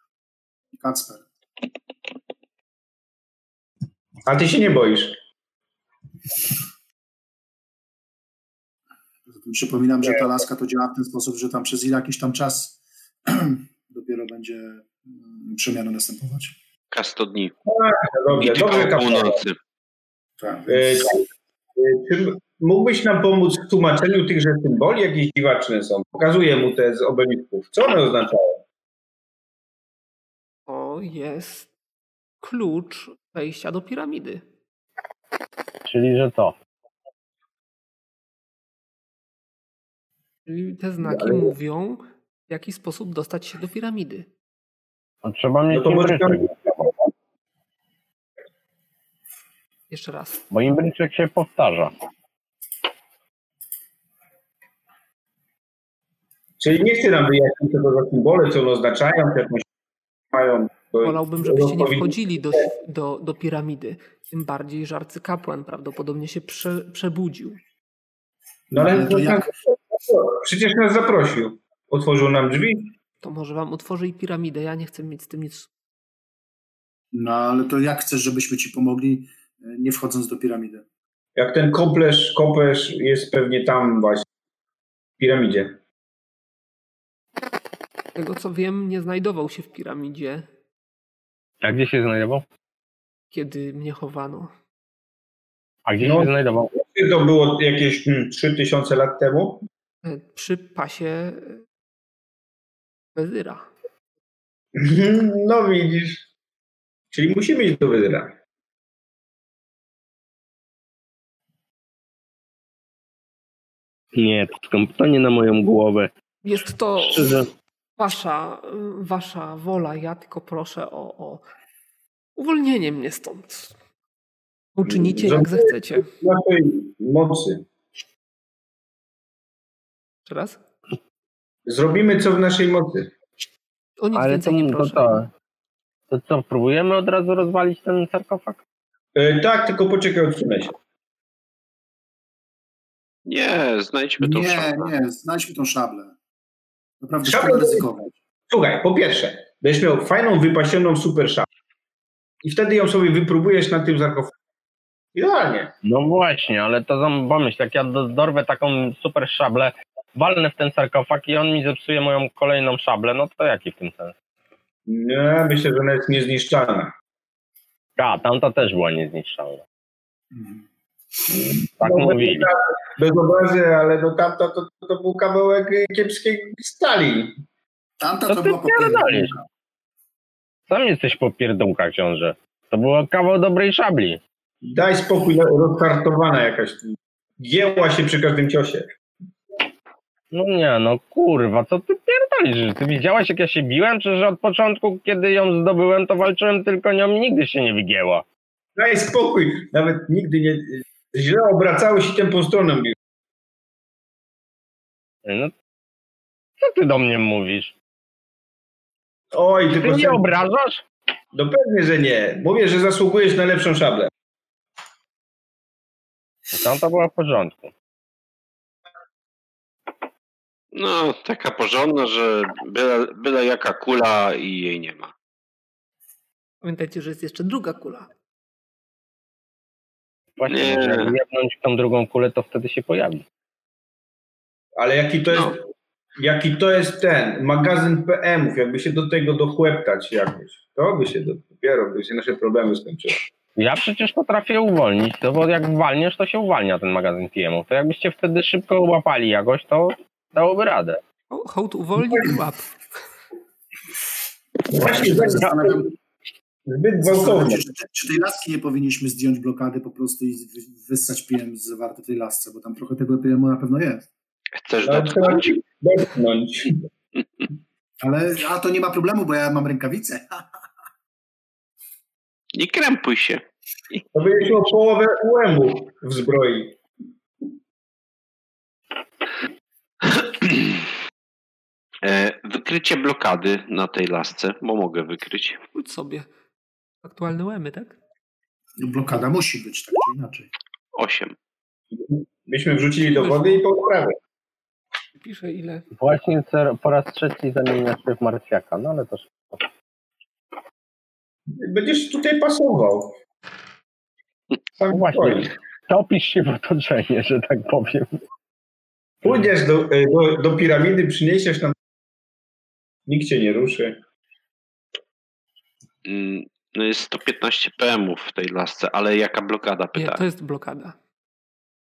B: Kacper.
E: A ty się nie boisz.
B: Zatem Przypominam, że ta laska to działa w ten sposób, że tam przez jakiś tam czas dopiero będzie mm, przemiana następować.
C: Kasto dni. I
E: Dobrze,
C: tylko
E: dobrze
C: o
E: kapitanie.
C: północy.
B: Tak.
E: E,
B: więc-
E: Czy m- mógłbyś nam pomóc w tłumaczeniu tychże symboli? Jakieś dziwaczne są. Pokazuję mu te z obelisków. Co one oznaczają?
A: To jest klucz wejścia do piramidy.
D: Czyli, że to.
A: Czyli
B: No
A: te znaki
E: Ale-
A: mówią, w jaki sposób dostać się do piramidy.
D: No, trzeba mieć
E: No to może
D: imbryczek,
A: Jeszcze raz.
D: bo imbryczek się powtarza.
E: Czyli nie chce nam wyjaśnić, co to za symbole, co one oznaczają, czy jakąś mają. to-
A: Wolałbym, żebyście nie
E: odpowiedzi-
A: wchodzili do, do, do piramidy. Tym bardziej, że arcykapłan prawdopodobnie się prze, przebudził.
E: No ale
B: Ale to jak?
E: przecież nas zaprosił. Otworzył nam drzwi.
A: To może wam otworzy i piramidę. Ja nie chcę mieć z tym nic.
B: No ale to jak chcesz, żebyśmy ci pomogli, e, nie wchodząc do piramidy?
E: Jak ten koplerz, koplerz jest pewnie tam właśnie. W piramidzie.
A: Z tego co wiem, nie znajdował się w piramidzie,
F: A gdzie się znajdował?
A: kiedy mnie chowano.
F: A gdzie
E: No.
F: się znajdował?
E: Czy to było jakieś hmm, 3000 lat temu?
A: E, Przy pasie e, wezyra.
E: No widzisz. Czyli musimy iść do Wyzyra.
F: Nie, skąd- to nie na moją głowę.
A: Jest to
F: Szczerze,
A: wasza, y, wasza wola. Ja tylko proszę o, o uwolnienie mnie stąd. Uczynicie jak zechcecie.
E: Naszej mocy.
A: Jeszcze raz?
E: Zrobimy co w naszej mocy.
A: O nic
F: ale to,
A: więcej
F: no tak.
A: nie
F: to,
A: proszę.
F: to, to co, próbujemy od razu rozwalić ten sarkofag?
E: E, tak, tylko poczekaj, odsunę się.
C: Nie, znajdźmy tą
B: Nie,
C: szafę.
B: nie, znajdźmy tą szablę. Naprawdę
E: Szablę
B: szkoda
E: to-
B: ryzykować.
E: Słuchaj, po pierwsze, będziesz miał fajną, wypasioną super szafę. I wtedy ją sobie wypróbujesz na tym sarkofagu. Idealnie.
F: No właśnie, ale to zam- pomyśl, jak ja do- dorwę taką super szablę, walnę w ten sarkofag i on mi zepsuje moją kolejną szablę, no to jaki w tym sens?
E: Nie, myślę, że ona jest niezniszczalna.
F: A, tamta też była niezniszczalna.
B: Mhm.
F: Tak
E: No,
F: mówili.
E: Bez obrazy, ale no tamta to, to był kawałek e, kiepskiej stali.
B: Tamta
F: To
B: to,
F: ty
B: była
F: pierdolisz.
B: popierdołka.
F: Sam jesteś po pierdółkach, książę. To było kawał dobrej szabli.
E: Daj spokój, no, rozkartowana jakaś. Gięła się przy każdym ciosie.
F: No nie, no kurwa, co ty pierdolisz? Że Ty widziałaś jak ja się biłem? Czy że od początku, kiedy ją zdobyłem, to walczyłem tylko nią i nigdy się nie wygięła?
E: Daj spokój. Nawet nigdy nie... Źle obracały się tę stroną.
F: No, co ty do mnie mówisz?
E: Oj,
F: Ty
E: tylko...
F: mnie
E: sen-
F: obrażasz?
E: No pewnie, że nie. Mówię, że zasługujesz na lepszą szablę.
F: No to była w porządku.
C: No, taka porządna, że byle, byle jaka kula i jej nie ma.
A: Pamiętajcie, że jest jeszcze druga kula.
F: Właśnie,
C: Nie.
F: może jak jebnąć w tą drugą kulę, to wtedy się pojawi.
E: Ale jaki to jest,
C: No.
E: jaki to jest ten magazyn PM-ów, jakby się do tego dochłeptać jakoś, to by się do, dopiero by się nasze problemy skończyły.
F: Ja przecież potrafię uwolnić, to bo jak walniesz, to się uwalnia ten magazyn PM-ów. To jakbyście wtedy szybko łapali jakoś, to dałoby radę.
A: O, hołd uwolni i łap.
B: Ja się tak
E: Właśnie zbyt,
B: zastanawiam,
E: zbyt
B: zastanawiam
E: gwałtownie.
B: się, czy, czy tej laski nie powinniśmy zdjąć blokady po prostu i wy- wyssać PM zawarte w tej lasce, bo tam trochę tego PM na pewno jest.
C: Chcesz
E: Ale trzeba
C: dotknąć?
E: dotknąć.
B: Ale a to nie ma problemu, bo ja mam rękawice.
C: Nie krępuj się.
E: To będzie miał połowę UM-u w zbroi.
C: E, Wykrycie blokady na tej lasce, bo mogę wykryć.
A: Pójdź sobie. Aktualne łemy, tak?
B: No, blokada musi być, tak czy inaczej.
C: Osiem.
E: Myśmy wrzucili do wody i po prawej.
A: Piszę ile.
D: Właśnie cer- po raz trzeci zamienia się w martwiaka, no ale też.
E: Będziesz tutaj pasował.
F: No
E: Sam
D: Właśnie.
E: Właśnie.
D: Topisz się w otoczenie, że tak powiem.
E: Pójdziesz do, y, do, do piramidy, przyniesiesz tam. Nikt cię nie ruszy.
C: Mm, No jest 115 PM w tej lasce, ale jaka blokada
A: Nie,
C: pytałem?
A: to jest blokada.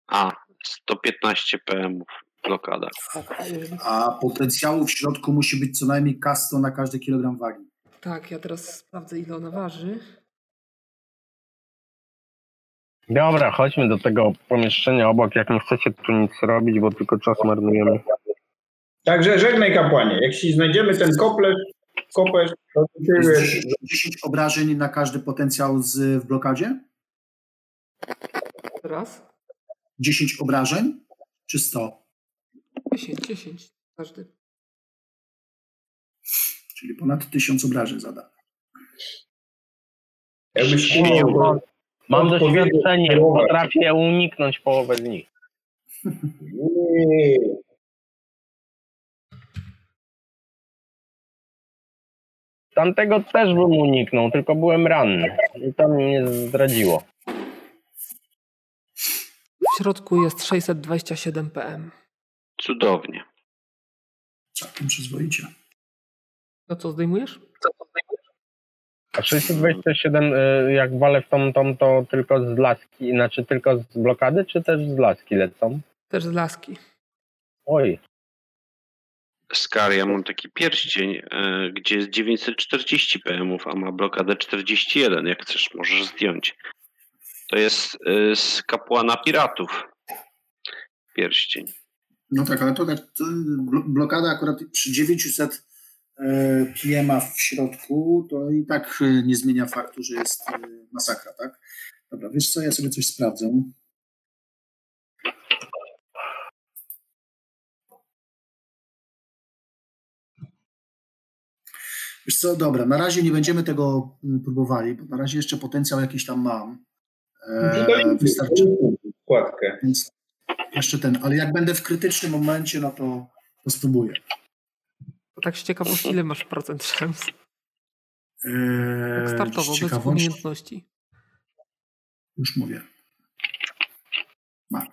C: A, 115 PM blokada.
A: Tak, y,
B: A potencjału w środku musi być co najmniej kasto na każdy kilogram wagi.
A: tak, ja teraz sprawdzę ile ona waży.
F: Dobra, chodźmy do tego pomieszczenia obok. Jak nie chcecie tu nic robić, bo tylko czas marnujemy.
E: Także żegnaj kapłanie. Jeśli znajdziemy ten kopler, kopesz, to ty
B: Jest
E: wiesz,
B: 10, 10 obrażeń na każdy potencjał z, w blokadzie?
A: Raz,
B: 10 obrażeń? Czy 100?
A: 10, 10. Każdy.
B: Czyli ponad 1000 obrażeń zada.
E: jakbyś umiał.
F: Mam
E: Odpowiednio
F: doświadczenie,
E: połowę.
F: potrafię uniknąć połowę z nich.
E: Nie.
F: Tamtego też bym uniknął, tylko byłem ranny. I to mnie zdradziło.
A: W środku jest 627 PM.
C: Cudownie.
B: Całkiem przyzwoicie.
A: No co zdejmujesz?
F: A 627, y, jak walę w tą, tą, to tylko z laski, znaczy tylko z blokady, czy też z laski lecą?
A: Też z laski.
F: Oj,
C: Skar, ja mam taki pierścień, e, gdzie jest 940 PM, a ma blokadę 41. Jak chcesz, możesz zdjąć. To jest e, z kapłana piratów. Pierścień.
B: No tak, ale to tak, to blo- blokada akurat przy 900 e, pm w środku, to i tak e, nie zmienia faktu, że jest e, masakra, tak? Dobra, wiesz co, ja sobie coś sprawdzę. Wiesz co, dobra, na razie nie będziemy tego mm, próbowali, bo na razie jeszcze potencjał jakiś tam mam. E,
F: Eee,
B: wystarczy,
E: Kładkę.
B: więc jeszcze ten, ale jak będę w krytycznym momencie, no to, to spróbuję.
A: Bo Tak z ciekawości ile masz procent szans?
B: Eee,
A: Tak startowo,
B: z
A: bez
B: ciekawości,
A: umiejętności.
B: już mówię. Mam.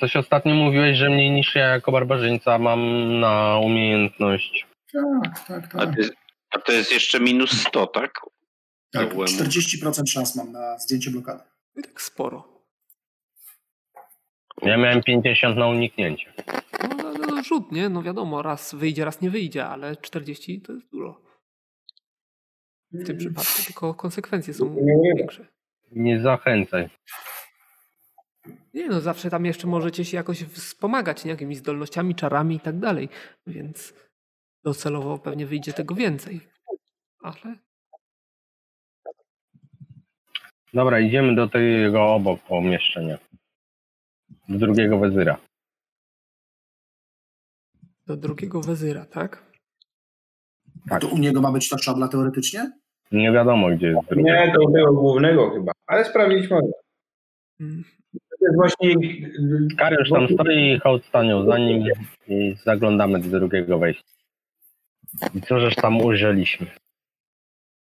F: coś ostatnio mówiłeś, że mniej niż ja jako barbarzyńca mam na umiejętność.
B: Tak, tak,
C: A to
B: tak.
C: jest, a to jest jeszcze minus 100, tak?
B: tak
C: byłem-
B: 40% szans mam na zdjęcie blokady.
A: I tak sporo.
F: Ja miałem 50 na uniknięcie.
A: No, no, no rzut, nie? No wiadomo, raz wyjdzie, raz nie wyjdzie, ale 40 to jest dużo. W
B: Mm.
A: tym przypadku tylko konsekwencje są większe.
F: Nie zachęcaj.
A: Nie no, zawsze tam jeszcze możecie się jakoś wspomagać nie? jakimiś zdolnościami, czarami i tak dalej, więc docelowo pewnie wyjdzie tego więcej. Ale
F: Dobra, idziemy do tego obok pomieszczenia. Do drugiego wezyra.
A: do drugiego wezyra, tak?
F: Tak.
B: To u niego ma być ta szabla teoretycznie?
F: Nie wiadomo, gdzie jest drugi.
E: Nie, to było głównego chyba. Ale sprawiliśmy.
A: Mm.
E: To jest właśnie.
F: Kariusz tam stoi i hołd stanął za nim i zaglądamy do drugiego wejścia. I co żeż tam ujrzeliśmy?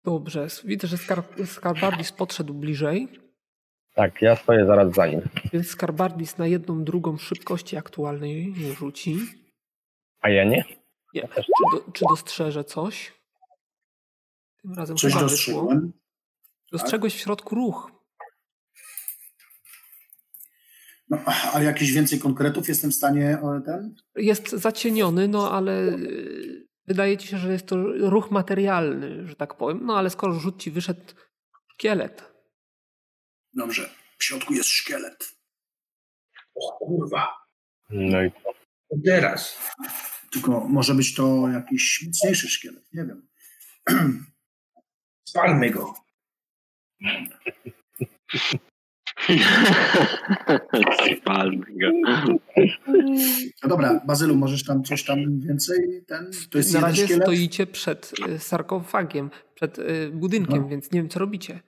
A: Dobrze, widzę, że Skar- Skarbardis podszedł bliżej,
F: Tak, ja stoję zaraz za nim.
A: więc Skarbardis na jedną, drugą szybkości aktualnej nie rzuci.
F: A ja nie?
A: Nie. Czy, do, czy dostrzeże coś? Tym razem
B: Coś
A: chyba wyszło.
B: dostrzegłem.
A: Dostrzegłeś w środku ruch.
B: No, a jakiś więcej konkretów jestem w stanie o, ten?
A: Jest zacieniony, no ale y, wydaje ci się, że jest to ruch materialny, że tak powiem. No ale skoro rzut ci wyszedł szkielet,
B: Dobrze. W środku jest szkielet.
E: O kurwa,
F: No i co?
E: teraz.
B: Tylko może być to jakiś mocniejszy szkielet, nie wiem.
E: Spalmy go.
C: Spalmy go.
B: No dobra, Bazylu, możesz tam coś tam więcej? Ten? To jest
A: na
B: jeden
A: razie
B: szkielet?
A: stoicie przed y, sarkofagiem, przed y, budynkiem,
B: No.
A: więc nie wiem co robicie.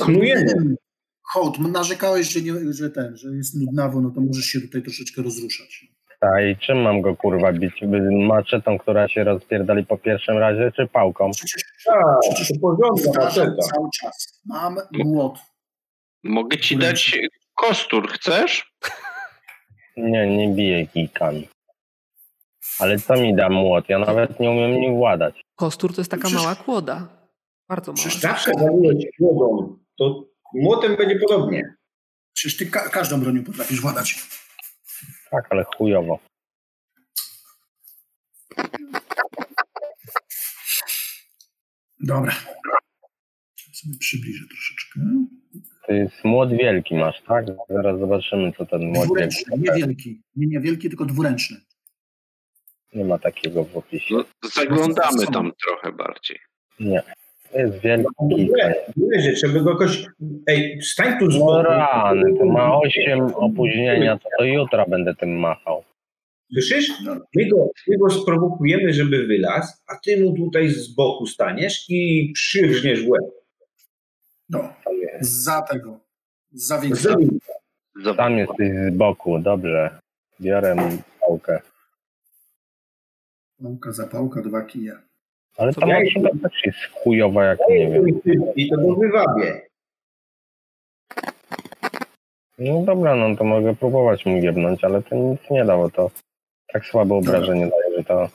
E: Knujemy.
B: Hołd, narzekałeś, że, nie, że ten, że jest nudnawo, no to możesz się tutaj troszeczkę rozruszać.
F: Ta, i czym mam go kurwa bić? Maczetą, która się rozpierdali po pierwszym razie, czy pałką?
B: Przecież
E: Tak,
B: Przecież-
E: to tak. porządna
B: powtarzam
F: tak.
E: faceta.
B: cały czas. Mam młot.
C: Mogę ci dać kostur, chcesz?
F: Nie, nie biję kijkami. Ale co mi da młot? Ja nawet nie umiem nim władać.
A: Kostur to jest taka
B: Przecież-
A: mała kłoda. Bardzo mała.
B: Przecież- tak
E: Zawsze
F: Tak.
E: zabiłeś głową, to młotem będzie podobnie.
B: Przecież ty ka- każdą bronią potrafisz władać.
F: Tak, ale chujowo.
B: Dobra. Sobie przybliżę troszeczkę.
F: To jest młot wielki masz, tak? Zaraz zobaczymy, co ten młot wielki.
B: Dwuręczny, niewielki. Nie niewielki, tylko dwuręczny.
F: Nie ma takiego w opisie.
C: No, zaglądamy tam trochę bardziej.
F: To jest wielki kijka.
E: Nie, Nie, żeby go jakoś... Ej, stań tu z
F: No rany, to ma 8 opóźnienia, to, to jutra będę tym machał.
E: Słyszysz? My go, my go sprowokujemy, żeby wylazł, a ty mu tutaj z boku staniesz i przywrzniesz w łeb.
B: No. Za tego. Za
F: Tak,
B: większego.
E: Zabij.
C: Za...
F: Tam jesteś z boku, dobrze. Biorę mu pałkę.
B: Pałka, zapałka, dwa kije.
F: Ale ta
A: Ja-
F: maszyna też jest chujowa, jak nie wiem.
E: I to go wywabię.
F: No dobra, no to mogę próbować mu jebnąć, ale to nic nie da, bo to tak słabe obrażenie daje, że to...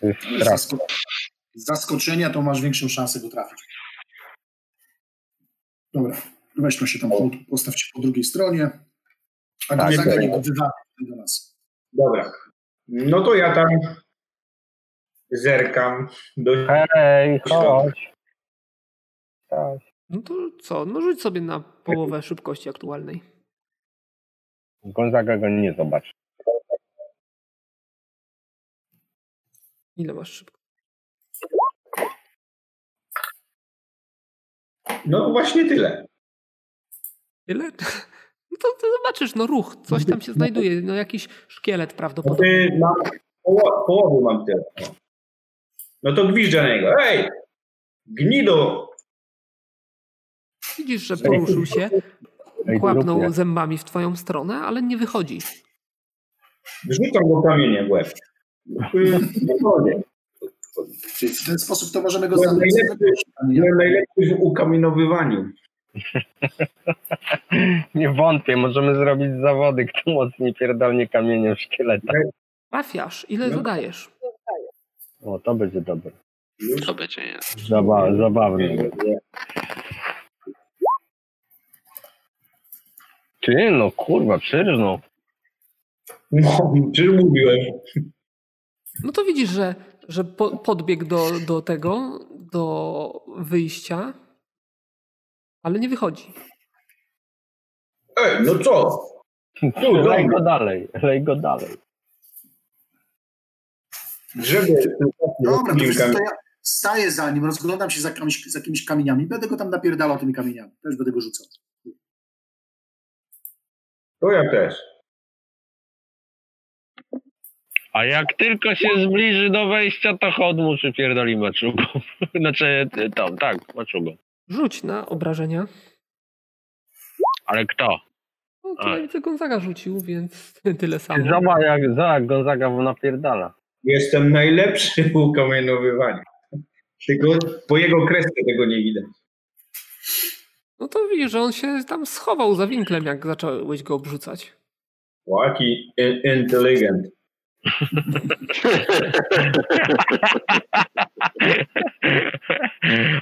F: To jest strach.
B: Zasko- zaskoczenia to masz większą szansę go trafić. Dobra. Weźmy się tam, hołd, postaw się po drugiej stronie. A
F: Tak,
B: tak,
F: tak.
B: nie go wywabi do nas.
E: Dobra. No to ja tam zerkam do
F: Hej, chodź! Tak.
A: No to co? No rzuć sobie na połowę szybkości aktualnej.
F: Gonzaga go nie zobaczy.
A: Ile masz szybko?
E: No właśnie tyle.
A: Tyle? No to, to zobaczysz, no ruch, coś tam się znajduje, no jakiś szkielet
E: No
A: prawdopodobnie.
E: ty mam, poło, połowy mam tyle. No to gwizdź na niego. Ej! Gnido!
A: Widzisz, że poruszył się,
F: Ej,
A: kłapnął
F: grupie.
A: zębami w twoją stronę, ale nie wychodzi.
E: Rzucam go kamieniem w łeb. Ty- Spokojnie.
B: Czyli w ten sposób to możemy go
E: No,
B: zabić.
E: najlepiej- Byłem najlepszy w ukamienowywaniu.
F: Nie wątpię, możemy zrobić zawody, kto mocniej pierdolnie kamieniem szkieleta.
A: Trafiasz, ile
E: No.
A: zadajesz?
F: O, to będzie dobre.
C: To będzie nie.
F: Zaba- zabawne. będzie. Ty, no kurwa, przyrżnął.
E: No, czy mówiłem?
A: No to widzisz, że, że po, podbiegł do, do tego, do wyjścia, ale nie wychodzi.
E: Ej, no co? Tu,
F: Lej
E: dobra.
F: go dalej, lej go dalej.
E: Żeby... no,
B: Dobra, to wiesz co, to ja staję za nim, rozglądam się za, jakimiś- za jakimiś kamieniami, będę go tam napierdalał tymi kamieniami, też będę go rzucał.
E: To ja też.
F: A jak tylko się zbliży do wejścia, to chodmu czy pierdoli maczugą. Znaczy, y, tam, tak, maczugą.
A: Rzuć na obrażenia.
F: Ale kto?
A: No
F: A.
A: to najwięcej Gonzaga rzucił, więc tyle samo.
F: Zobacz, jak, zobacz, Gonzaga mu napierdala.
E: Jestem najlepszy w ukamienowywaniu. Tylko po jego kresce tego nie widać.
A: No to widzisz, że on się tam schował za winklem, jak zacząłeś go obrzucać.
E: O, Jaki in- inteligent.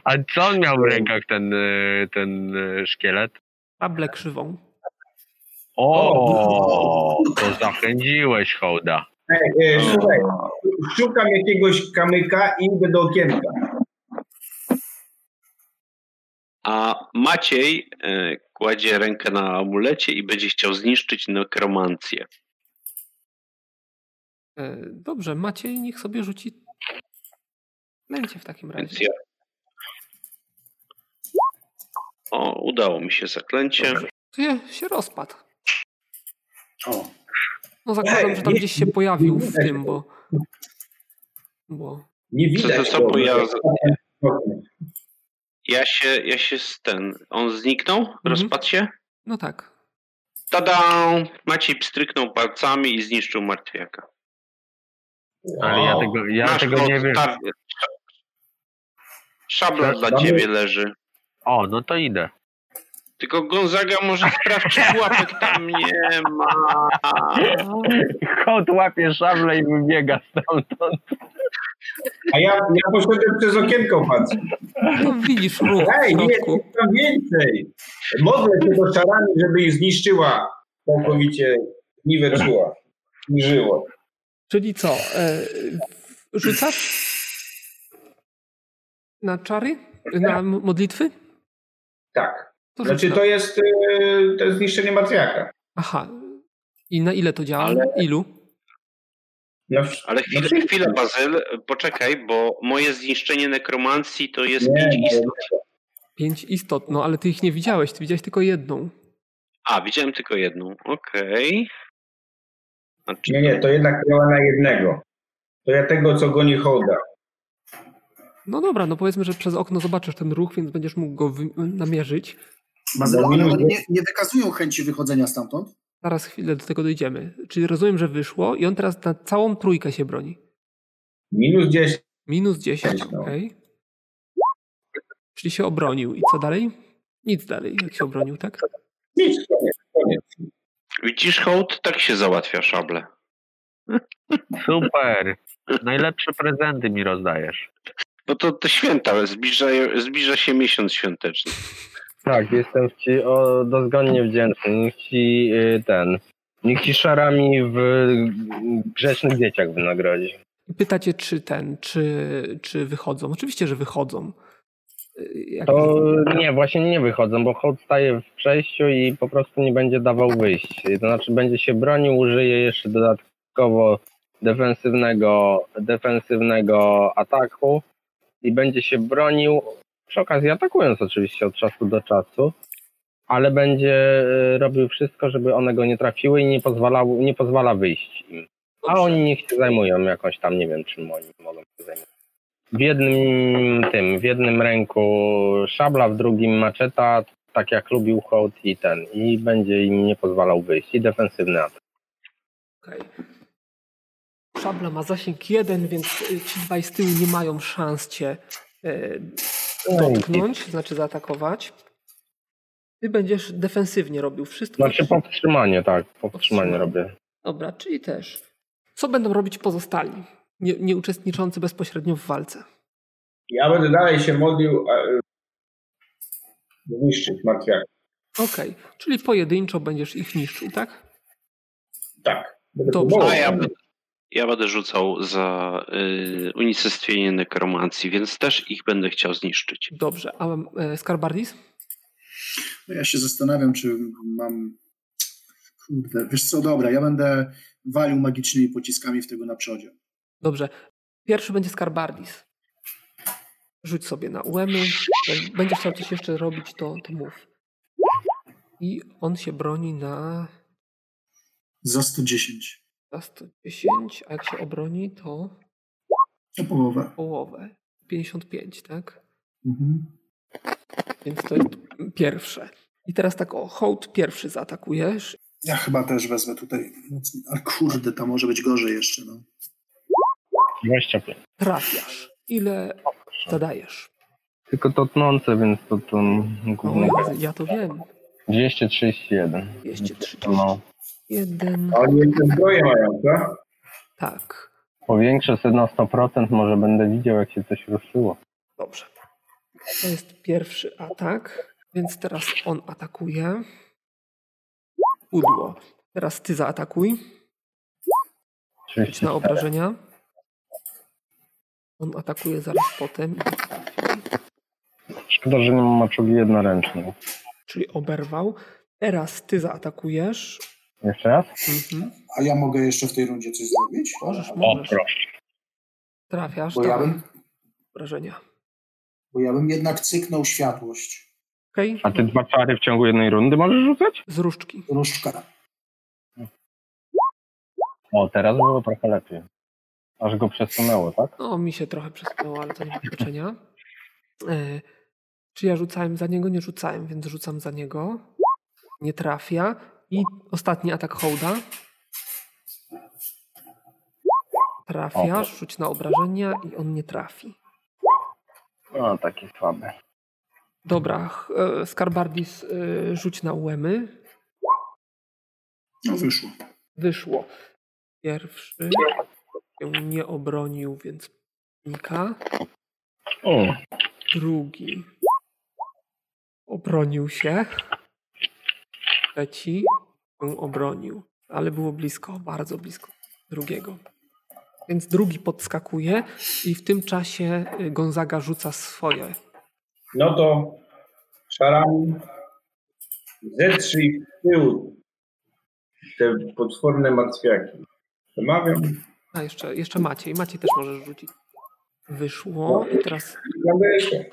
F: A co on miał w rękach, ten, y, ten y, szkielet?
A: Table krzywą.
F: O, to zachęciłeś hołda.
E: Ej, e, słuchaj, szukam jakiegoś kamyka i idę do okienka.
C: A Maciej e, kładzie rękę na amulecie i będzie chciał zniszczyć
F: Tak.
C: nekromancję.
A: E, Dobrze, Maciej niech sobie rzuci nęcie w takim
C: Więc
A: razie.
C: ja. O, udało mi się zaklęcie.
A: To je- się rozpadł.
B: O,
A: No zakładam,
E: Ej,
A: że tam
E: nie-
A: gdzieś się pojawił w tym, bo... bo...
E: Nie widać.
C: ze sobą
E: go.
C: ja-
E: Okej.
C: Ja się, ja się z ten. On zniknął?
F: Mhm.
C: Rozpadł się?
A: No tak.
C: Tada! Maciej pstryknął palcami i zniszczył martwiaka.
F: Ale ja
E: Wow.
F: tego, ja
C: Masz
F: tego
C: kod
F: nie wiem.
C: tar- Szablon dla
E: Szablon?
C: ciebie leży.
F: O, no to idę.
C: Tylko Gonzaga może sprawdź, czy łapek tam nie ma.
F: Kot łapie szablę i wybiega stamtąd.
E: A ja, ja poszedłem przez okienko patrzeć.
A: No widzisz ruch w
E: Ej, nie,
A: środku.
E: jest tam więcej. Modlę się do szarami, żeby ich zniszczyła. Całkowicie niweczyła. Żyło.
A: Czyli co? E, w- rzucasz na czary? Na m- modlitwy?
E: Tak.
A: To
E: Znaczy
A: rzuć
E: to
A: na-
E: jest, e, to jest zniszczenie martwiaka.
A: Aha. I na ile to działa?
E: Ale-
A: Ilu?
E: No, w-
C: Ale
E: no,
C: chwilę, chwilę, Bazyl, poczekaj, bo moje zniszczenie nekromancji to jest
E: Nie,
C: pięć
E: nie.
C: istot.
A: Pięć istot, no ale ty ich nie widziałeś, ty widziałeś tylko jedną.
C: A, widziałem tylko jedną. Okej. Znaczy,
E: nie, nie, to jednak działa na jednego. To ja tego, co goni hołda.
A: No dobra, no powiedzmy, że przez okno zobaczysz ten ruch, więc będziesz mógł go wy- namierzyć.
B: Bazyl,
E: Bo
B: ale
E: minus-
B: oni nie, nie wykazują chęci wychodzenia stamtąd.
A: Zaraz chwilę do tego dojdziemy. Czyli rozumiem, że wyszło i on teraz na całą trójkę się broni.
E: Minus 10.
A: Minus 10,
E: No.
A: okej. Czyli się obronił. I co dalej? Nic dalej, jak się obronił, tak?
E: Nic, koniec, koniec.
C: Widzisz, hołd, tak się załatwia szable.
F: Super. Najlepsze prezenty mi rozdajesz.
C: Bo to, to święta, zbliża, zbliża się miesiąc świąteczny.
F: Tak, jestem ci o, dozgonnie wdzięczny. Niech ci y, ten. Niech ci szarami w y, grzecznych dzieciach wynagrodzi.
A: I pytacie, czy ten, czy, czy wychodzą. Oczywiście, że wychodzą. Y, Jak
F: To nie, właśnie nie wychodzą, bo hołd staje w przejściu i po prostu nie będzie dawał wyjść. To znaczy będzie się bronił, użyje jeszcze dodatkowo defensywnego, defensywnego ataku i będzie się bronił, przy okazji atakując oczywiście od czasu do czasu, ale będzie e, robił wszystko, żeby one go nie trafiły i nie, pozwalał, nie pozwala wyjść im. A oni niech się zajmują jakąś tam, nie wiem czym oni mogą się zajmować. W jednym tym, w jednym ręku szabla, w drugim maczeta, tak jak lubił hołd i ten. I będzie im nie pozwalał wyjść. I defensywny atak.
A: Okej. Szabla ma zasięg jeden, więc y, ci dwaj z tyłu nie mają szans cię y,
F: No
A: dotknąć, znaczy zaatakować. Ty będziesz defensywnie robił wszystko.
F: Znaczy powstrzymanie, tak. Powstrzymanie
A: Powstrzymanie.
F: robię.
A: Dobra, czyli też. Co będą robić pozostali, nie, nie uczestniczący bezpośrednio w walce?
E: Ja będę dalej się modlił, a, y, zniszczyć martwiaka.
A: Okej, czyli pojedynczo będziesz ich niszczył, tak?
E: Tak. Będę
A: Dobrze.
E: próbował.
C: A ja, będę- ja będę rzucał za y, unicestwienie nekromancji, więc też ich będę chciał zniszczyć.
A: Dobrze, a e, Skarbardis?
B: No Ja się zastanawiam, czy mam. Kurde, wiesz co, dobra, ja będę walił magicznymi pociskami w tego na przodzie.
A: Dobrze. Pierwszy będzie Skarbardis. Rzuć sobie na łemy. Jak będziesz chciał coś jeszcze robić, to, to mów. I on się broni na
B: Za 110.
A: na 110, a jak się obroni, to
B: O połowę.
A: połowę. 55, tak?
B: Mhm.
A: Więc to jest pierwsze. I teraz tak, o, hołd pierwszy zaatakujesz.
B: Ja chyba też wezmę tutaj mocniej. Ale kurde, to może być gorzej jeszcze. No.
F: 25.
A: Trafiasz. Ile zadajesz?
F: Tylko to tnące, więc to to tak. główny.
A: O, ja to wiem.
F: 231.
A: 231.
F: No.
E: A Oni jeszcze zbroję mają, co?
A: Tak.
F: Powiększę sobie na 100%, może będę widział jak się coś ruszyło.
A: Dobrze. To jest pierwszy atak, więc teraz on atakuje. Udło. Teraz ty zaatakuj. Rzuć na
F: 34.
A: obrażenia. On atakuje zaraz potem,
F: Szkoda, że nie mam maczugi jednoręcznej.
A: czyli oberwał. Teraz ty zaatakujesz.
F: Jeszcze raz?
A: Mhm.
B: A ja mogę jeszcze w tej rundzie coś zrobić?
A: Możesz,
F: O,
A: możesz.
F: proszę.
A: Trafiasz,
B: Bo ja
A: dawaj.
B: bym,
A: obrażenia.
B: bo ja bym jednak cyknął światłość.
A: Okej?
F: A ty dwa czary w ciągu jednej rundy możesz rzucać?
A: Z różdżki.
B: Różdżka.
F: O, teraz było trochę lepiej. Aż go przesunęło, tak?
A: No, mi się trochę przesunęło, ale to nie ma znaczenia. E, Czy ja rzucałem za niego? Nie rzucałem, więc rzucam za niego. Nie trafia. I ostatni atak hołda. Trafiasz, rzuć na obrażenia i on nie trafi.
D: No, takie słabe.
A: Dobra, ch- e, Skarbardis, e, rzuć na łemy.
B: No wyszło.
A: Wyszło. Pierwszy się nie obronił, więc unika.
F: O,
A: Drugi obronił się. Trzeci się obronił, ale było blisko, bardzo blisko drugiego. Więc drugi podskakuje i w tym czasie y, Gonzaga rzuca swoje.
E: No to szaram zetrzyj w tył te potworne martwiaki. Wymawiam.
A: A jeszcze, jeszcze Maciej. Maciej też możesz rzucić. Wyszło i teraz
E: Zastanawiam się.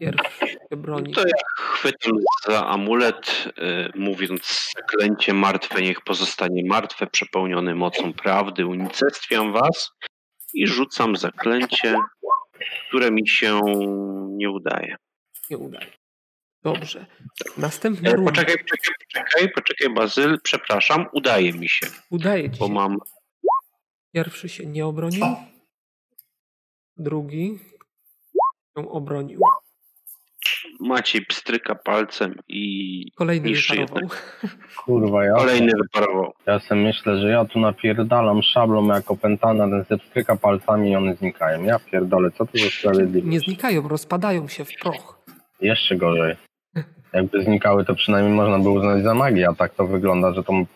A: pierwszy się broni.
C: To ja chwytam za amulet, y, mówiąc zaklęcie martwe, niech pozostanie martwe, przepełniony mocą prawdy, unicestwiam was i rzucam zaklęcie, które mi się nie udaje.
A: Nie udaje. Dobrze. Następna
C: E,
A: runda.
C: Poczekaj, poczekaj, poczekaj, poczekaj, Bazyl, przepraszam, udaje mi się,
A: Udaje ci
C: bo
A: się.
C: mam
A: Pierwszy się nie obronił. Drugi się obronił.
C: Maciej pstryka palcem i
A: Kolejny
C: Niższy
A: nie parował.
F: kurwa, ja,
C: kolejny wyparował.
F: ja sobie myślę, że ja tu napierdalam szablą jak opętana, ten se pstryka palcami i one znikają. Ja pierdolę, co to za sprawiedliwość?
A: Nie znikają, rozpadają się w proch.
F: Jeszcze gorzej. Jakby znikały, to przynajmniej można by uznać za magię, a tak to wygląda, że to m-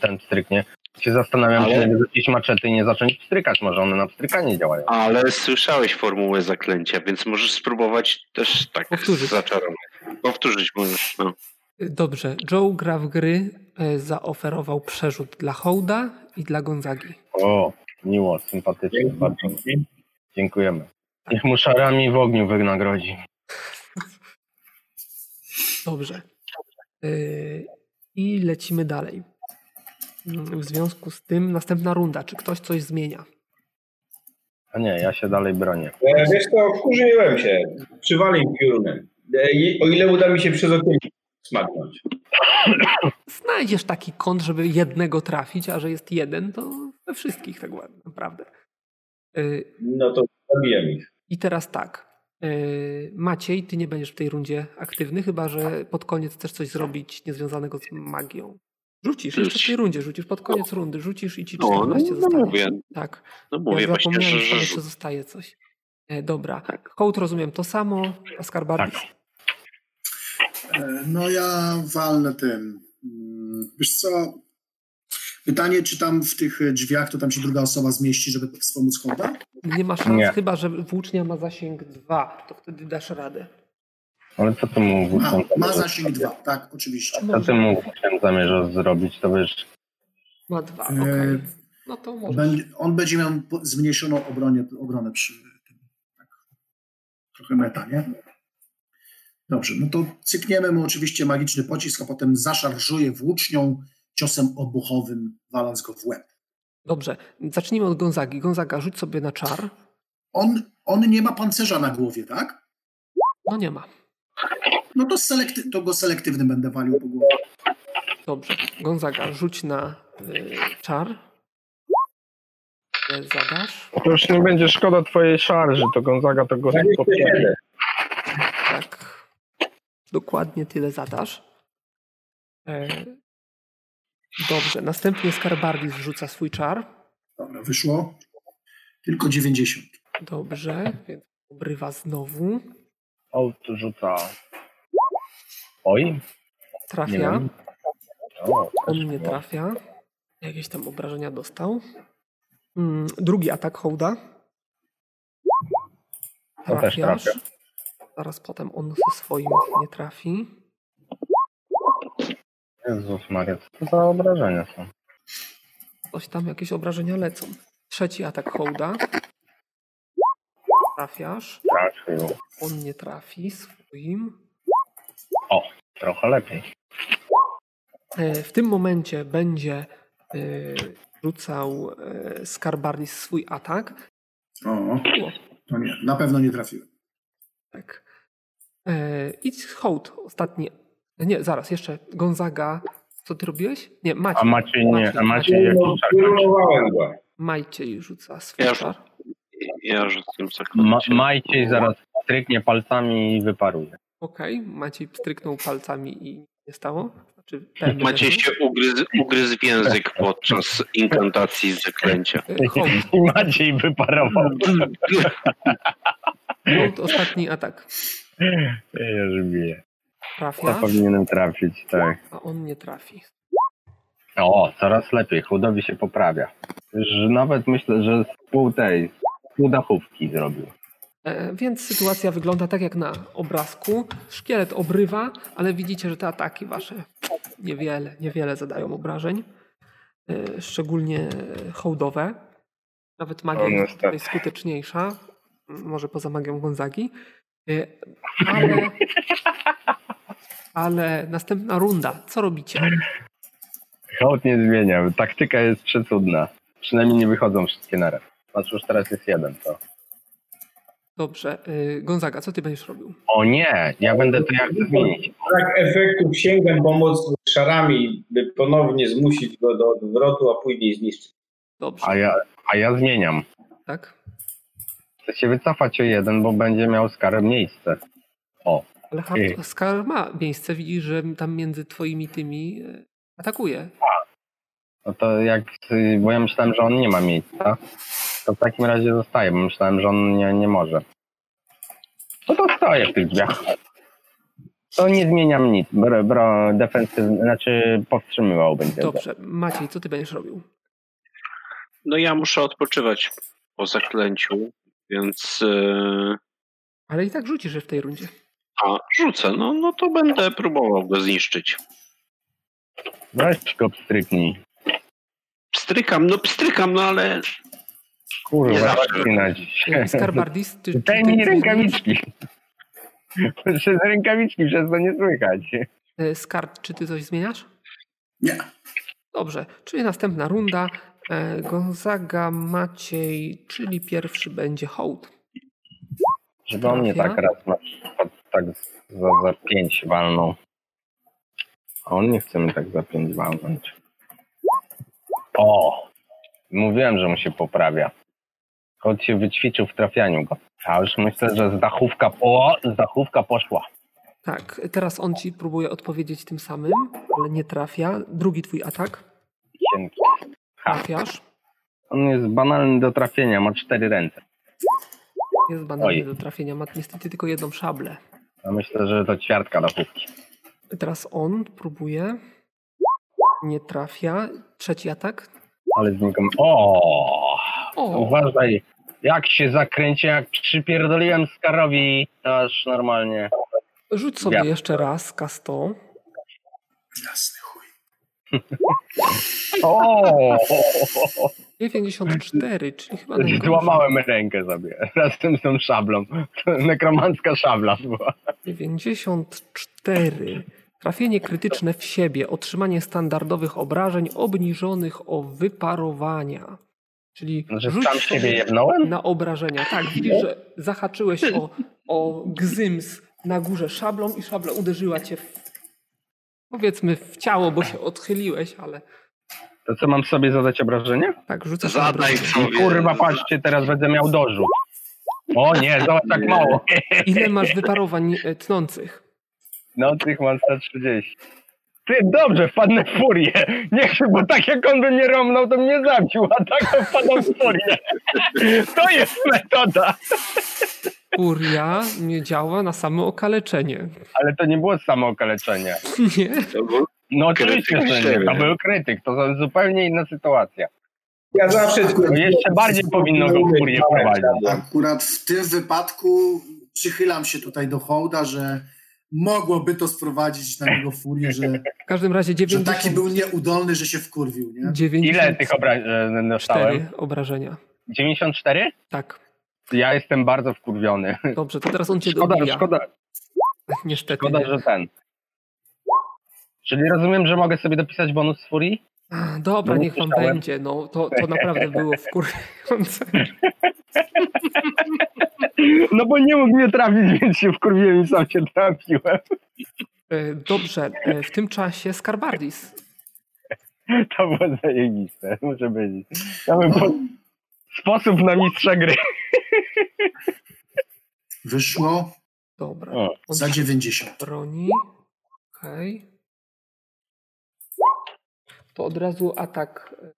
F: ten pstryk nie. Się zastanawiam,
C: Ale-
F: czy nie wyrzucić maczety i nie zacząć pstrykać, może one na pstrykanie działają.
C: Ale słyszałeś formułę zaklęcia, więc możesz spróbować też tak
A: Powtórzyć.
C: zaczarować. Powtórzyć możesz, no.
A: Dobrze. Joe gra w gry. e, Zaoferował przerzut dla Hołda i dla Gonzagi.
F: O, miło, sympatycznie,
E: Dzięki,
F: bardzo
E: dzięki.
F: dziękujemy. Niech mu szarami w ogniu wynagrodzi.
A: Dobrze. Y, I lecimy dalej. Mm, W związku z tym następna runda. Czy ktoś coś zmienia?
F: A nie, ja się dalej bronię.
E: E, Wiesz co, wkurzyłem się. Przywalił piorunem. E, i- O ile uda mi się przez okno smaknąć.
A: Znajdziesz taki kąt, żeby jednego trafić, a że jest jeden, to we wszystkich tak ładnie, naprawdę. Y,
E: No to zabiję ich.
A: I teraz tak. Y, Maciej, ty nie będziesz w tej rundzie aktywny, chyba że pod koniec chcesz coś zrobić niezwiązanego z magią. Rzucisz jeszcze w tej rundzie, rzucisz pod koniec rundy, rzucisz i ci
C: No, no,
A: 14
C: no
A: zostanie.
C: mówię,
A: Tak.
C: no mówię
A: ja
C: właśnie,
A: zapomniałem,
C: że, Tak.
A: że
C: że, że
A: jeszcze zostaje coś. E, dobra. Hołd rozumiem to samo, a Skarbardis.
B: E, No ja walnę tym. Mm, Wiesz co? Pytanie, czy tam w tych e, drzwiach to tam się druga osoba zmieści, żeby wspomóc chłopa?
A: Nie ma szans,
F: Nie.
A: chyba że włócznia ma zasięg 2, to wtedy dasz radę.
F: Ale co ty mu
B: Ma,
F: włócznią
B: ma
F: zamierzasz-
B: zasięg 2, tak, oczywiście.
F: Co ty mu włócznią zamierzasz zrobić, to wiesz,
A: Ma 2, okej.
B: E,
A: No to może.
B: Będzie, on będzie miał po- zmniejszoną obronę, obronę przy tym. Tak. Trochę meta, nie? Dobrze, no to cykniemy mu oczywiście magiczny pocisk, a potem zaszarżuje włócznią ciosem obuchowym, waląc go w łeb.
A: Dobrze, zacznijmy od Gonzagi. Gonzaga, rzuć sobie na czar.
B: On, on nie ma pancerza na głowie, tak?
A: No nie ma.
B: No to, selekty, to go selektywnym będę walił po głowie.
A: Dobrze. Gonzaga, rzuć na y, czar. E, Zadasz.
F: to już nie będzie szkoda twojej szarży, to Gonzaga to go popiera.
E: 27.
A: Tak. Dokładnie tyle zadasz. E, Dobrze, następnie Skarbardis rzuca swój czar.
B: Dobra, wyszło. Tylko 90.
A: Dobrze, więc obrywa znowu.
F: O, tu rzuca. Oj, nie
A: Trafia.
F: wiem. O,
A: On nie trafia. Jakieś tam obrażenia dostał. Mm, drugi atak hołda.
F: To też
A: Trafiasz.
F: trafia.
A: Zaraz potem on ze swoim nie trafi.
F: Jezus Maria, co to za obrażenia są?
A: Coś tam, jakieś obrażenia lecą. Trzeci atak hołda. Trafiasz.
F: Trafił.
A: On nie trafi swoim.
F: Trochę lepiej.
A: E, W tym momencie będzie e, rzucał e, Skarbardis swój atak.
B: O,
A: O,
B: to nie, na pewno nie trafiłem.
A: Tak. E, idź hołd ostatni. Nie, zaraz, jeszcze. Gonzaga. Co ty robiłeś? Nie, Maciej.
F: A Maciej nie, a Maciej jak
E: No, Kierunowałem go.
A: Maciej rzuca swój
C: Ja
A: czar.
C: Ja rzucam zaklęcie.
F: Ma, Majciej zaraz stryknie palcami i wyparuje.
A: Okej, Maciej stryknął palcami i nie stało. Znaczy, pewnie
C: Maciej
A: będzie.
C: się ugryzł, ugryzł w język podczas inkantacji zaklęcia.
A: E, Hołd,
F: I Maciej wyparował.
A: hołd, ostatni atak.
F: Ja już biję. To
A: Trafia,
F: powinienem trafić, tak.
A: a on nie trafi.
F: O, coraz lepiej, chudowi się poprawia. Już nawet myślę, że z pół tej, z pół dachówki zrobił.
A: E, Więc sytuacja wygląda tak jak na obrazku. Szkielet obrywa, ale widzicie, że te ataki wasze niewiele, niewiele zadają obrażeń. E, Szczególnie hołdowe. Nawet magia
F: O,
A: jest
F: niestety.
A: tutaj skuteczniejsza. M- Może poza magią Gonzagi. E, Ale, ale następna runda. Co robicie?
F: Hołd nie zmieniam, taktyka jest przecudna. Przynajmniej nie wychodzą wszystkie naraz. Patrz, już teraz jest jeden, to.
A: Dobrze. e, Gonzaga, co ty będziesz robił?
F: O nie, ja będę to ja chcę zmienić.
E: Brak efektów sięgam pomoc szarami, by ponownie zmusić go do odwrotu, a później zniszczyć.
A: Dobrze,
F: A ja, a ja zmieniam.
A: tak?
F: Chcę się wycofać o jeden, bo będzie miał skarę miejsce.
A: Ale
F: Ej.
A: Skar ma miejsce, widzisz, że tam między twoimi tymi e, atakuje.
F: No to jak, y, bo ja myślałem, że on nie ma miejsca, to w takim razie zostaje, bo myślałem, że on nie, nie może. No to stoję w tych drzwiach. To nie zmieniam nic, bro, bro defensywny, znaczy powstrzymywał będzie.
A: Dobrze, Maciej, co ty będziesz robił?
C: No ja muszę odpoczywać po zaklęciu, więc e,
A: Ale i tak rzucisz że w tej rundzie.
C: a, rzucę. No, no to będę próbował go zniszczyć.
F: Weź go pstryknij.
C: Pstrykam, no pstrykam, no ale Nie
F: Kurwa,
C: zawsze.
F: zaczyna dzisiaj.
A: Skarbardis, E, ty... ty-
F: Daj
A: ty-
F: mi
A: ty-
F: rękawiczki. Przez rękawiczki, przez to nie słychać.
A: E, Skarb, czy ty coś zmieniasz?
B: Nie.
A: Dobrze, czyli następna runda. E, Gonzaga, Maciej, czyli pierwszy będzie hołd.
F: Żeby on mnie tak raz na przykład tak za, za pięć walnął. A on nie chce mnie tak za pięć walnąć. O! Mówiłem, że mu się poprawia. Kot się wyćwiczył w trafianiu go. A już myślę, że z dachówka, o, z dachówka poszła.
A: Tak, teraz on ci próbuje odpowiedzieć tym samym, ale nie trafia. Drugi twój atak,
F: Tak. Cienki. Ha.
A: trafiasz.
F: On jest banalny do trafienia, ma cztery ręce.
A: Jest banalny
F: Oj.
A: do trafienia, ma niestety tylko jedną szablę.
F: A myślę, że to ćwiartka dachówki.
A: Teraz on próbuje. Nie trafia. Trzeci atak.
F: Ale z nikom. O!
A: O,
F: Uważaj, jak się zakręcię, jak przypierdoliłem Skarowi, to aż normalnie.
A: rzuć sobie
F: Ja.
A: jeszcze raz kasto.
B: Jasny chuj.
F: O!
A: 94, czyli chyba najgorzej.
F: Złamałem rękę sobie razem z tą szablą. To nekromancka szabla była.
A: 94. Trafienie krytyczne w siebie, otrzymanie standardowych obrażeń obniżonych o wyparowania. Czyli
F: Że
A: rzuć
F: Znaczy, sam
A: sobie
F: siebie jebnąłem?
A: na obrażenia. Tak, widzisz, że zahaczyłeś o, o gzyms na górze szablą i szabla uderzyła cię w, powiedzmy w ciało, bo się odchyliłeś, ale
F: To co, mam sobie zadać obrażenie?
A: tak rzucasz na
C: zadaj
A: obrażenia.
C: sobie.
F: Kurwa, patrzcie, teraz będę miał dożu. O nie, zobacz, tak mało.
A: Ile masz wyparowań e, tnących?
F: No, tych mam 130. Ty, dobrze, wpadnę w furię. Niech się, bo tak jak on by mnie romnął, to mnie zabił, a tak to wpadam w furię. To jest metoda.
A: Furia nie działa na samo okaleczenie.
F: Ale to nie było samo okaleczenie.
A: Nie?
C: To był-
F: No oczywiście,
C: Krytyk
F: że nie. To
C: siebie.
F: był krytyk. To za- zupełnie inna sytuacja.
E: Ja zawsze
F: To jeszcze bardziej powinno go w furię prowadzić.
B: Akurat w tym wypadku przychylam się tutaj do hołda, że mogłoby to sprowadzić na niego furię, że,
A: W każym razie
B: że
A: 90,
B: taki był nieudolny, że się wkurwił, nie?
A: 94
F: Ile tych obrażeń dostałem?
A: obrażenia.
F: 94?
A: Tak,
F: Ja jestem bardzo wkurwiony.
A: dobrze, to teraz on cię
F: Szkoda,
A: dobija.
F: szkoda,
A: Niestety.
F: szkoda,
A: nie.
F: że ten. Czyli rozumiem, że mogę sobie dopisać bonus z furii?
A: Dobra,
F: No,
A: niech wam
F: słyszałem.
A: będzie. No, to, to naprawdę było wkurzające.
F: No bo nie mógł mnie trafić, więc się wkurwiłem i sam się trafiłem.
A: E, Dobrze, e, w tym czasie Skarbardis.
F: To było zajebiste, muszę powiedzieć. Ja bym po... Sposób na mistrza gry.
B: Wyszło
A: Dobra.
F: O,
A: On
B: za
A: się
B: 90.
A: broni. Okej. To od razu atak. e,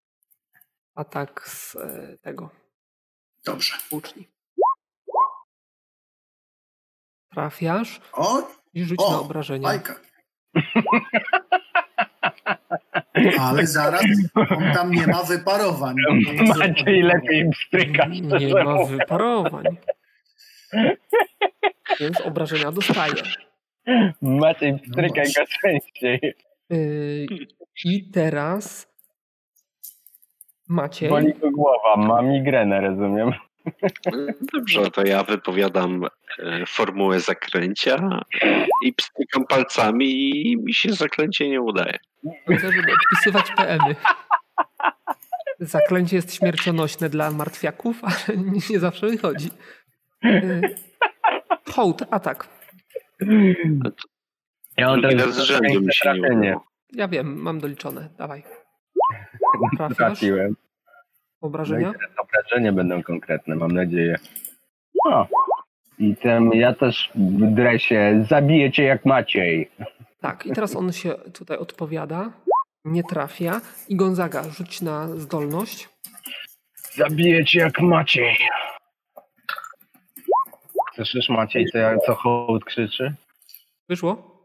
A: Atak z e, tego
B: Dobrze.
A: włóczni. Trafiasz
B: O,
A: i rzuć
B: O,
A: na obrażenia.
B: Bajka. Ale zaraz on tam nie ma wyparowań.
F: Maciej lepiej pstryka.
A: Nie ma wyparowań. Więc obrażenia dostaje.
F: Maciej pstryka
B: No
F: go częściej.
A: Yy, I teraz macie.
F: Boli go głowa, ma migrenę, rozumiem.
C: Dobrze, to ja wypowiadam e, formułę zakręcia i pstykam palcami i mi się zaklęcie nie udaje.
A: Chcę, żeby odpisywać PMy. Zaklęcie jest śmiercionośne dla martwiaków, ale nie, nie zawsze wychodzi. Yy, Hołd, atak.
F: Ja
C: Drugi raz z rzędu mi się nie udało.
A: Ja wiem, mam doliczone. Dawaj. Trafiasz
F: Trafiłem. No
A: obrażenia?
F: Obrażenia będą konkretne, mam nadzieję. O. I ten, ja też w dresie zabiję cię jak Maciej.
A: Tak, i teraz on się tutaj odpowiada. Nie trafia. I Gonzaga, rzuć na zdolność.
F: Zabiję cię jak Maciej. Słyszysz Maciej, co, ja, co hołd krzyczy?
A: Wyszło?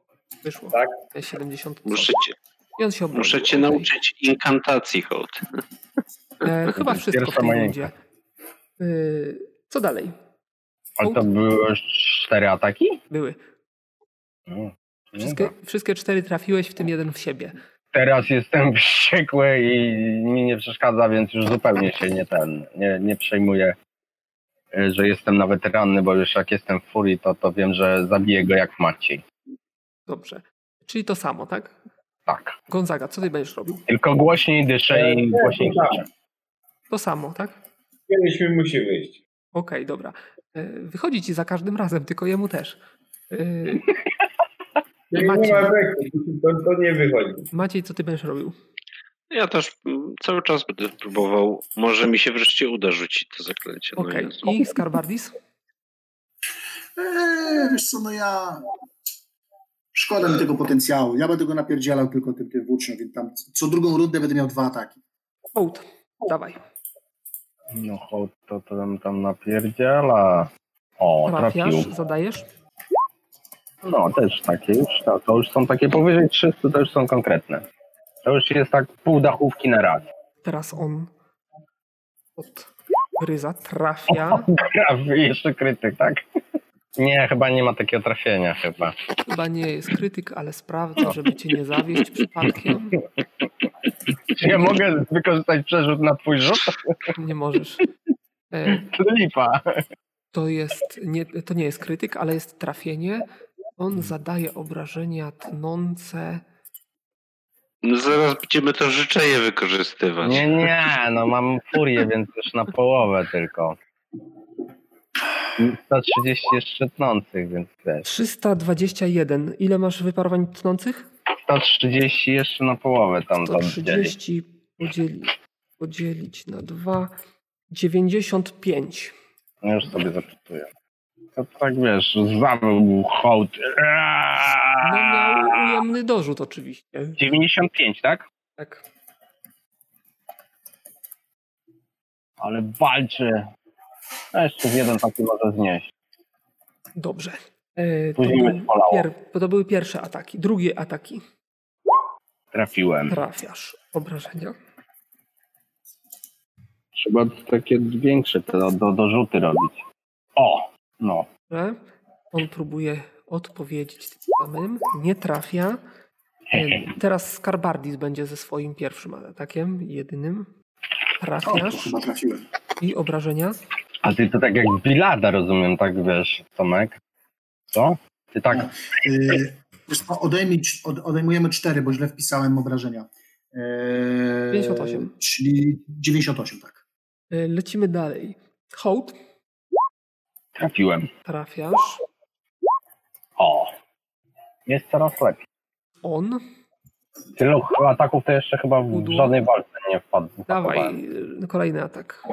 A: Wyszło.
E: Tak.
A: 70
C: Muszę cię,
A: I on się obronił.
C: muszę cię
A: Okej.
C: nauczyć inkantacji, hołd.
A: E, chyba wszystko w
F: Pierwsza
A: tej
F: majeńka.
A: rundzie. Y, co dalej?
F: Ale to były już cztery ataki?
A: Były.
F: No.
A: Wszystkie, wszystkie cztery trafiłeś, w tym jeden w siebie.
F: Teraz jestem wściekły i mi nie przeszkadza, więc już zupełnie się nie ten, nie, nie przejmuję, y, że jestem nawet ranny, bo już jak jestem w furii, to, to wiem, że zabiję go jak Maciej.
A: Dobrze. Czyli to samo, tak?
F: Tak.
A: Gonzaga, co ty będziesz robił?
F: Tylko głośniej dyszę i głośniej krzyczę.
A: To samo, tak? Okej,
E: Kiedyś mi musi wyjść.
A: dobra. Y, wychodzi ci za każdym razem, tylko jemu też. Y,
E: Jeżeli
A: Maciej.
E: nie ma efektu, to, to nie wychodzi.
A: Maciej, co ty będziesz robił?
C: Ja też mm, cały czas będę próbował. Może mi się wreszcie uda rzucić to zaklęcie. No
A: Okej.
C: Jezu.
A: I Skarbardis?
B: Eee, wiesz co, no ja... Szkoda mi tego potencjału. Ja będę go napierdzielał tylko tym, tym włócznią, więc tam co drugą rundę będę miał dwa ataki.
A: Hołd. Dawaj.
F: No hołd to, to tam, tam napierdziela. O, trafił.
A: Trafiasz, zadajesz.
F: No, też takie już, to, to już są takie powyżej 300, to już są konkretne. To już jest tak pół dachówki na raz.
A: Teraz on od Ryza trafia.
F: Gra w- Jeszcze krytyk, tak? Nie, chyba nie ma takiego trafienia chyba.
A: Chyba nie jest krytyk, ale sprawdzę, żeby cię nie zawieść przypadkiem.
F: Czy ja mogę wykorzystać przerzut na twój rzut?
A: Nie możesz. E,
F: To Lipa.
A: To, jest, nie, to nie jest krytyk, ale jest trafienie.
F: Hmm.
A: On zadaje obrażenia tnące.
C: No zaraz będziemy to życzenie wykorzystywać.
F: Nie, nie, no mam furię, więc już na połowę tylko. 130 jeszcze tnących, więc wiesz.
A: 321. Ile masz wyparowań tnących?
F: 130 jeszcze na połowę tam oddzieli.
A: 130 podzieli, podzielić na 2. 95.
F: No Już sobie zapisuję. To tak wiesz, zawył hołd.
A: No miał
F: Eee!
A: ujemny dorzut oczywiście.
F: 95, tak?
A: Tak.
F: Ale walczy. No jeszcze jeden taki może znieść.
A: Dobrze. E, To,
F: Później
A: był
F: będzie bolało.
A: pier, to były pierwsze ataki. Drugie ataki.
F: Trafiłem.
A: Trafiasz. Obrażenia.
F: Trzeba takie większe te do, do, dorzuty robić. O! No.
A: Dobrze. On próbuje odpowiedzieć tym samym. Nie trafia. E, Teraz Skarbardis będzie ze swoim pierwszym atakiem, jedynym.
B: O, to
A: Trafiasz
B: chyba trafiłem.
A: i obrażenia.
F: A ty to tak jak z Bilada rozumiem, tak wiesz, Tomek? Co? Ty tak
B: E, Eee, wiesz co, odejmij, cz- od, odejmujemy cztery, bo źle wpisałem obrażenia. Eee, Eee,
A: 58.
B: Czyli 98, tak.
A: E, Lecimy dalej. Hołd,
F: Trafiłem.
A: trafiasz.
F: O.
D: Jest coraz lepiej.
A: On.
D: Tylu ch- ataków to jeszcze chyba w
A: Pudło.
D: żadnej walce nie wpadł.
A: Dawaj, e, kolejny atak.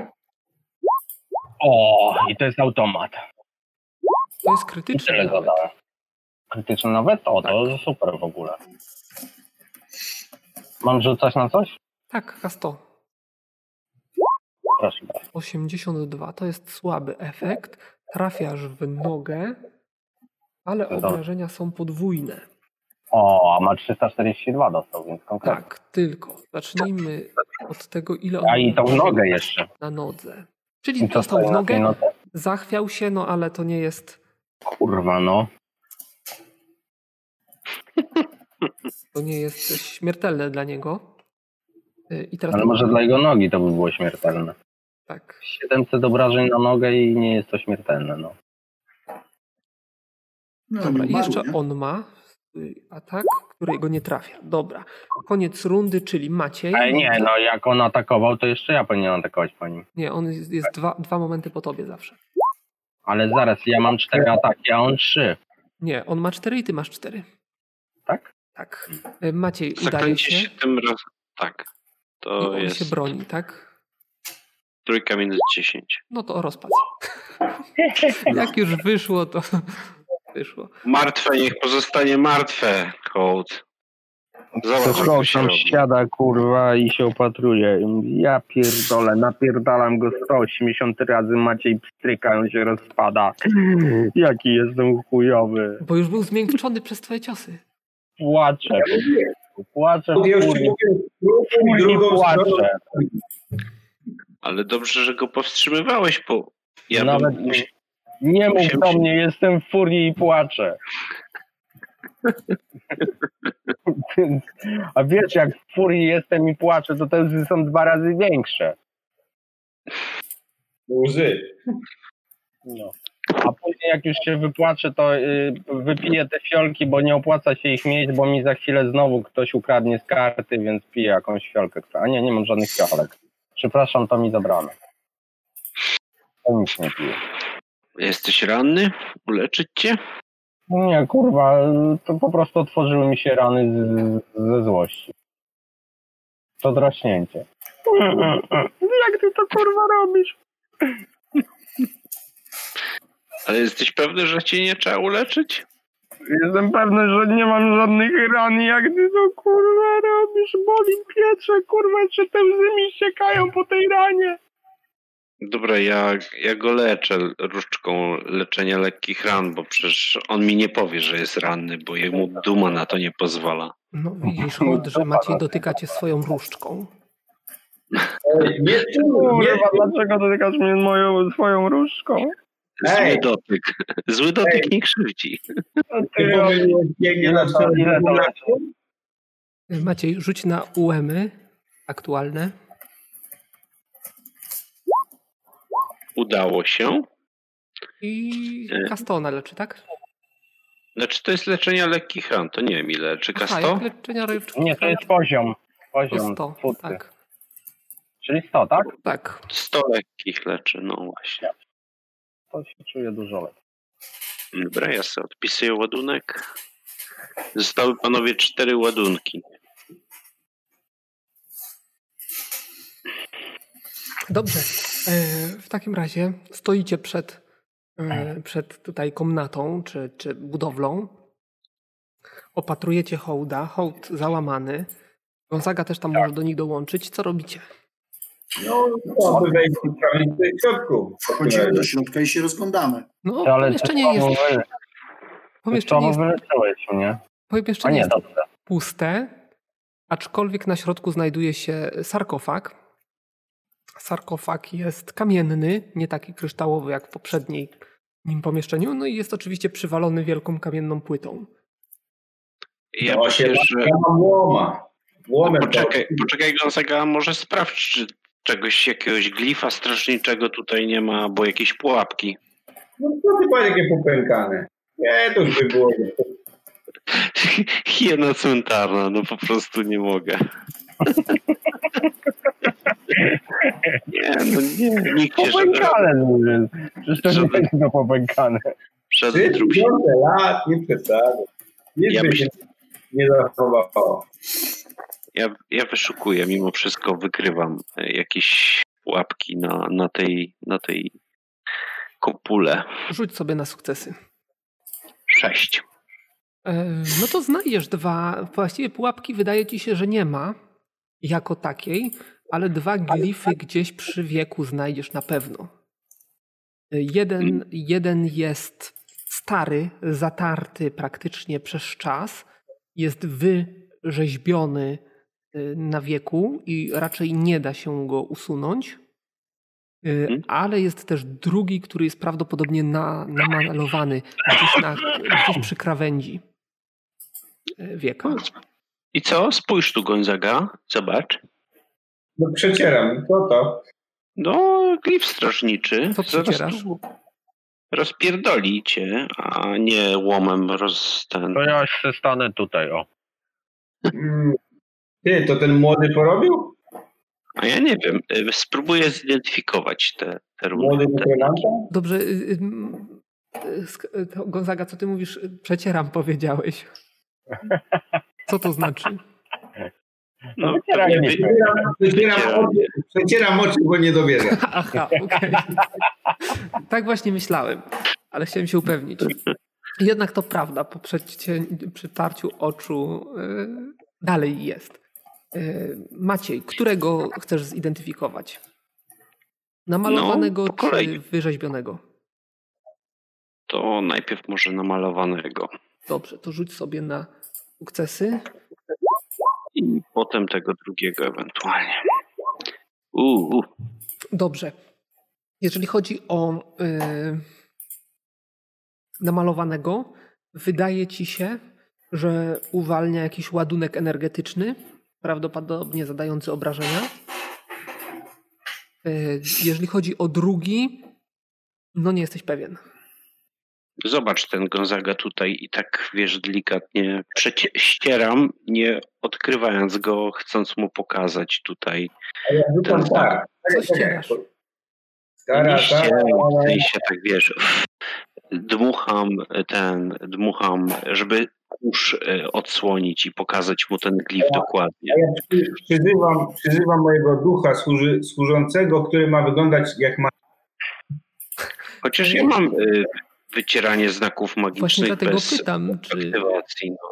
F: O. I to jest automat.
A: To jest
F: I
A: krytyczny.
F: tyle
A: nawet.
F: zadałem. Krytyczny nawet? O, to super w ogóle. Mam rzucać na coś?
A: Tak, K100.
F: Proszę bardzo.
A: 82 to jest słaby efekt. Trafiasz w nogę, ale
F: Dobra.
A: obrażenia są podwójne.
F: O, a ma 342 dostał, więc konkretnie.
A: Tak, tylko. Zacznijmy od tego, ile on
F: A i tą
A: miał
F: nogę jeszcze.
A: na nodze.
F: I
A: Czyli
F: co
A: dostał
F: stoi
A: w
F: na tej no-
A: nogę,
F: nodze?
A: zachwiał się, no ale to nie jest,
F: Kurwa no.
A: to nie jest śmiertelne dla niego. Y, I teraz
F: Ale może dla jego nogi to by było śmiertelne.
A: tak.
F: 700 obrażeń na nogę i nie jest to śmiertelne, no.
B: No,
A: Dobra,
B: nie
A: i
B: umarł,
A: jeszcze
B: nie?
A: on ma y, atak, którego nie trafia. Dobra. Koniec rundy, czyli Maciej.
F: Ale nie, no jak on atakował, to jeszcze ja powinienem atakować po nim.
A: Nie, on jest, jest dwa, dwa momenty po tobie zawsze.
F: Ale zaraz, ja mam 4 ataki, a on 3,
A: Nie, on ma cztery i ty masz cztery.
F: tak?
A: Tak. Y, Maciej, udaje
C: Zaklęcie się
A: się.
C: tym razem. Tak.
A: I
C: To
A: on
C: jest
A: się broni, tak?
C: trójka minus 10.
A: No to rozpad. Jak już wyszło, to wyszło.
C: Martwe, niech pozostanie martwe, Cold. Zobacz, jak to się robi.
F: siada kurwa i się opatruje. I mówi, Ja pierdolę, napierdalam go 180 razy, Maciej pstryka, on się rozpada. Jaki jestem chujowy.
A: Bo już był zmiękczony przez twoje ciosy.
F: Płaczę, płaczę,
E: Ja już ci
F: kurwa,
E: mówię, spróbuj drugą stroną.
F: płaczę.
C: Ale dobrze, że go powstrzymywałeś, bo ja
F: Nawet
C: bym... musi-
F: nie mów
C: Musimy
F: do
C: się-
F: mnie, jestem w furii i płaczę. A wiesz, jak w furii jestem i płaczę, to te łzy są dwa razy większe.
E: Łzy.
F: No. A później jak już się wypłaczę, to y, wypiję te fiolki, bo nie opłaca się ich mieć, bo mi za chwilę znowu ktoś ukradnie z karty, więc piję jakąś fiolkę. A nie, nie mam żadnych fiolek. Przepraszam, to mi zabrano. To nic nie piję.
C: Jesteś ranny? Uleczyć cię?
F: Nie, kurwa, to po prostu otworzyły mi się rany z, ze złości. To draśnięcie. Jak ty to kurwa robisz?
C: Ale jesteś pewny, że cię nie trzeba uleczyć?
F: Jestem pewny, że nie mam żadnych ran. Jak ty to kurwa robisz? Boli piecze, kurwa, czy te łzy mi ściekają po tej ranie?
C: Dobra, ja, ja go leczę różdżką leczenia lekkich ran, bo przecież on mi nie powie, że jest ranny, bo jemu duma na to nie pozwala.
A: No widzisz, Hołd, że Maciej dotyka cię swoją różdżką.
E: Ej, Nie tu, nie
F: Kurwa, dlaczego dotykasz mnie moją, swoją różdżką?
E: Ej.
C: Zły dotyk. Zły dotyk nie krzywdzi.
F: A
E: ty
F: Ty,
E: pomyliłeś biegnie na
F: Ile to- ile to
E: stronę.
F: leci?
A: Maciej, rzuć na UEMy aktualne.
C: Udało się.
A: I
C: E.
A: Kastona leczy, tak?
C: Znaczy to jest leczenie lekkich ran, to nie wiem ile, czy
A: Aha, jak
C: K100?
A: leczenia rybczki.
F: nie, to jest poziom.
A: to
F: Poziom,
A: 100,
F: twórcy.
A: tak.
F: Czyli 100, tak?
A: Tak.
C: 100 lekkich leczy, no właśnie.
F: To się czuję dużo lepiej.
C: Dobra, ja sobie odpisuję ładunek. Zostały panowie cztery ładunki.
A: Dobrze. E, W takim razie stoicie przed,
F: Tak.
A: e, przed tutaj komnatą czy, czy budowlą. Opatrujecie hołda. Hołd załamany. Gonzaga też tam
F: Tak.
A: może do nich dołączyć. Co robicie?
E: No, to by wejść w prawicę w środku.
B: Wchodzimy do środka i się rozglądamy.
E: E,
A: No,
F: Ale
A: pomieszczenie jest, pomieszczenie
F: Pomieszczenie
A: jest,
F: wyleczyłeś mnie. A
A: pomieszczenie
F: nie,
A: jest
F: dobrze.
A: puste, aczkolwiek na środku znajduje się sarkofag. Sarkofag jest kamienny, nie taki kryształowy jak w poprzedniej nim pomieszczeniu, no i jest oczywiście przywalony wielką kamienną płytą.
C: Ja
E: No, się
C: myślę, że...
E: Ja mam łoma. Łomem
C: Poczekaj, poczekaj Gonzaga, a może sprawdź, czy czegoś, jakiegoś glifa straszniczego tutaj nie ma, albo jakieś pułapki.
E: No co ty panie jakie popękane? Nie, to już by było.
C: Hiena cmentarna, no po prostu nie mogę. Nie, no nie, nikt się żadnego
F: tak.
D: Popękane, no, więc. Przecież to nie
C: Żeby-
D: jest to popękane.
C: przed drugi.
E: 30 lat, nie przesadzę. Nic
C: Ja
E: by
C: myślę-
E: się nie zachowało.
C: Ja, ja wyszukuję, mimo wszystko wykrywam e, jakieś łapki na, na, tej, na tej kopule.
A: Rzuć sobie na sukcesy.
C: Sześć.
A: E, No to znajdziesz dwa. Właściwie pułapki wydaje ci się, że nie ma jako takiej, ale dwa glify gdzieś przy wieku znajdziesz na pewno. E, Jeden,
C: Mm.
A: jeden jest stary, zatarty praktycznie przez czas, jest wyrzeźbiony y, na wieku i raczej nie da się go usunąć. Y,
C: Mhm.
A: Ale jest też drugi, który jest prawdopodobnie na, namalowany gdzieś, na, gdzieś przy krawędzi y, wieka.
C: I co? Spójrz tu, Gonzaga. Zobacz.
E: No przecieram, co to?
C: No, glif strażniczy.
A: Co
C: Zaraz
A: przecierasz?
C: tu Rozpierdoli cię, a nie łomem roz... Ten...
F: To ja się stanę tutaj, o.
E: Mm. Ty, to ten młody porobił?
C: A ja nie wiem. e, Spróbuję zidentyfikować te, te runy.
E: Młody
C: Te...
E: wykonawca?
A: Dobrze, y, y, m, y, sk- y, to Gonzaga, co ty mówisz? Y, Przecieram, powiedziałeś. Co to znaczy?
C: No,
D: Wycieraj
C: pewnie
D: mi.
C: wy-
E: Przecieram, przecieram,
C: Przecieram.
E: oczy, przecieram oczy, bo nie dowierzę.
A: Aha, okej. Tak właśnie myślałem, ale chciałem się upewnić. Jednak to prawda, po przecie, przytarciu oczu y, dalej jest. Y, Maciej, którego chcesz zidentyfikować? Namalowanego
C: No, po
A: czy
C: kolei.
A: wyrzeźbionego?
C: to najpierw może namalowanego.
A: Dobrze, to rzuć sobie na sukcesy.
C: I potem tego drugiego ewentualnie. Uuu,
A: Dobrze. Jeżeli chodzi o y, namalowanego, wydaje ci się, że uwalnia jakiś ładunek energetyczny, prawdopodobnie zadający obrażenia. Y, jeżeli chodzi o drugi, no nie jesteś pewien.
C: zobacz ten Gonzaga tutaj i tak, wiesz, delikatnie przecie- ścieram, nie odkrywając go, chcąc mu pokazać tutaj.
E: A ja rzucam
C: Ten-
E: tak.
A: Co
E: Czekaj, czekaj.
A: ścierasz?
E: Stara,
C: Nie ścieram, w
E: stara,
C: sensie tak, wiesz, dmucham ten, dmucham, żeby kurz e, odsłonić i pokazać mu ten glif dokładnie.
E: A ja przy- przyzywam, przyzywam mojego ducha służy, służącego, który ma wyglądać jak ma.
C: Chociaż ja mam e, wycieranie znaków
A: Właśnie
C: magicznych
A: dlatego
C: bez
A: pytam, czy y,
C: aktywacji. No.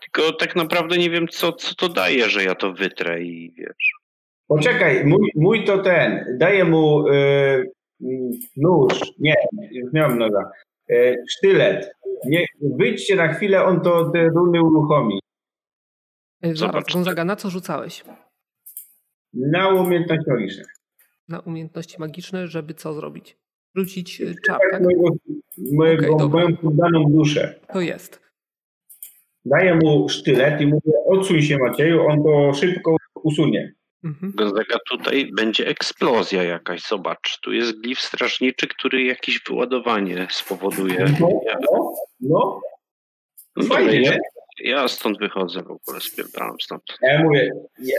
C: Tylko tak naprawdę nie wiem, co, co to daje, że ja to wytrę i wiesz.
E: Poczekaj, mój, mój to ten. Daję mu y, mm, nóż. Nie, już nie mam noga. Y, sztylet. Nie, wyjdźcie na chwilę, on to te runy uruchomi.
A: y, zaraz,
C: Zobacz.
A: Gonzaga, na co rzucałeś?
E: Na umiejętność magiczną.
A: Na umiejętności magiczne, żeby co zrobić? Rzucić y, czar,
E: Tak,
A: tak?
E: mojego, mojego,
A: Okej, dobra.
E: moją poddaną duszę.
A: To jest.
E: Daję mu sztylet i mówię, odsuń się Macieju, on to szybko usunie.
A: Mhm.
C: Gonzaga, tutaj będzie eksplozja jakaś. Zobacz, tu jest glif strażniczy, który jakieś wyładowanie spowoduje.
E: No,
C: Ja,
E: no, no.
C: no dobra,
E: Fajnie.
C: ja, ja stąd wychodzę w ogóle, spierdalam stąd.
E: Ja mówię, je-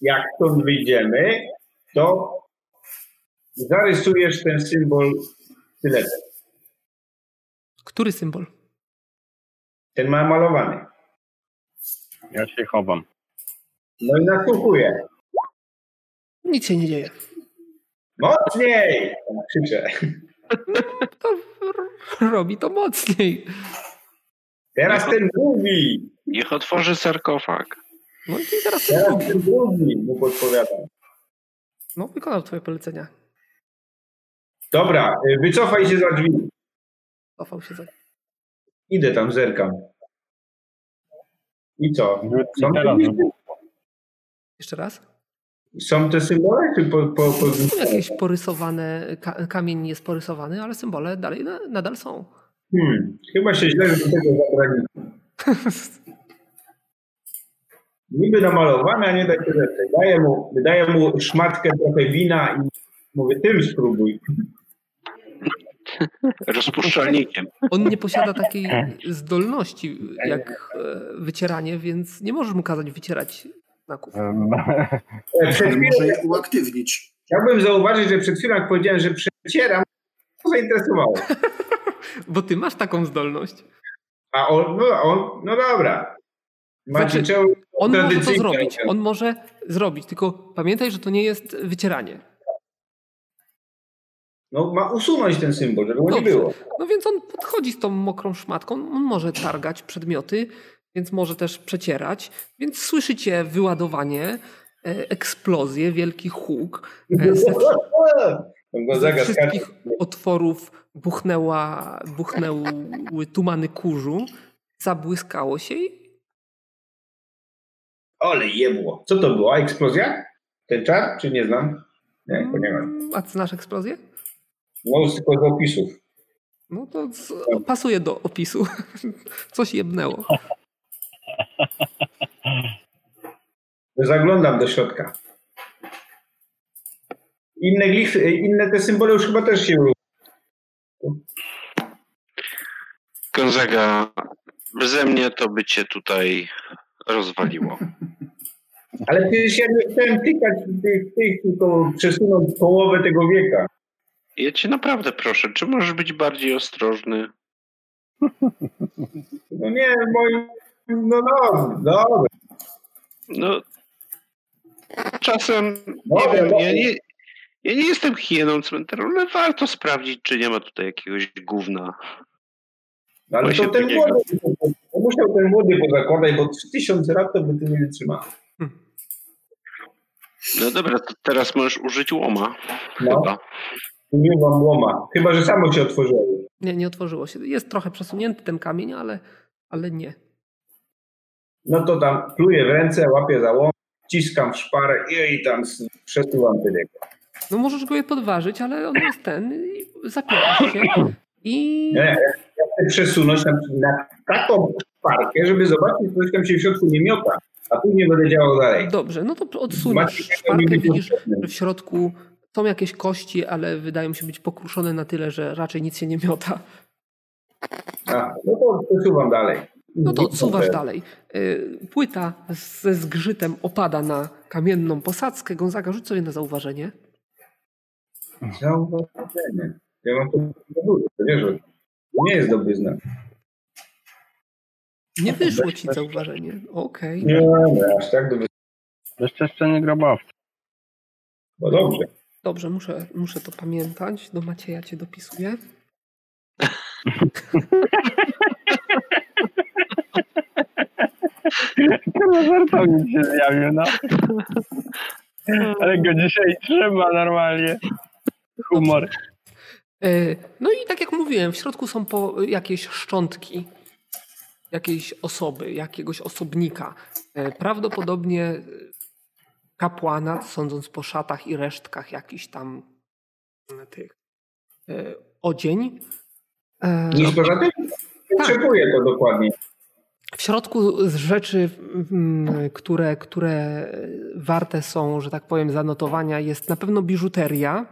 E: jak stąd wyjdziemy, to zarysujesz ten symbol tyle,
A: Który symbol?
E: ten ma malowany.
F: Ja się chowam.
E: No i nasłuchuję.
A: Nic się nie dzieje.
E: Mocniej! Krzyczę.
A: To r- robi to mocniej.
E: Teraz ten drugi!
C: Niech otworzy sarkofag.
A: No i teraz to
E: Teraz
A: robi.
E: ten drugi mu podpowiadam.
A: No, wykonał twoje polecenia.
E: Dobra, y, wycofaj się za drzwi.
A: Cofał się za...
E: Idę tam, zerkam. I co? Są,
F: Teraz
A: Jeszcze raz.
E: są te symbole? Czy po, po, po...
A: Tu Jakieś porysowane, ka- kamień jest porysowany, ale symbole dalej na, nadal są.
E: Hmm, chyba się źle do tego zabrali. Niby namalowane, a nie takie rzeczy. Daję mu, daję mu szmatkę trochę wina i mówię, tym spróbuj.
C: Rozpuszczalnikiem.
A: On nie posiada takiej zdolności jak e, wycieranie, więc nie możesz mu kazać wycierać znaków.
E: E, Przed
B: Ale
E: chwilą,
B: może je uaktywnić.
E: chciałbym zauważyć, że przed chwilą jak powiedziałem, że przecieram, to zainteresowało.
A: Bo ty masz taką zdolność.
E: A on, no, on, no dobra. Macie
A: Znaczy,
E: czemu
A: On może to
E: tradycyjnie-
A: zrobić. On może zrobić, tylko pamiętaj, że to nie jest wycieranie.
E: No, ma usunąć ten symbol, żeby go nie
A: Dobrze.
E: było.
A: No więc on podchodzi z tą mokrą szmatką, on może targać przedmioty, więc może też przecierać. Więc słyszycie wyładowanie, e, eksplozję, wielki huk. E, ze,
E: Tam go
A: ze
E: zagadł kartę.
A: wszystkich otworów buchnęła, buchnęły tumany kurzu, zabłyskało się i
E: Ale jebło. Co to była? Eksplozja? Ten czar? Czy nie znam? Nie, to nie mam.
A: mm, a ty znasz eksplozję?
E: No, z tylko z opisów.
A: No to z, pasuje do opisu. Coś jebnęło.
E: Zaglądam do środka. Inne glify, inne te symbole już chyba też się
C: Gonzaga, ze mnie to by cię tutaj rozwaliło.
E: Ale przecież ja nie chciałem tykać tych, tych tylko przesunąć połowę tego wieka.
C: Ja cię naprawdę proszę, czy możesz być bardziej ostrożny?
E: No nie, moim. No dobra, dobra.
C: No, czasem, nie
E: Dobra,
C: wiem,
E: dobra.
C: ja nie, ja nie jestem hieną cmentaru, ale warto sprawdzić, czy nie ma tutaj jakiegoś gówna.
E: No Ale
C: Właśnie
E: to ten
C: takiego.
E: młody. to Musiał ten młody pozakładać, bo 3000 lat to by ty nie wytrzymał.
C: No dobra, to teraz możesz użyć łoma,
E: No,
C: chyba.
E: nie mam łoma. Chyba, że samo się otworzyło.
A: Nie, nie otworzyło się. Jest trochę przesunięty ten kamień, ale, ale nie.
E: No to tam pluję w ręce, łapię za łom, ciskam w szparę i, i tam s- przesuwam tyle.
A: No możesz go je podważyć, ale on jest ten i zapierasz się i
E: Nie, ja chcę przesunąć na, na taką szparkę, żeby zobaczyć, czy coś tam się w środku nie miota, a później będę działał dalej.
A: dobrze, no to odsuniesz
E: Macie
A: szparkę,
E: jakiegoś
A: widzisz,
E: potrzebny.
A: że w środku są jakieś kości, ale wydają się być pokruszone na tyle, że raczej nic się nie miota.
E: A, no to przesuwam dalej.
A: No to odsuwasz dalej. Y, Płyta ze zgrzytem opada na kamienną posadzkę. Gonzaga, rzuć sobie na zauważenie.
E: Zauważenie. Ja mam to dużo, to wiesz, że to nie jest dobry znak.
A: Nie wyszło ci zauważenie. Okej.
E: Nie, no, aż tak dobry.
F: Jeszcze jeszcze nie grobowca.
E: No dobrze.
A: Dobrze, muszę, muszę to pamiętać. Do Macieja cię dopisuję. No,
F: Kurwa, żartownik się zjawił, no. Ale go dzisiaj trzyma normalnie. Humor.
A: E, No i tak jak mówiłem, w środku są po jakieś szczątki jakiejś osoby, jakiegoś osobnika. E, Prawdopodobnie e, kapłana, sądząc po szatach i resztkach jakichś tam e, tych e, odzień. E,
E: Nic poza tym?
A: Tak.
E: Potrzebuję to dokładnie.
A: W środku z rzeczy, mm, które, które warte są, że tak powiem, zanotowania, jest na pewno biżuteria.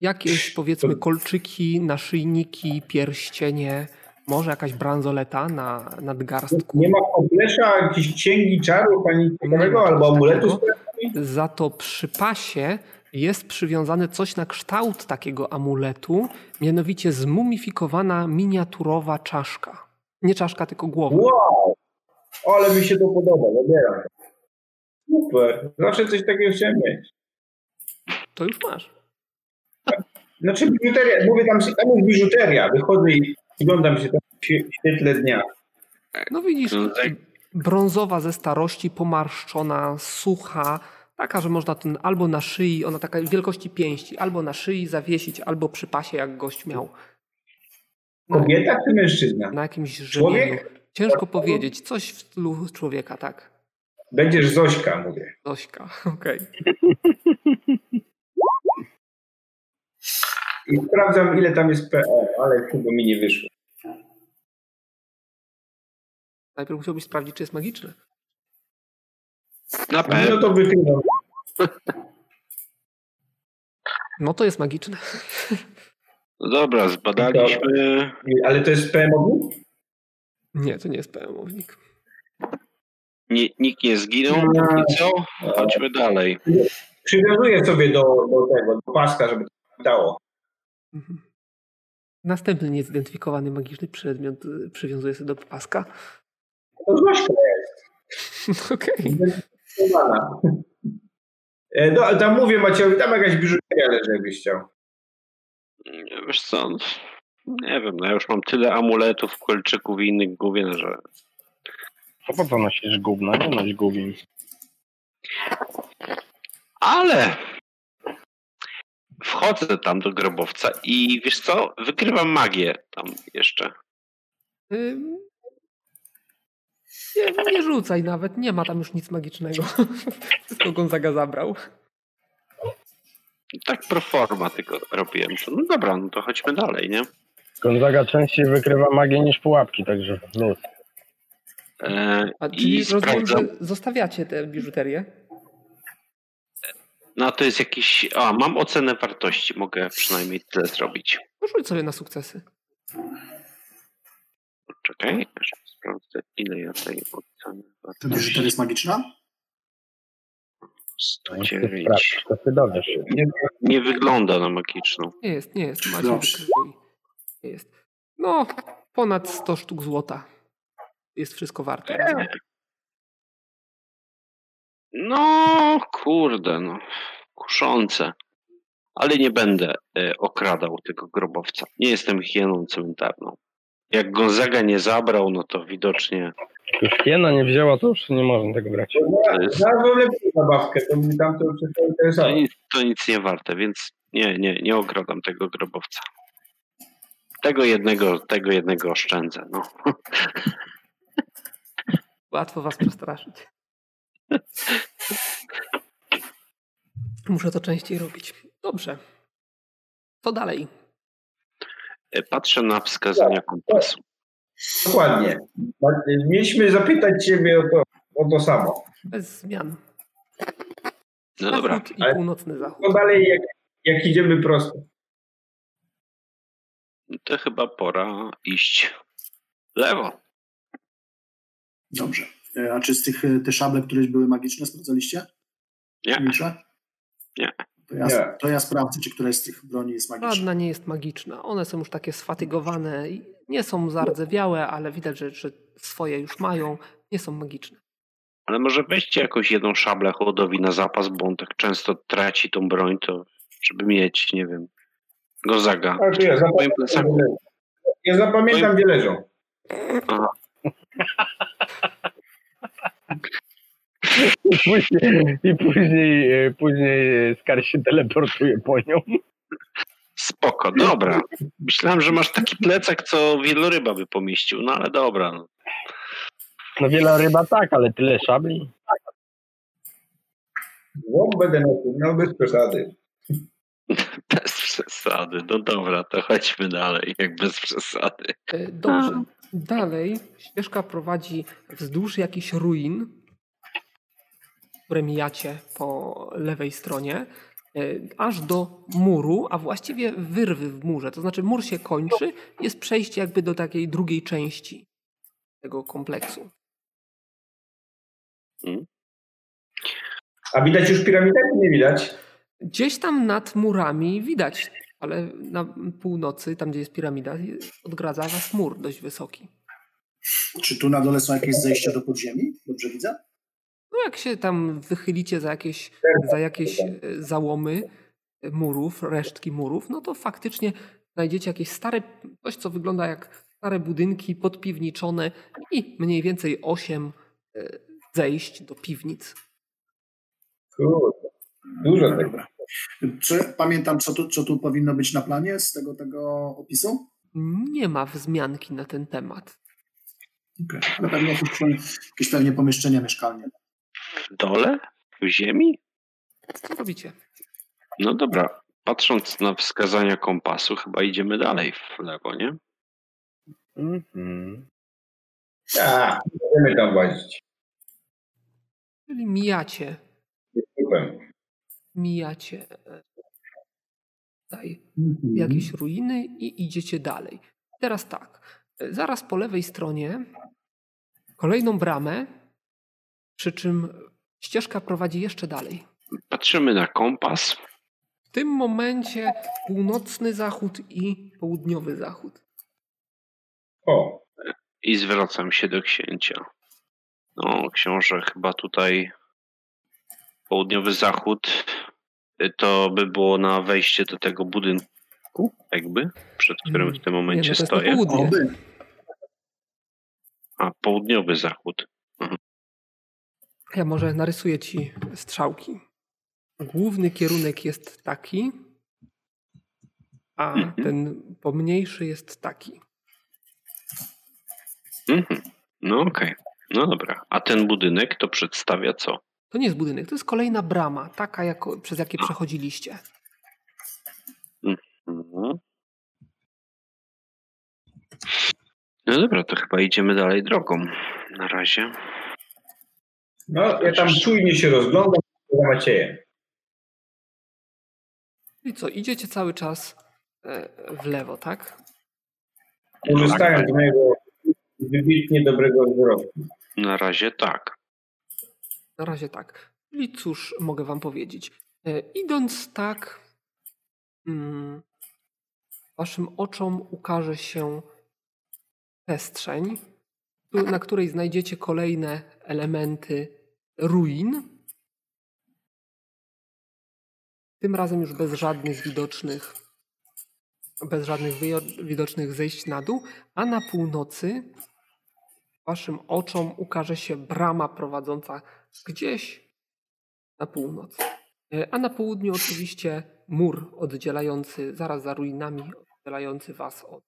A: Jakieś powiedzmy kolczyki, naszyjniki, pierścienie, może jakaś bransoleta na nadgarstku.
E: Nie ma komplesza, jakiejś księgi czarów, ani
A: ma
E: ciekawego,
A: czegoś
E: albo amuletu.
A: no takiego. Za to przy pasie jest przywiązane coś na kształt takiego amuletu, mianowicie zmumifikowana miniaturowa czaszka. Nie czaszka, tylko głowa.
E: Wow! Ale mi się to podoba, zabieram. to. Super, zawsze coś takiego chciałem mieć.
A: To już masz.
E: Znaczy biżuteria, mówię tam, tam jest biżuteria, wychodzę i oglądam się tam w świe- świetle dnia.
A: No widzisz,
C: No tak.
A: brązowa ze starości, pomarszczona, sucha, taka, że można ten albo na szyi, ona taka wielkości pięści, albo na szyi zawiesić, albo przy pasie, jak gość miał. Na,
E: Kobieta czy mężczyzna?
A: na jakimś
E: Człowiek?
A: żywieniu. Ciężko powiedzieć, coś w stylu człowieka, tak.
E: Będziesz Zośka, mówię.
A: Dośka, okej.
E: I sprawdzam, ile tam jest PO, ale chyba mi nie wyszło.
A: Najpierw musiałbyś sprawdzić, czy jest magiczne.
C: Na
E: No
C: pewno.
E: to wykrywam.
A: No to jest magiczne.
C: Dobra, zbadaliśmy.
E: Ale to jest PMO?
A: Nie, to nie jest pełnomownik.
C: Nie, nikt nie zginął,
E: Nie.
C: i co? Chodźmy dalej.
E: Przywiązuję sobie do, do tego, do paska, żeby to dało.
A: Mhm. Następny niezidentyfikowany magiczny przedmiot y, przywiązuje się do paska.
E: To Zośka
A: Okej.
E: jest uwana. E, No, ale tam mówię Maciejowi, tam jakaś biżuteria leży, jakbyś chciał.
C: Wiesz co, no, nie wiem, no ja już mam tyle amuletów, kolczyków i innych główien, że
F: To po co nosisz gówno? Nie noś gówien.
C: Ale wchodzę tam do grobowca i wiesz co, wykrywam magię tam jeszcze.
A: Ym, Nie, no nie rzucaj nawet, nie ma tam już nic magicznego. Wszystko Gonzaga zabrał.
C: Tak pro forma tylko robiłem. No dobra, no to chodźmy dalej, nie?
F: Gonzaga częściej wykrywa magię niż pułapki, także luz.
C: E,
A: A czyli
C: I
A: rozumiem,
C: sprawdzam.
A: że zostawiacie tę biżuterię.
C: No to jest jakiś... A, mam ocenę wartości, mogę przynajmniej tyle zrobić.
A: Porzuć No sobie na sukcesy.
C: Czekaj, aż sprawdzę ile ja tej oceny
B: Ten biżuter
C: wartości.
B: jest magiczna?
F: Sprawdź,
C: 109.
F: to ty dowiesz.
C: Nie wygląda na magiczną.
A: Nie jest, nie jest. Macie
B: Dobrze.
A: wykryj. Nie jest. No, ponad 100 sztuk złota. Jest wszystko warte. razem.
C: No, kurde, no. Kuszące. Ale nie będę e, okradał tego grobowca. Nie jestem hieną cmentarną. Jak Gonzaga nie zabrał, no to widocznie
F: Już hiena nie wzięła, to już nie można tego brać.
C: to, jest,
E: Znalazłem lepszą zabawkę, to mi tam to wszystko
C: to,
E: interesowało.
C: nic, to nic nie warte, więc nie, nie, nie okradam tego grobowca. Tego jednego, tego jednego oszczędzę. No.
A: Łatwo was przestraszyć. Muszę to częściej robić. Dobrze. Co dalej?
C: E, Patrzę na wskazania kompasu.
E: Dokładnie. Mieliśmy zapytać ciebie o to, o to samo.
A: Bez zmian.
C: No dobra,
A: Zachód i
E: ale-
A: północny zachód.
E: No dalej, jak, jak idziemy prosto.
C: to chyba pora iść lewo.
B: Dobrze. E, A czy z tych e, te szable, które były magiczne, sprawdzaliście?
C: Nie.
B: Milcze?
C: Nie.
B: To ja,
E: Nie.
B: to ja sprawdzę, czy któraś z tych broni jest magiczna.
A: Żadna nie jest magiczna. One są już takie sfatygowane. i Nie są zardzewiałe, ale widać, że, że swoje już mają. Nie są magiczne.
C: Ale może weźcie jakąś jedną szablę chłodowi na zapas, bo on tak często traci tą broń, to żeby mieć, nie wiem, Gozaga.
E: Ale to Tak, ja
C: Moim
E: zapamiętam,
C: plecaku.
E: ja zapamiętam gdzie leżą.
F: I później, i później, e, później e, Skar się teleportuje po nią.
C: Spoko, dobra. Myślałem, że masz taki plecak, co wieloryba by pomieścił, no ale dobra. No.
F: No wieloryba tak, ale tyle szabli.
E: No, będę nosił, no bez przesady.
C: Bez przesady, no dobra, to chodźmy dalej, jak bez przesady.
A: E, Dobrze. Dalej ścieżka prowadzi wzdłuż jakichś ruin, które mijacie po lewej stronie, e, aż do muru, a właściwie wyrwy w murze. To znaczy mur się kończy, jest przejście jakby do takiej drugiej części tego kompleksu.
E: A widać już piramidę? Nie widać.
A: Gdzieś tam nad murami widać, ale na północy, tam gdzie jest piramida, odgradza was mur dość wysoki.
B: Czy tu na dole są jakieś zejścia do podziemi? Dobrze widzę?
A: No jak się tam wychylicie za jakieś, za jakieś e, załomy e, murów, resztki murów, no to faktycznie znajdziecie jakieś stare, coś co wygląda jak stare budynki podpiwniczone i mniej więcej osiem e, zejść do piwnic.
E: Kurde, dużo tak. tego.
B: Dobra. Czy pamiętam, co tu, co tu powinno być na planie z tego, tego opisu?
A: Nie ma wzmianki na ten temat.
B: Okay. Ale pewnie jakieś, jakieś pewnie pomieszczenia mieszkalne.
C: W dole? W ziemi?
A: Co robicie?
C: No dobra, patrząc na wskazania kompasu, chyba idziemy dalej w lewo, nie?
E: A, będziemy tam łazić.
A: Czyli mijacie,
E: Super.
A: mijacie e, tutaj
C: Mhm.
A: jakieś ruiny i idziecie dalej. Teraz e, tak, zaraz po lewej stronie kolejną bramę Przy czym ścieżka prowadzi jeszcze dalej.
C: Patrzymy na kompas.
A: W tym momencie północny zachód i południowy zachód.
E: O,
C: I zwracam się do księcia. No, książę, chyba tutaj południowy zachód y, to by było na wejście do tego budynku, jakby, przed którym w
A: Nie,
C: tym
A: no
C: momencie
A: to jest na
C: stoję.
A: południe.
B: Oby.
C: A południowy zachód.
A: Ja może narysuję ci strzałki. Główny kierunek jest taki, a
C: Mhm.
A: ten pomniejszy jest taki.
C: Mhm. No okej. No dobra. A ten budynek to przedstawia co?
A: To nie jest budynek, to jest kolejna brama, taka jako, przez jakie przechodziliście.
C: Mhm. No dobra, to chyba idziemy dalej drogą. Na razie.
E: no ja tam czujnie się rozglądam za Maciejem.
A: I co, idziecie cały czas e, w lewo, tak?
E: Korzystając z mojego wybitnie dobrego wzroku.
C: Na razie tak.
A: Na razie tak. I cóż mogę wam powiedzieć? E, idąc tak, mm, waszym oczom ukaże się przestrzeń, tu- na której znajdziecie kolejne elementy ruin. Tym razem już bez żadnych widocznych, bez żadnych wyjo- widocznych zejść na dół, a na północy waszym oczom ukaże się brama prowadząca gdzieś na północ. E, A na południu oczywiście mur oddzielający, zaraz za ruinami, oddzielający was od...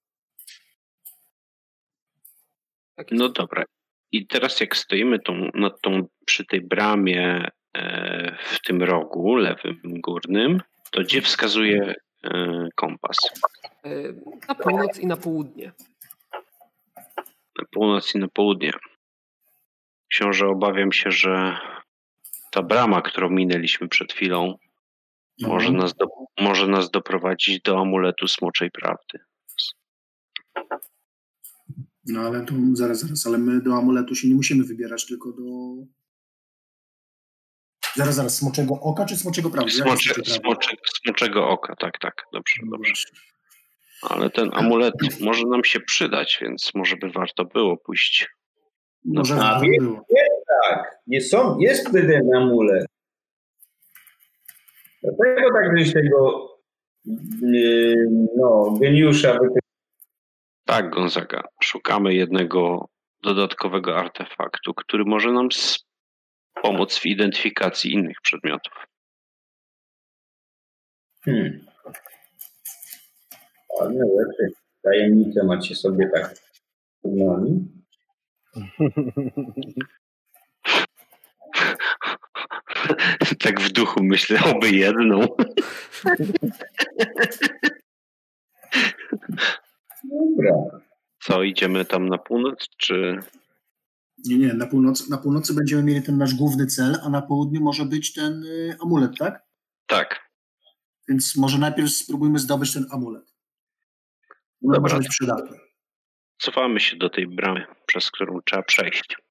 A: Taki
C: No dobra. I teraz jak stoimy tą, nad tą, przy tej bramie e, w tym rogu lewym górnym, to gdzie wskazuje e, kompas?
A: E, Na północ i na południe.
C: Na północ i na południe. Książę, obawiam się, że ta brama, którą minęliśmy przed chwilą,
B: No,
C: może nas, do, może nas doprowadzić do amuletu smoczej prawdy.
B: No ale tu zaraz, zaraz, ale my do amuletu się nie musimy wybierać, tylko do... Zaraz, zaraz, smoczego oka czy smoczego prawdy? Jakie
C: Smocze,
B: smocze prawdy?
C: smocze, smoczego oka, tak, tak. Dobrze,
B: No
C: dobrze.
B: właśnie.
C: Ale ten amulet może nam się przydać, więc może by warto było pójść
B: Może
E: A,
B: warto
E: wie-
B: No, było.
E: Tak, jest, są, jest wtedy ten amulet. Dlatego tak gdzieś tego yy, no, geniusza wykorzystał.
C: Tak, Gonzaga. Szukamy jednego dodatkowego artefaktu, który może nam s- pomóc w identyfikacji innych przedmiotów.
E: Hmm. Ładne rzeczy. Tajemnice macie sobie tak pod nami.
C: tak w duchu myślałby jedną.
E: Dobra.
C: Co, idziemy tam na północ, czy...
B: Nie, nie, na północy, na północy będziemy mieli ten nasz główny cel, a na południu może być ten y, amulet, tak?
C: Tak,
B: Więc może najpierw spróbujmy zdobyć ten amulet. No,
C: Dobra.
B: może być przydatny.
C: cofamy się do tej bramy, przez którą trzeba przejść.